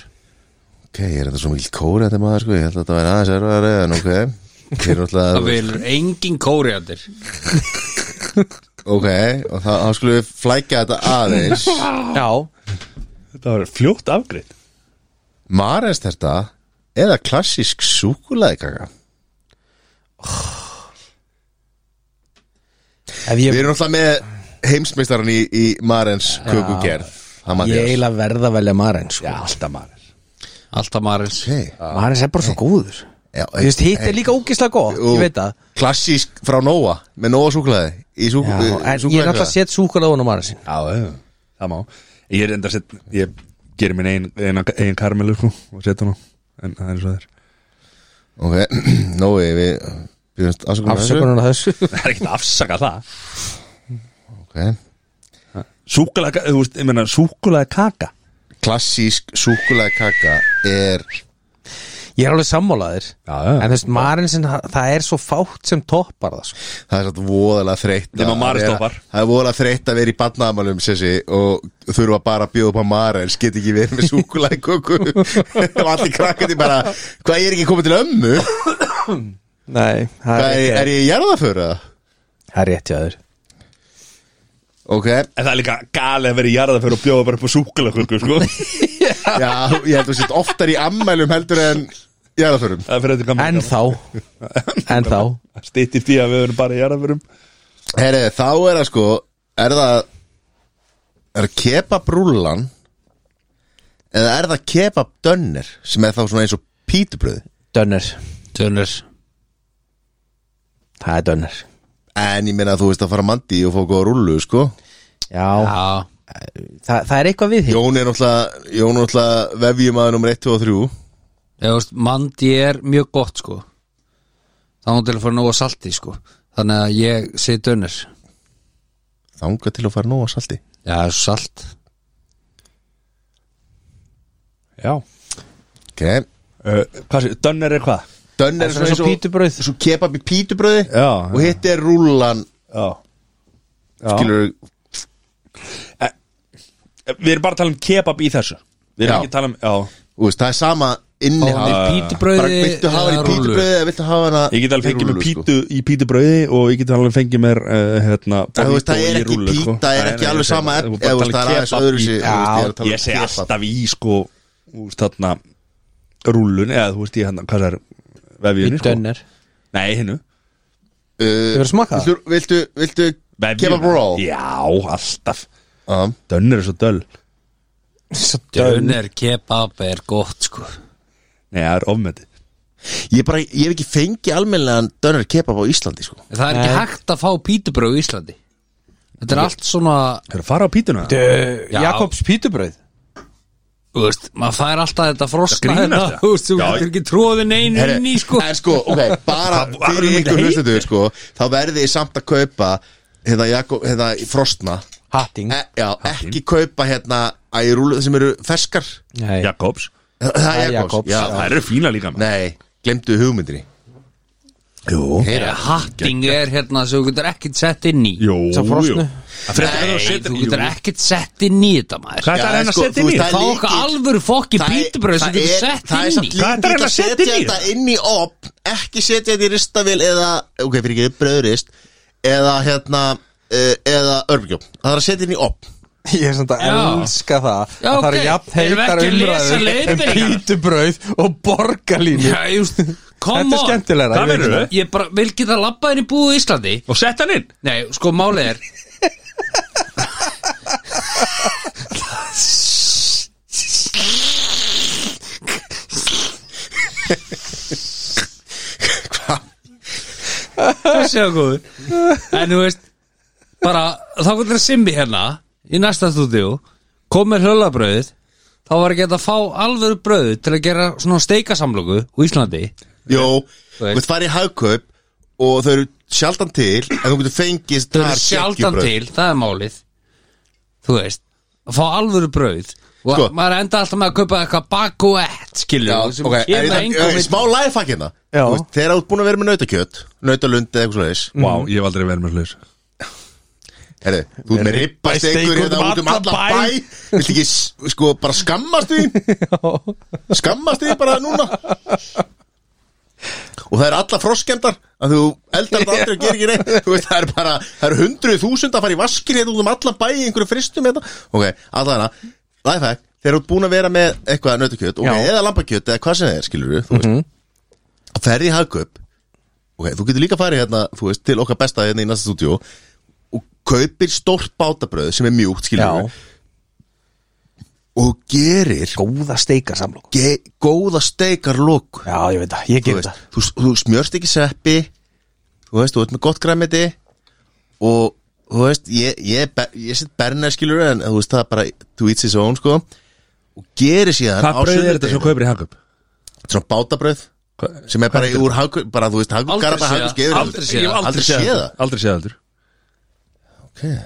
D: ok, ég er þetta svo mikil kóriander maður sko ég held að þetta væri aðeins erfæðari en ok Þeir eru
B: Það
D: alltaf,
B: vilur engin kóriandir
D: ok, og þá, þá skulum við flækja þetta aðeins
C: Já,
A: Þetta var fljótt afgreitt
D: Maresterta eða klassísk súkulæðikaka
C: ef ég
D: Við erum alltaf með heimsmeistaran í, í Marens kökugerð Það
C: Ég
D: maður
C: eiginlega verð að velja Marens sko.
A: Alltaf maður
B: Alltaf Marins
C: Marens er bara svo góður Þú veist, hitt er líka ógislega gott, ég veit það
D: Klassísk frá Nóa með Nóa súkulæði í súk,
C: Já, en ég er náttúrulega að
D: súkulæðikaka
C: setja súkulega á um Marensin
A: Já, já, það má Ég er enda að setja Ég gerir minn ein, ein, ein karmelu sko Og setja hann á En það er svo þér
D: Ok, Nói, við byrjumst afsökunar á þessu.
C: Afsökunar á þessu
A: Það er ekkert að afsaka það
D: Ok.
A: Súkulega, þú veist, ég meina súkulega kaka
D: klassísk súkulega kaka er
C: Ég er alveg sammálaðir
A: Já, já.
C: En þú veist, Marensin, það er svo fátt sem toppar það sko.
D: það er satt voðalega þreytt að
A: Nema Marel
D: vera-
A: stoppar.
D: það er voðalega þreytt að vera í barnaðamælum sessi og þurfa bara að bjóða upp á Marels get ekki verið með súkulega kóku og allir krakkandi bara hvað ég er ekki komið til ömmu
C: Nei, það
D: hvað er, er ég í jarðaföru það
C: Það er rétt hjá þér
D: ok,
A: En það er líka galið að vera í jarða fyrir að bjóða bara upp á súkulega sko
D: já, ég held að sitt oftar í ammælum heldur en jarðaförum
A: Það er fyrir þetta
C: En
A: gaman
C: þá, en þá
A: Stýttir því að við erum bara í jarðaförum
D: herri, þá er það sko er það er kepa brúlan Eða er það kebab dönner sem er þá svona eins og pítubröð
C: Dönner,
B: Tönur
C: það er dönner
D: En ég meina að þú veist að fara mandi og fá góða rullu sko
C: Já,
B: Já,
C: það, það er eitthvað við hér
D: Jón er náttúrulega, Jón er náttúrulega vefjumæður nummer 1, 2 og 3
B: eða veist, mandi er mjög gott sko Það hún til að fara nóg að salti sko Þannig að ég segi dönur
D: Þanga til að fara nóg að salti
B: Já, það er svo salt
A: Já
D: okay.
C: Eh,
A: uh, hvað sé- Dönner er hvað?
D: Dönner er
C: Svona
D: svona
C: eins og pítubrauð
D: Svo kebab í pítubröði
A: Já,
D: Og hitt er rullan
A: Já, já.
D: Skilur
A: Við erum bara að tala um kebab í þessu Við erum
D: Já.
A: ekki að tala um, já
D: Þú veist, það er sama
B: Fáðu
D: innihald
B: pítubrauði
D: Bara viltu hafa hann í
B: eða rúllu?
D: pítubröði eða viltu hafa hana
A: Ég get alveg
D: í
A: fengið mér
D: rúllu, sko.
A: pítu í pítubrauði og ég get alveg fengið mér uh, hérna,
D: Það, þú veist,
A: burrito
D: það er
A: í
D: ekki
A: rúllu,
D: pít,
A: sko.
D: það er
A: Nei, nei,
D: ekki alveg
A: ég segi
D: sama
A: bara,
D: efni,
A: þú ert bara
D: eða,
A: að tala um
D: þú veist, það er um aðeins
A: kebab í-
D: öðru sig
A: Ég segi alltaf í sko úr þarna rúlun eða þú veist ég hérna, hvað það er vefjunni sko
C: Dönner
A: Nei, hinnu
C: Hefurðu smakkað það?
D: Viltu, Uh, viltu, viltu kebab roll?
A: Já, alltaf
D: Já
A: Dönner er svo döl Nei,
C: Svo dönner
B: Dönur kebab er gott sko
A: það er ofmeti
D: Ég bara, ég hef ekki fengið almennilegan dönar kebab á Íslandi, sko
B: Það er ekki
C: Nei.
B: hægt að fá pítubröð í Íslandi Þetta er allt svona
A: Það er að fara á pítuna
C: Dö-
B: Já.
C: Jakobs pítubröð
B: þú veist, maður fær alltaf þetta frosta
A: grínast
B: hérna,
A: það.
B: þú veist, þú
A: Já,
B: getur
A: ég-
B: ekki tróðin einu
D: Herri,
B: inn í sko
D: En sko, ok, bara
A: Hvað- hvað
D: fyrir
A: myndi
D: ykkur
A: heita?
D: hlustendur, sko Þá verði ég samt að kaupa, hérna, Jakob, hérna, frostna
A: Hm?
C: Hatting
D: e, Já, ekki kaupa, hérna, að ég rúlu sem eru ferskar
C: Nei.
A: Jakobs
D: Það
C: Það er
D: er Jakobs
C: Jakobs,
D: Já,
A: Það eru fína líka maður
D: nei, glemdu hugmyndinni
A: Jú
B: Nei, Hatting er hérna sem þú getur ekkert sett inn í
A: Jú,
C: Sá frosnu.
A: jú Það frekar
B: Nei,
A: að setur-
B: þú
A: jú.
B: getur ekkert sett inn í þetta maður
A: Hvað er það
D: Já,
A: að reyna að
D: sko,
A: setja
D: þú
A: inn í?
D: veist, það er
B: Fá okkar alvöru fokki
D: Það er-
B: pítubröð sem þú
D: það er-
B: getur sett
D: Það er
B: inn
A: Hvað er
B: í
D: samt líka
A: það
D: að
A: að setja
D: setja
A: inn í?
D: þetta inn í opn Ekki setja þetta í ristavil eða Ok, fyrir ekki bröðrist Eða hérna eh, Eða örgjum Það er að setja inn í opn
C: Ég er svona að
B: Já.
C: elska það
B: Já,
C: að það eru
B: ok.
C: jafn
B: Erum við
C: heitar
B: ekki að lesa
C: umræður en
B: leiðbeiningar?
C: pítubröð og borgarlínu
B: Já, just, come
C: Þetta er
B: on
C: skemmtilega
A: Hvað
C: ég veit
A: meinarðu?
B: Ég bara vil geta labbað inn í búið í Íslandi
A: Og setja hann inn
D: Mm.
B: Nei, sko málið er Hvað séu góður En þú veist Bara, þá getur það simbi hérna Í næsta stúdíu Kom með hlölabröðið Þá var ekki hægt að fá alvöru bröðu til að gera svona steikasamlöku úr Íslandi
D: Jó,
B: Þú
D: þú
B: veist.
D: veist farið í hagkaup Og þau eru sjaldan til En þú getur fengið
B: Þau eru
D: þar
B: sjaldan
D: kekkjubrauð.
B: til, það er málið Þú veist Að fá alvöru brauð Og
D: Sko.
B: maður enda alltaf með að kaupa eitthvað baguett Skilju,
D: Já,
B: sem
D: ok, en
B: kemur
D: ég-
B: engum
D: eh, Smá lifehack hérna
C: Já.
D: Þú veist, Þegar þú ert búin að vera með nautakjöt Nautalund eða eitthvað svoleiðis
A: Vá, ég hef aldrei verið með hlaus
D: Herri, þú ert með ribbastekur hérna út um alla bæ Viltu ekki s- sko bara skammast því Skammast því bara núna Og það er alla froskendar að þú eldar þetta aldrei og gerir ekki neitt Þú veist, það er bara, það eru hundruð þúsund að fara í vaskin hérna út um alla bæ í einhverju fristum hérna Ok, allavega, lifehack Þeir eru búin að vera með eitthvað nautakjöt okay,
C: Já.
D: eða lambakjöt eða hvað sem það er, skilur við, þú veist að ferði í hagkaup ok, þú getur líka farið hérna, þú veist, til okkar besta hérna í næsta stúdíu og kaupir stórt bátabröð sem er mjúkt, skiljum
C: Já.
D: við og gerir
C: Góða steika samlokk
D: ge góða steikar lóku
C: Já, ég veit það, ég
D: þú,
C: ger
D: veist,
C: það
D: þú, þú smjörst ekki sveppi þú veist, þú veist með gott græmiti og þú veist ég, ég, ber- ég set berner skilur en þú veist það er bara to eat his own sko og gerir síðan
A: Hvað
D: á
A: brauð er þetta
D: sunnudegi-
A: sem þú kaupir í hagkaup?
D: Þetta er svona bátabröð sem er bara úr hagkaup, bara þú veist hagkaup,
B: Aldrei
D: garabæ,
B: séð
D: hagkaup,
B: það. Aldrei séð
D: skeiður
B: það.
D: aldrei séð það
A: Aldrei séð það heldur
D: okay.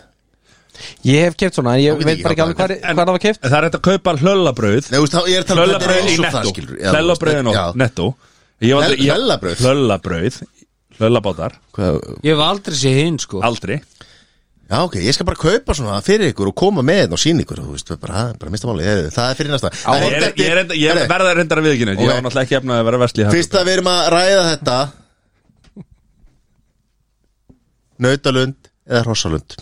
C: Ég hef keft svona, en
D: Þá
C: ég
D: veit
C: veit
D: ég
C: bara
D: ekki
C: ekki alveg hvar, hvar það var keft
A: En Það er hægt að kaupa hlöllabrauð
D: Nei, þú veist, þá- ég er að tala um þetta er
A: Hlöllabrauð í
D: eins og það,
A: netto
D: skilur.
A: Hlöllabrauð í netto Ég
D: Já, þú veist, já.
A: hef aldrei- ég-
D: Hlöllabrauð?
A: Hlöllabrauð Hlöllabátar
D: Hvað,
B: Ég hef aldrei séð hinn sko
A: Aldrei
D: já, ok, ég skal bara kaupa svona fyrir ykkur og koma með þetta og sína ykkur, þú veist, það er bara, það er bara mista máli, ég, það er fyrir næsta. Það
A: Ég,
D: er
A: er,
D: þetta-
A: ég, er, enda- ég
D: Herri,
A: er verða reyndar að viðkynna þetta. Ég
D: Ok.
A: á náttúrulega ekki efna að vera vestli í hagkaup.
D: Fyrst að við erum að ræða þetta, nautalund eða hrossalund.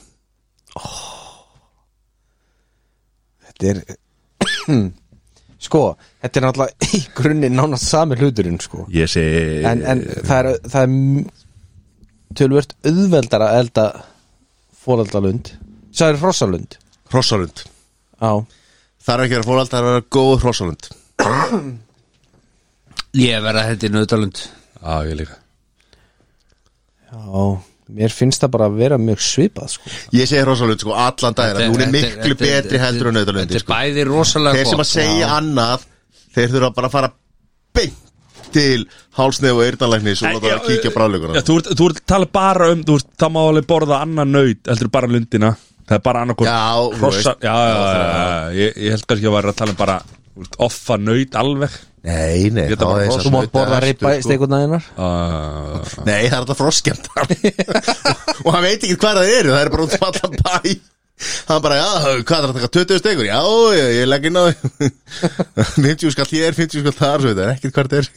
C: Þetta er Sko, þetta er náttúrulega í grunni nánast sami hluturinn sko.
A: Ég sé
C: en, en það er, það er m- tölvört auðveldar að elda fóreldalund Sæður hrossalund
D: Hrossalund.
C: Já,
D: Það er ekki að vera fórald, það er að vera góð hrossalund
B: Ég verða þetta í nöðdalund
A: Já, ég líka
C: Já, mér finnst það bara að vera mjög svipað sko.
D: Ég segi hrossalund sko, allan dagir Hún er miklu betri heldur en
B: Þetta
D: nautalund
B: er bæði rosalega
D: Þeir sem að
B: gott
D: segja annað Þeir þurfa bara að fara beint til hálsnef og eyrnalæknis og láta það kíkja
A: Já,
D: bráðleikuna
A: þú ert, þú ert tala bara um, þú ert, það má alveg borða annan naut, heldur bara lundina Það er bara annarkort
D: Já, þú
A: hrossa
D: veist.
A: Já, já, já, já, já. Ég, ég held kannski að vera að tala um bara þú ert, offa naut alveg
D: Nei, nei,
A: Geta
D: þá
A: bara
D: er
A: hross-
D: þessar
C: Þú mátt
D: nauta-
C: borða ripa í
D: sko.
C: steikunnaðinnar
A: uh,
D: Nei, það er alltaf froskjönd Og hann veit ekki hvað það eru Það er bara út um allan bæ Hann bara, já, hvað er að taka 20 stegur Já, ég, ég legg inn á 50 skall hér, 50 skall þar Svo veit það er ekkert hvað það er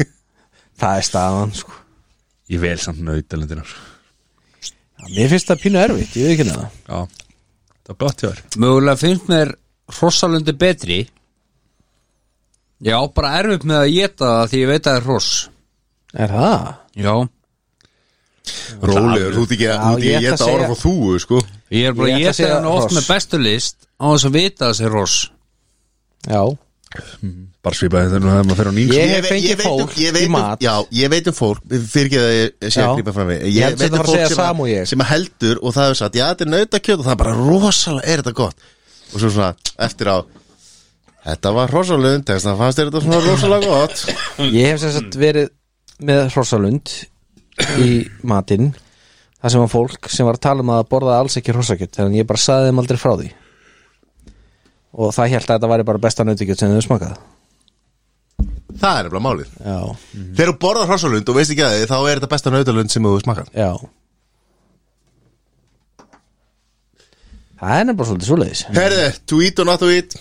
C: Það er staðan sko.
A: Ég vel samt naut lundina sko.
C: Já, Mér finnst það pínu erfitt, ég veit ekki um neða
A: Já, það var gott hjá þér
B: Mögulega finnst mér hrossalundi betri Já, bara erfitt með að geta það því ég veit að það er hross
C: Er það?
B: Já,
D: Rólegur, þú ert ekki að- þú ert
C: Já,
D: ekki
C: ég
D: að
C: ætla að
D: geta ára
C: segja-
D: frá þúu, sko
B: ég er
C: Ég
B: bara að
C: ætla að
B: geta
C: segja
B: hann oft
C: hross.
B: með bestu list á þess að vita að það sé hross
C: Já,
A: Bara svipaði þetta nú þegar maður fer á nýjum
C: Ég-
A: sko.
C: hef
D: ve-
C: fengið
D: veit um-
C: fólk
D: ég veit
C: í
D: um-
C: mat.
D: Já, ég veit um fólk, fyrir ekki að ég sé
C: Já.
D: að grípa fram við
C: Ég held sem þú fara að segja sama og ég.
D: sem að heldur og það er satt, já þetta er nautakjöt og það er bara rosalega, er þetta gott og svo svona, eftir á Þetta var rosalega þess að fannst þér þetta svona rosalega gott
C: ég hef sem sagt verið með hrossalund í matinn Það sem var fólk sem var að tala um að borða alls ekki hrossakjöt Þannig að ég bara saði þeim aldrei frá því Og það held að þetta væri bara besta nautikjöt sem þau smakað
D: Það er nefnilega málið
C: Já, Mhm.
D: Þegar þú borðar hrossalund og veist ekki að þið þá er þetta besta nautalund sem þú smakar
C: já Það er nefnilega svolítið svoleiðis
D: Herðu, to eat or not to eat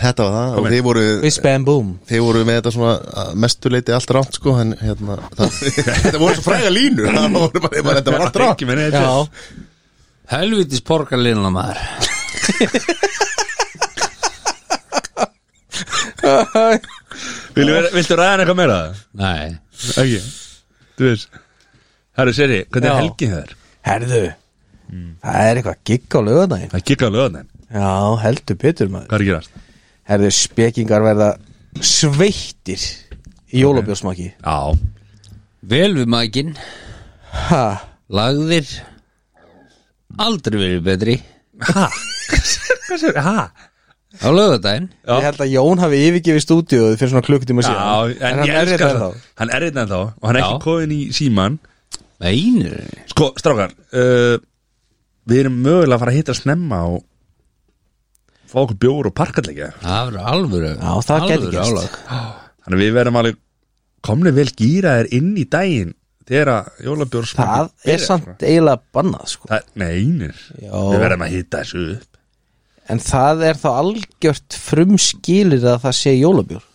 D: Þetta var það og þið voru,
C: Við spam boom
D: þið voru með þetta svona að mestu leiti allt rámt sko en hérna, það, þetta voru svo fræga línur það voru bara, bara þetta var allt rámt
A: Ekki minni, þetta
C: Já,
B: Helvitis porgarlinna maður
A: Viltu, vera- viltu ræðan eitthvað meira?
B: Nei,
A: Ekki Þú veist Herru, seri, hvernig
C: Já.
A: er helgin það er?
C: herðu
A: Mm.
C: Það er eitthvað gigg á lögadaginn
A: Það kikkaði löðan þeim
C: Já, heldur betur maður
A: Hvað er að gerast?
C: Herðu spekingar verða sveittir í jólabjósmaki
A: Já,
B: vel við maginn
C: Ha,
B: Lagðir Aldrei verið betri
A: Hæ? Hvað sér? Hæ?
B: Á lögadaginn
A: Já.
C: ég held að Jón hafi yfirgefið stúdíóð fyrir svona klukkutíma
A: Já,
C: síðan
A: en
C: hann
A: ég
C: er hérna
A: elska
C: þetta
A: það
C: þá
A: Hann er þetta þá og hann er ekki
B: Já.
A: kóðin í síman
B: Einur
A: Sko, strákar uh, Við erum mögulega að fara að hitta snemma og fá okkur bjór og parkallega
B: Það verður alvöru
C: Já, það gæti
B: alvöru
C: gerst.
B: álag.
A: Þannig að við verðum alveg komni vel gýraðir inn í daginn þegar að jólabjór smakki
C: Það er samt eiginlega bannað sko
A: Það, neinir,
C: Já.
A: við verðum að hitta þessu upp
C: En það er þá algjört frumskilir að það sé jólabjór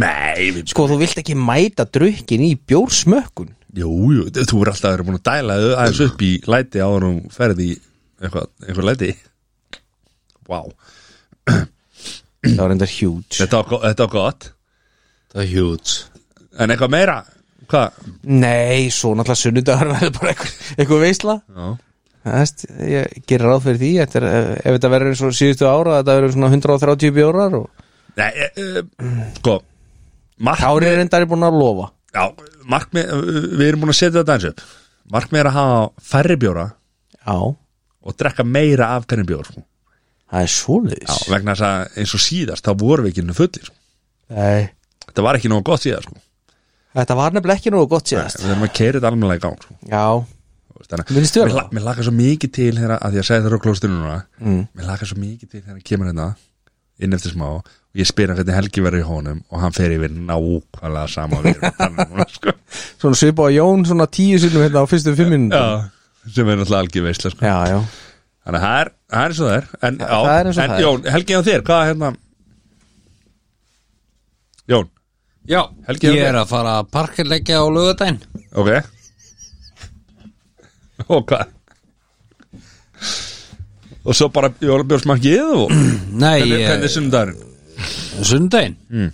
A: Nei, við,
C: Sko, þú vilt ekki mæta drukkin í bjórsmökkun
A: jú, jú, þú er alltaf að vera búin að dæla þau aðeins upp í læti áður og ferði í eitthvað, eitthvað læti Vá wow.
C: Það var reyndar huge
A: Þetta var, go- þetta var gott
B: Það er hjúts
A: En eitthvað meira? Hvað?
C: Nei, svo náttúrulega sunnudagur verður bara eitthvað, eitthvað veisla
A: Já
C: Það veist, ég gerir ráð fyrir því þetta er, eh, ef þetta verður eins og síðustu ára þetta verður svona 130 bjórar og
A: Nei, e, e, sko
C: Kári
A: Markmið
C: er reyndar búin að lofa
A: Já, markmið Við erum búin að setja þetta eins upp Markmið er að hafa færri bjóra
C: Já,
A: og drekka meira af hvernig bjór sko.
C: það er
A: Já,
C: svoleiðis
A: vegna þess að eins og síðast þá vorum við ekki innu fullir sko.
C: Nei,
A: Þetta var ekki nógu gott síðast sko.
C: Þetta var nefnilega ekki nú gott síðast
A: Við erum að keira þetta almennilega í gang sko.
C: Já,
A: Þú veist, þannig að-
C: Vilstu vera
A: Mér la-
C: það?
A: Mér lakar svo mikið til þegar að því að segja þetta rögglóðstunum núna Mér lakar svo mikið til þegar hann kemur hérna inn eftir smá og ég spyr hann hvernig Helgi verður í honum og hann fer yfir nákvæmlega sama og við erum að tala um núna, sko.
C: Svona svipa á Jón svona tíu sinnum hérna á fyrstu fimm
A: Já,
C: minnum
A: sem er náttúrulega algjör veistla sko.
C: Já, já
A: Þannig að það er, það er eins og það er en, já,
C: það er eins og
A: en
C: það er.
A: Jón, Helgi á þér, hvað er hérna Jón,
B: Já,
A: Helgi,
B: ég
A: Helgi.
B: er að fara að parkirleggja á lögadaginn
A: ok Og hvað Og svo bara jólabjórsmakkið og
B: Nei,
A: hvernig,
B: ég-
A: hvernig sundar
B: Sundaginn
C: Hmm.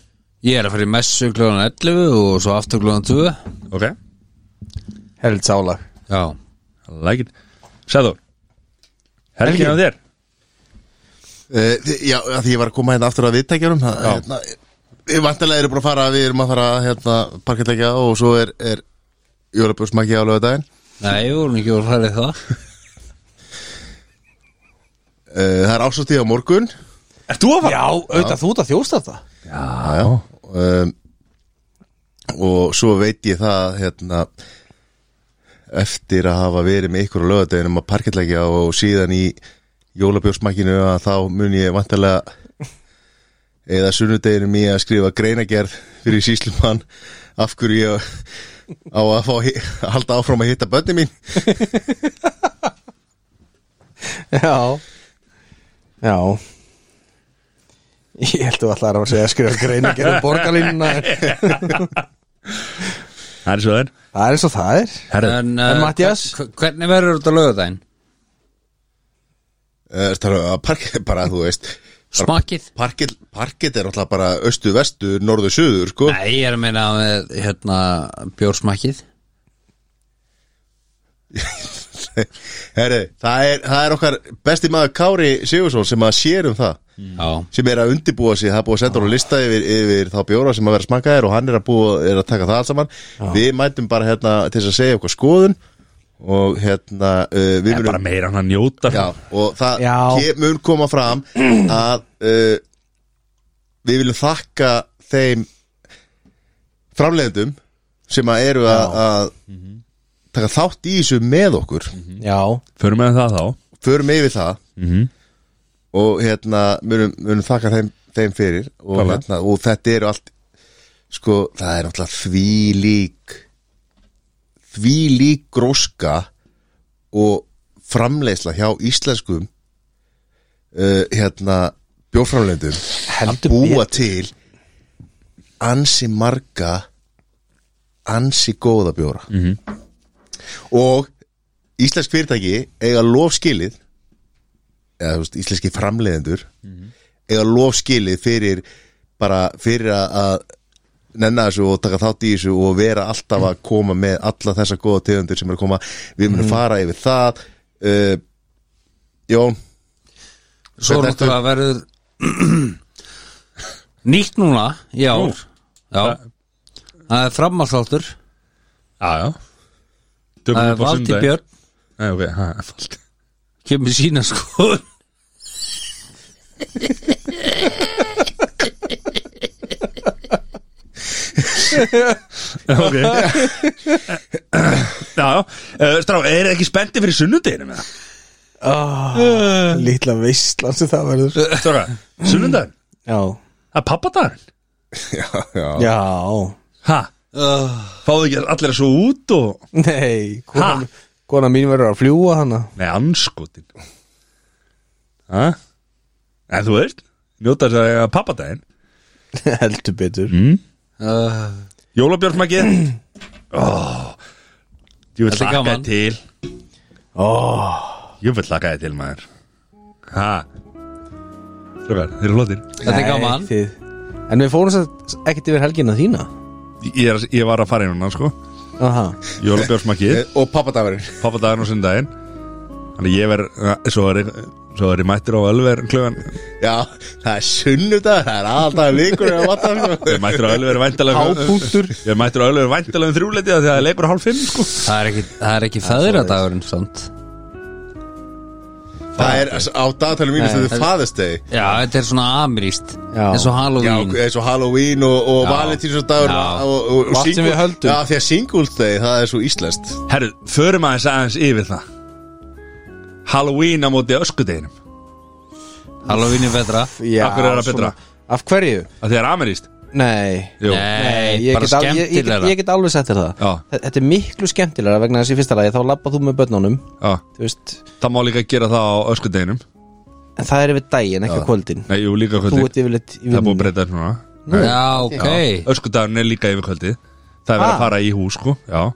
B: Ég er að fara í messu kljóðan 11 og svo aftur kljóðan 2
A: Ok,
C: Helds álag
B: Já
A: I like it Sæður, helgin
C: Helgi.
A: á þér
D: Uh, já, af því ég var að koma hérna aftur að viðtækjarum það- hérna, Ég vantilega eru bara að fara Við erum að fara að hérna, parketleikja Og svo er, er Jólabjörnsmæki á lögadaginn
B: Nei, ég voru nú ekki voru hærið það
D: uh, Það er ásastíð á morgun
A: Ert þú að fara?
C: Já, auðvitað þú út að þjósta þetta
D: Já, já um, Og svo veit ég það hérna, Eftir að hafa verið með ykkur á lögadaginn Um að parketleikja og síðan í Jólabjörnsmækinu að Þá mun ég vantilega eða sunnudeginum í að skrifa greinagerð fyrir síslumann af hverju ég á að fá að hi- að halda áfram að hitta bönni mín
C: Já Já Ég held þú allar að segja að skrifa greiningar um borgarlínuna en
A: Það er svo það er
C: Það er eins og það er
A: Herru,
B: En,
C: En
B: eh,
C: Matthías?
B: hve- Hvernig verður þetta lögðaðin?
D: Eh, ertu að parkið bara þú veist
B: Smakkið?
D: parkið, parkið er alltaf bara östu, vestu, norðu, suður sko.
B: Nei, ég er að meina með, hérna, bjórsmakkið
D: Herri, það, er, það er okkar besti maður Kári Sigursson sem að sér um það
B: Já,
D: sem er að undibúa sig, það er búið að senda hún lista yfir, yfir þá bjóra sem að vera smakkaðir og hann er að, búa, er að taka það alls saman við mætum bara hérna til þess að segja okkar skoðun og hérna uh, við
A: það er bara meira hann að njóta
D: Já, og það
C: Já.
D: ke- mun koma fram að uh, við viljum þakka þeim framleiðendum sem að eru að, að taka þátt í þessu með okkur
C: Já
A: Förum með það þá
D: förum yfir það
A: Mhm.
D: og hérna munum, munum þakka þeim, þeim fyrir og,
A: Klálega.
D: hérna, og þetta eru allt sko, það er náttúrulega því lík því lík gróska og framleiðsla hjá íslenskum uh, hérna bjóframleiðendum að
C: Heldur
D: búa til ansi marga ansi góða bjóra -hmm. og íslensk fyrirtæki eiga lofskilið eða þú veist, íslenski framleiðendur eiga lofskilið fyrir bara fyrir að- að nenna þessu og taka þátt í þessu og vera alltaf að koma með alla þessa góða tegundir sem eru að koma, við munum fara yfir það uh, Jón
B: svo
D: Hvernig
B: náttúrulega verður Nýtt núna í ár Já Það er framhaldsáttur
A: Já, já
B: Það er Valdi Björn
A: Nei, ok, það er Valdi
B: Kemur sína skoðun
A: Ok Já, já Eh, Strá, er ekki spenntið fyrir sunnudeginu með það?
C: oh, Lítla veistlan sem það verður
A: Strá, sunnudegin
C: Já
A: Það er pappadagin
C: Já
A: Ha,
B: Ah.
A: fáðu ekki allir að svo út og
C: Nei
A: Ha?
C: Kona, kona mín verður að fljúa hana
A: Nei, anskotin Ha? En þú veist, njóta þess að eiga pappadaginn
C: Heldur betur
A: Jólabjörnsmakið Ég vil
B: Þetta er
A: laka þið
B: gaman.
A: til
C: oh,
A: Ég vil laka þið til maður Ha Strákar, þeir eru flottir
B: Þetta er gaman
C: þið. En við fórum satt ekkert yfir helgina þína
A: ég, er, ég var að fara inn á sko
C: Aha
A: Jólabjörnsmakið
D: Eh, og pappadafurinn
A: pappadaginn og sundaginn Þannig ég verð, eh, svo er ég, svo er ég mættur á Ölver klugan
D: Já, það er sunnudag, það er alltaf vikur sko. að vata
A: Ég er mættur á Ölver væntalega
C: Hápunktur.
A: Ég er mættur á Ölver væntalega um þrjúleiti Þegar það er leikur hálf fimm sko
B: Það er ekki, það er ekki feðradagurinn samt
D: Það er á dagatalum mínu sem þið faðistegi
B: Já, þetta er svona ameríst
C: Já.
B: eins og
D: Já,
C: Mm.
B: Halloween
D: eins og Halloween og, og Valentínsdagur
B: Já.
D: og, og, og,
C: Og allt sem
D: Single-
C: við höldum.
D: Já, því að Singles Day, það er svo íslenskt
A: Herru, förum aðeins aðeins yfir það Halloween á móti öskudeginum
B: Halloween er betra
C: Já,
A: Af hverju er það betra?
C: svona- Af hverju?
A: að Því það er ameríst
C: Nei
A: Jú.
B: Nei,
C: ég
B: bara
C: get, al- ég, ég, get,
B: skemmtilegra
C: ég get alveg sett þér það
A: Já.
C: Þe- Þetta er miklu skemmtilega vegna þess í fyrsta lagi þá labba þú með börnunum
A: Já,
C: þú veist,
A: það má líka gera það á öskudeginum
C: en það er yfir daginn, ekki á kvöldin
A: Nei, jú, líka
C: Þú
A: kvöldi
C: ert yfirleitt í
A: Það er búið að
C: vinnunni
A: breyta þessu núna
B: Já, ok
A: Öskudagurinn er líka yfir kvöldi Það er verið að
C: Ah.
A: fara í hús sko Já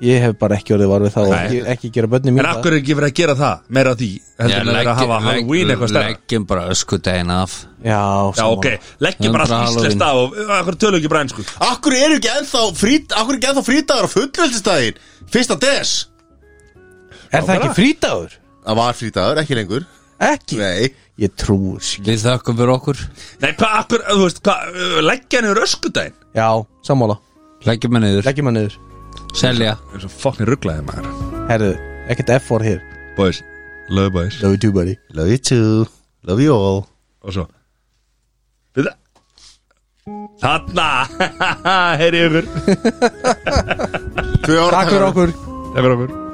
C: Ég hef bara ekki orðið varfið þá og
A: Nei.
C: ekki, ekki gera börnum mín
A: En af hverju er ekki verið að gera það? Meira af því heldur en að vera að hafa Halloween eitthvað stærra
B: Leggjum bara öskudegin af
C: Já,
A: Já, ok, leggjum bara
B: Hundrað
A: allt íslenskt af og af hverju tölum við ekki bara ennsku
D: Akkur eru ekki ennþá, frít, akkur er ekki ennþá frítagur á fullveldistaginn Fyrsta des
C: Er það ekki frítagur?
D: Það var frítagur, ekki lengur
C: Ekki?
D: Nei
C: Ég trúi þessu ekki.
B: Við þökkum fyrir okkur
A: Nei, hvað, akkur, þú veist, hvað, uh, leggja henni öskudaginn
C: Já, sammála
B: Leggjum henni yfir,
C: Leggjum hann niður
B: selja
A: eins og fokkin rugglaði maður
C: Herðu, ekkert F4 hér
A: Boys, love boys
C: Love you too buddy
D: Love you too Love you all
A: og svo Við- Þarna, heyri ykkur
D: Tvö ára
C: Takk fyrir okkur
A: Það verður okkur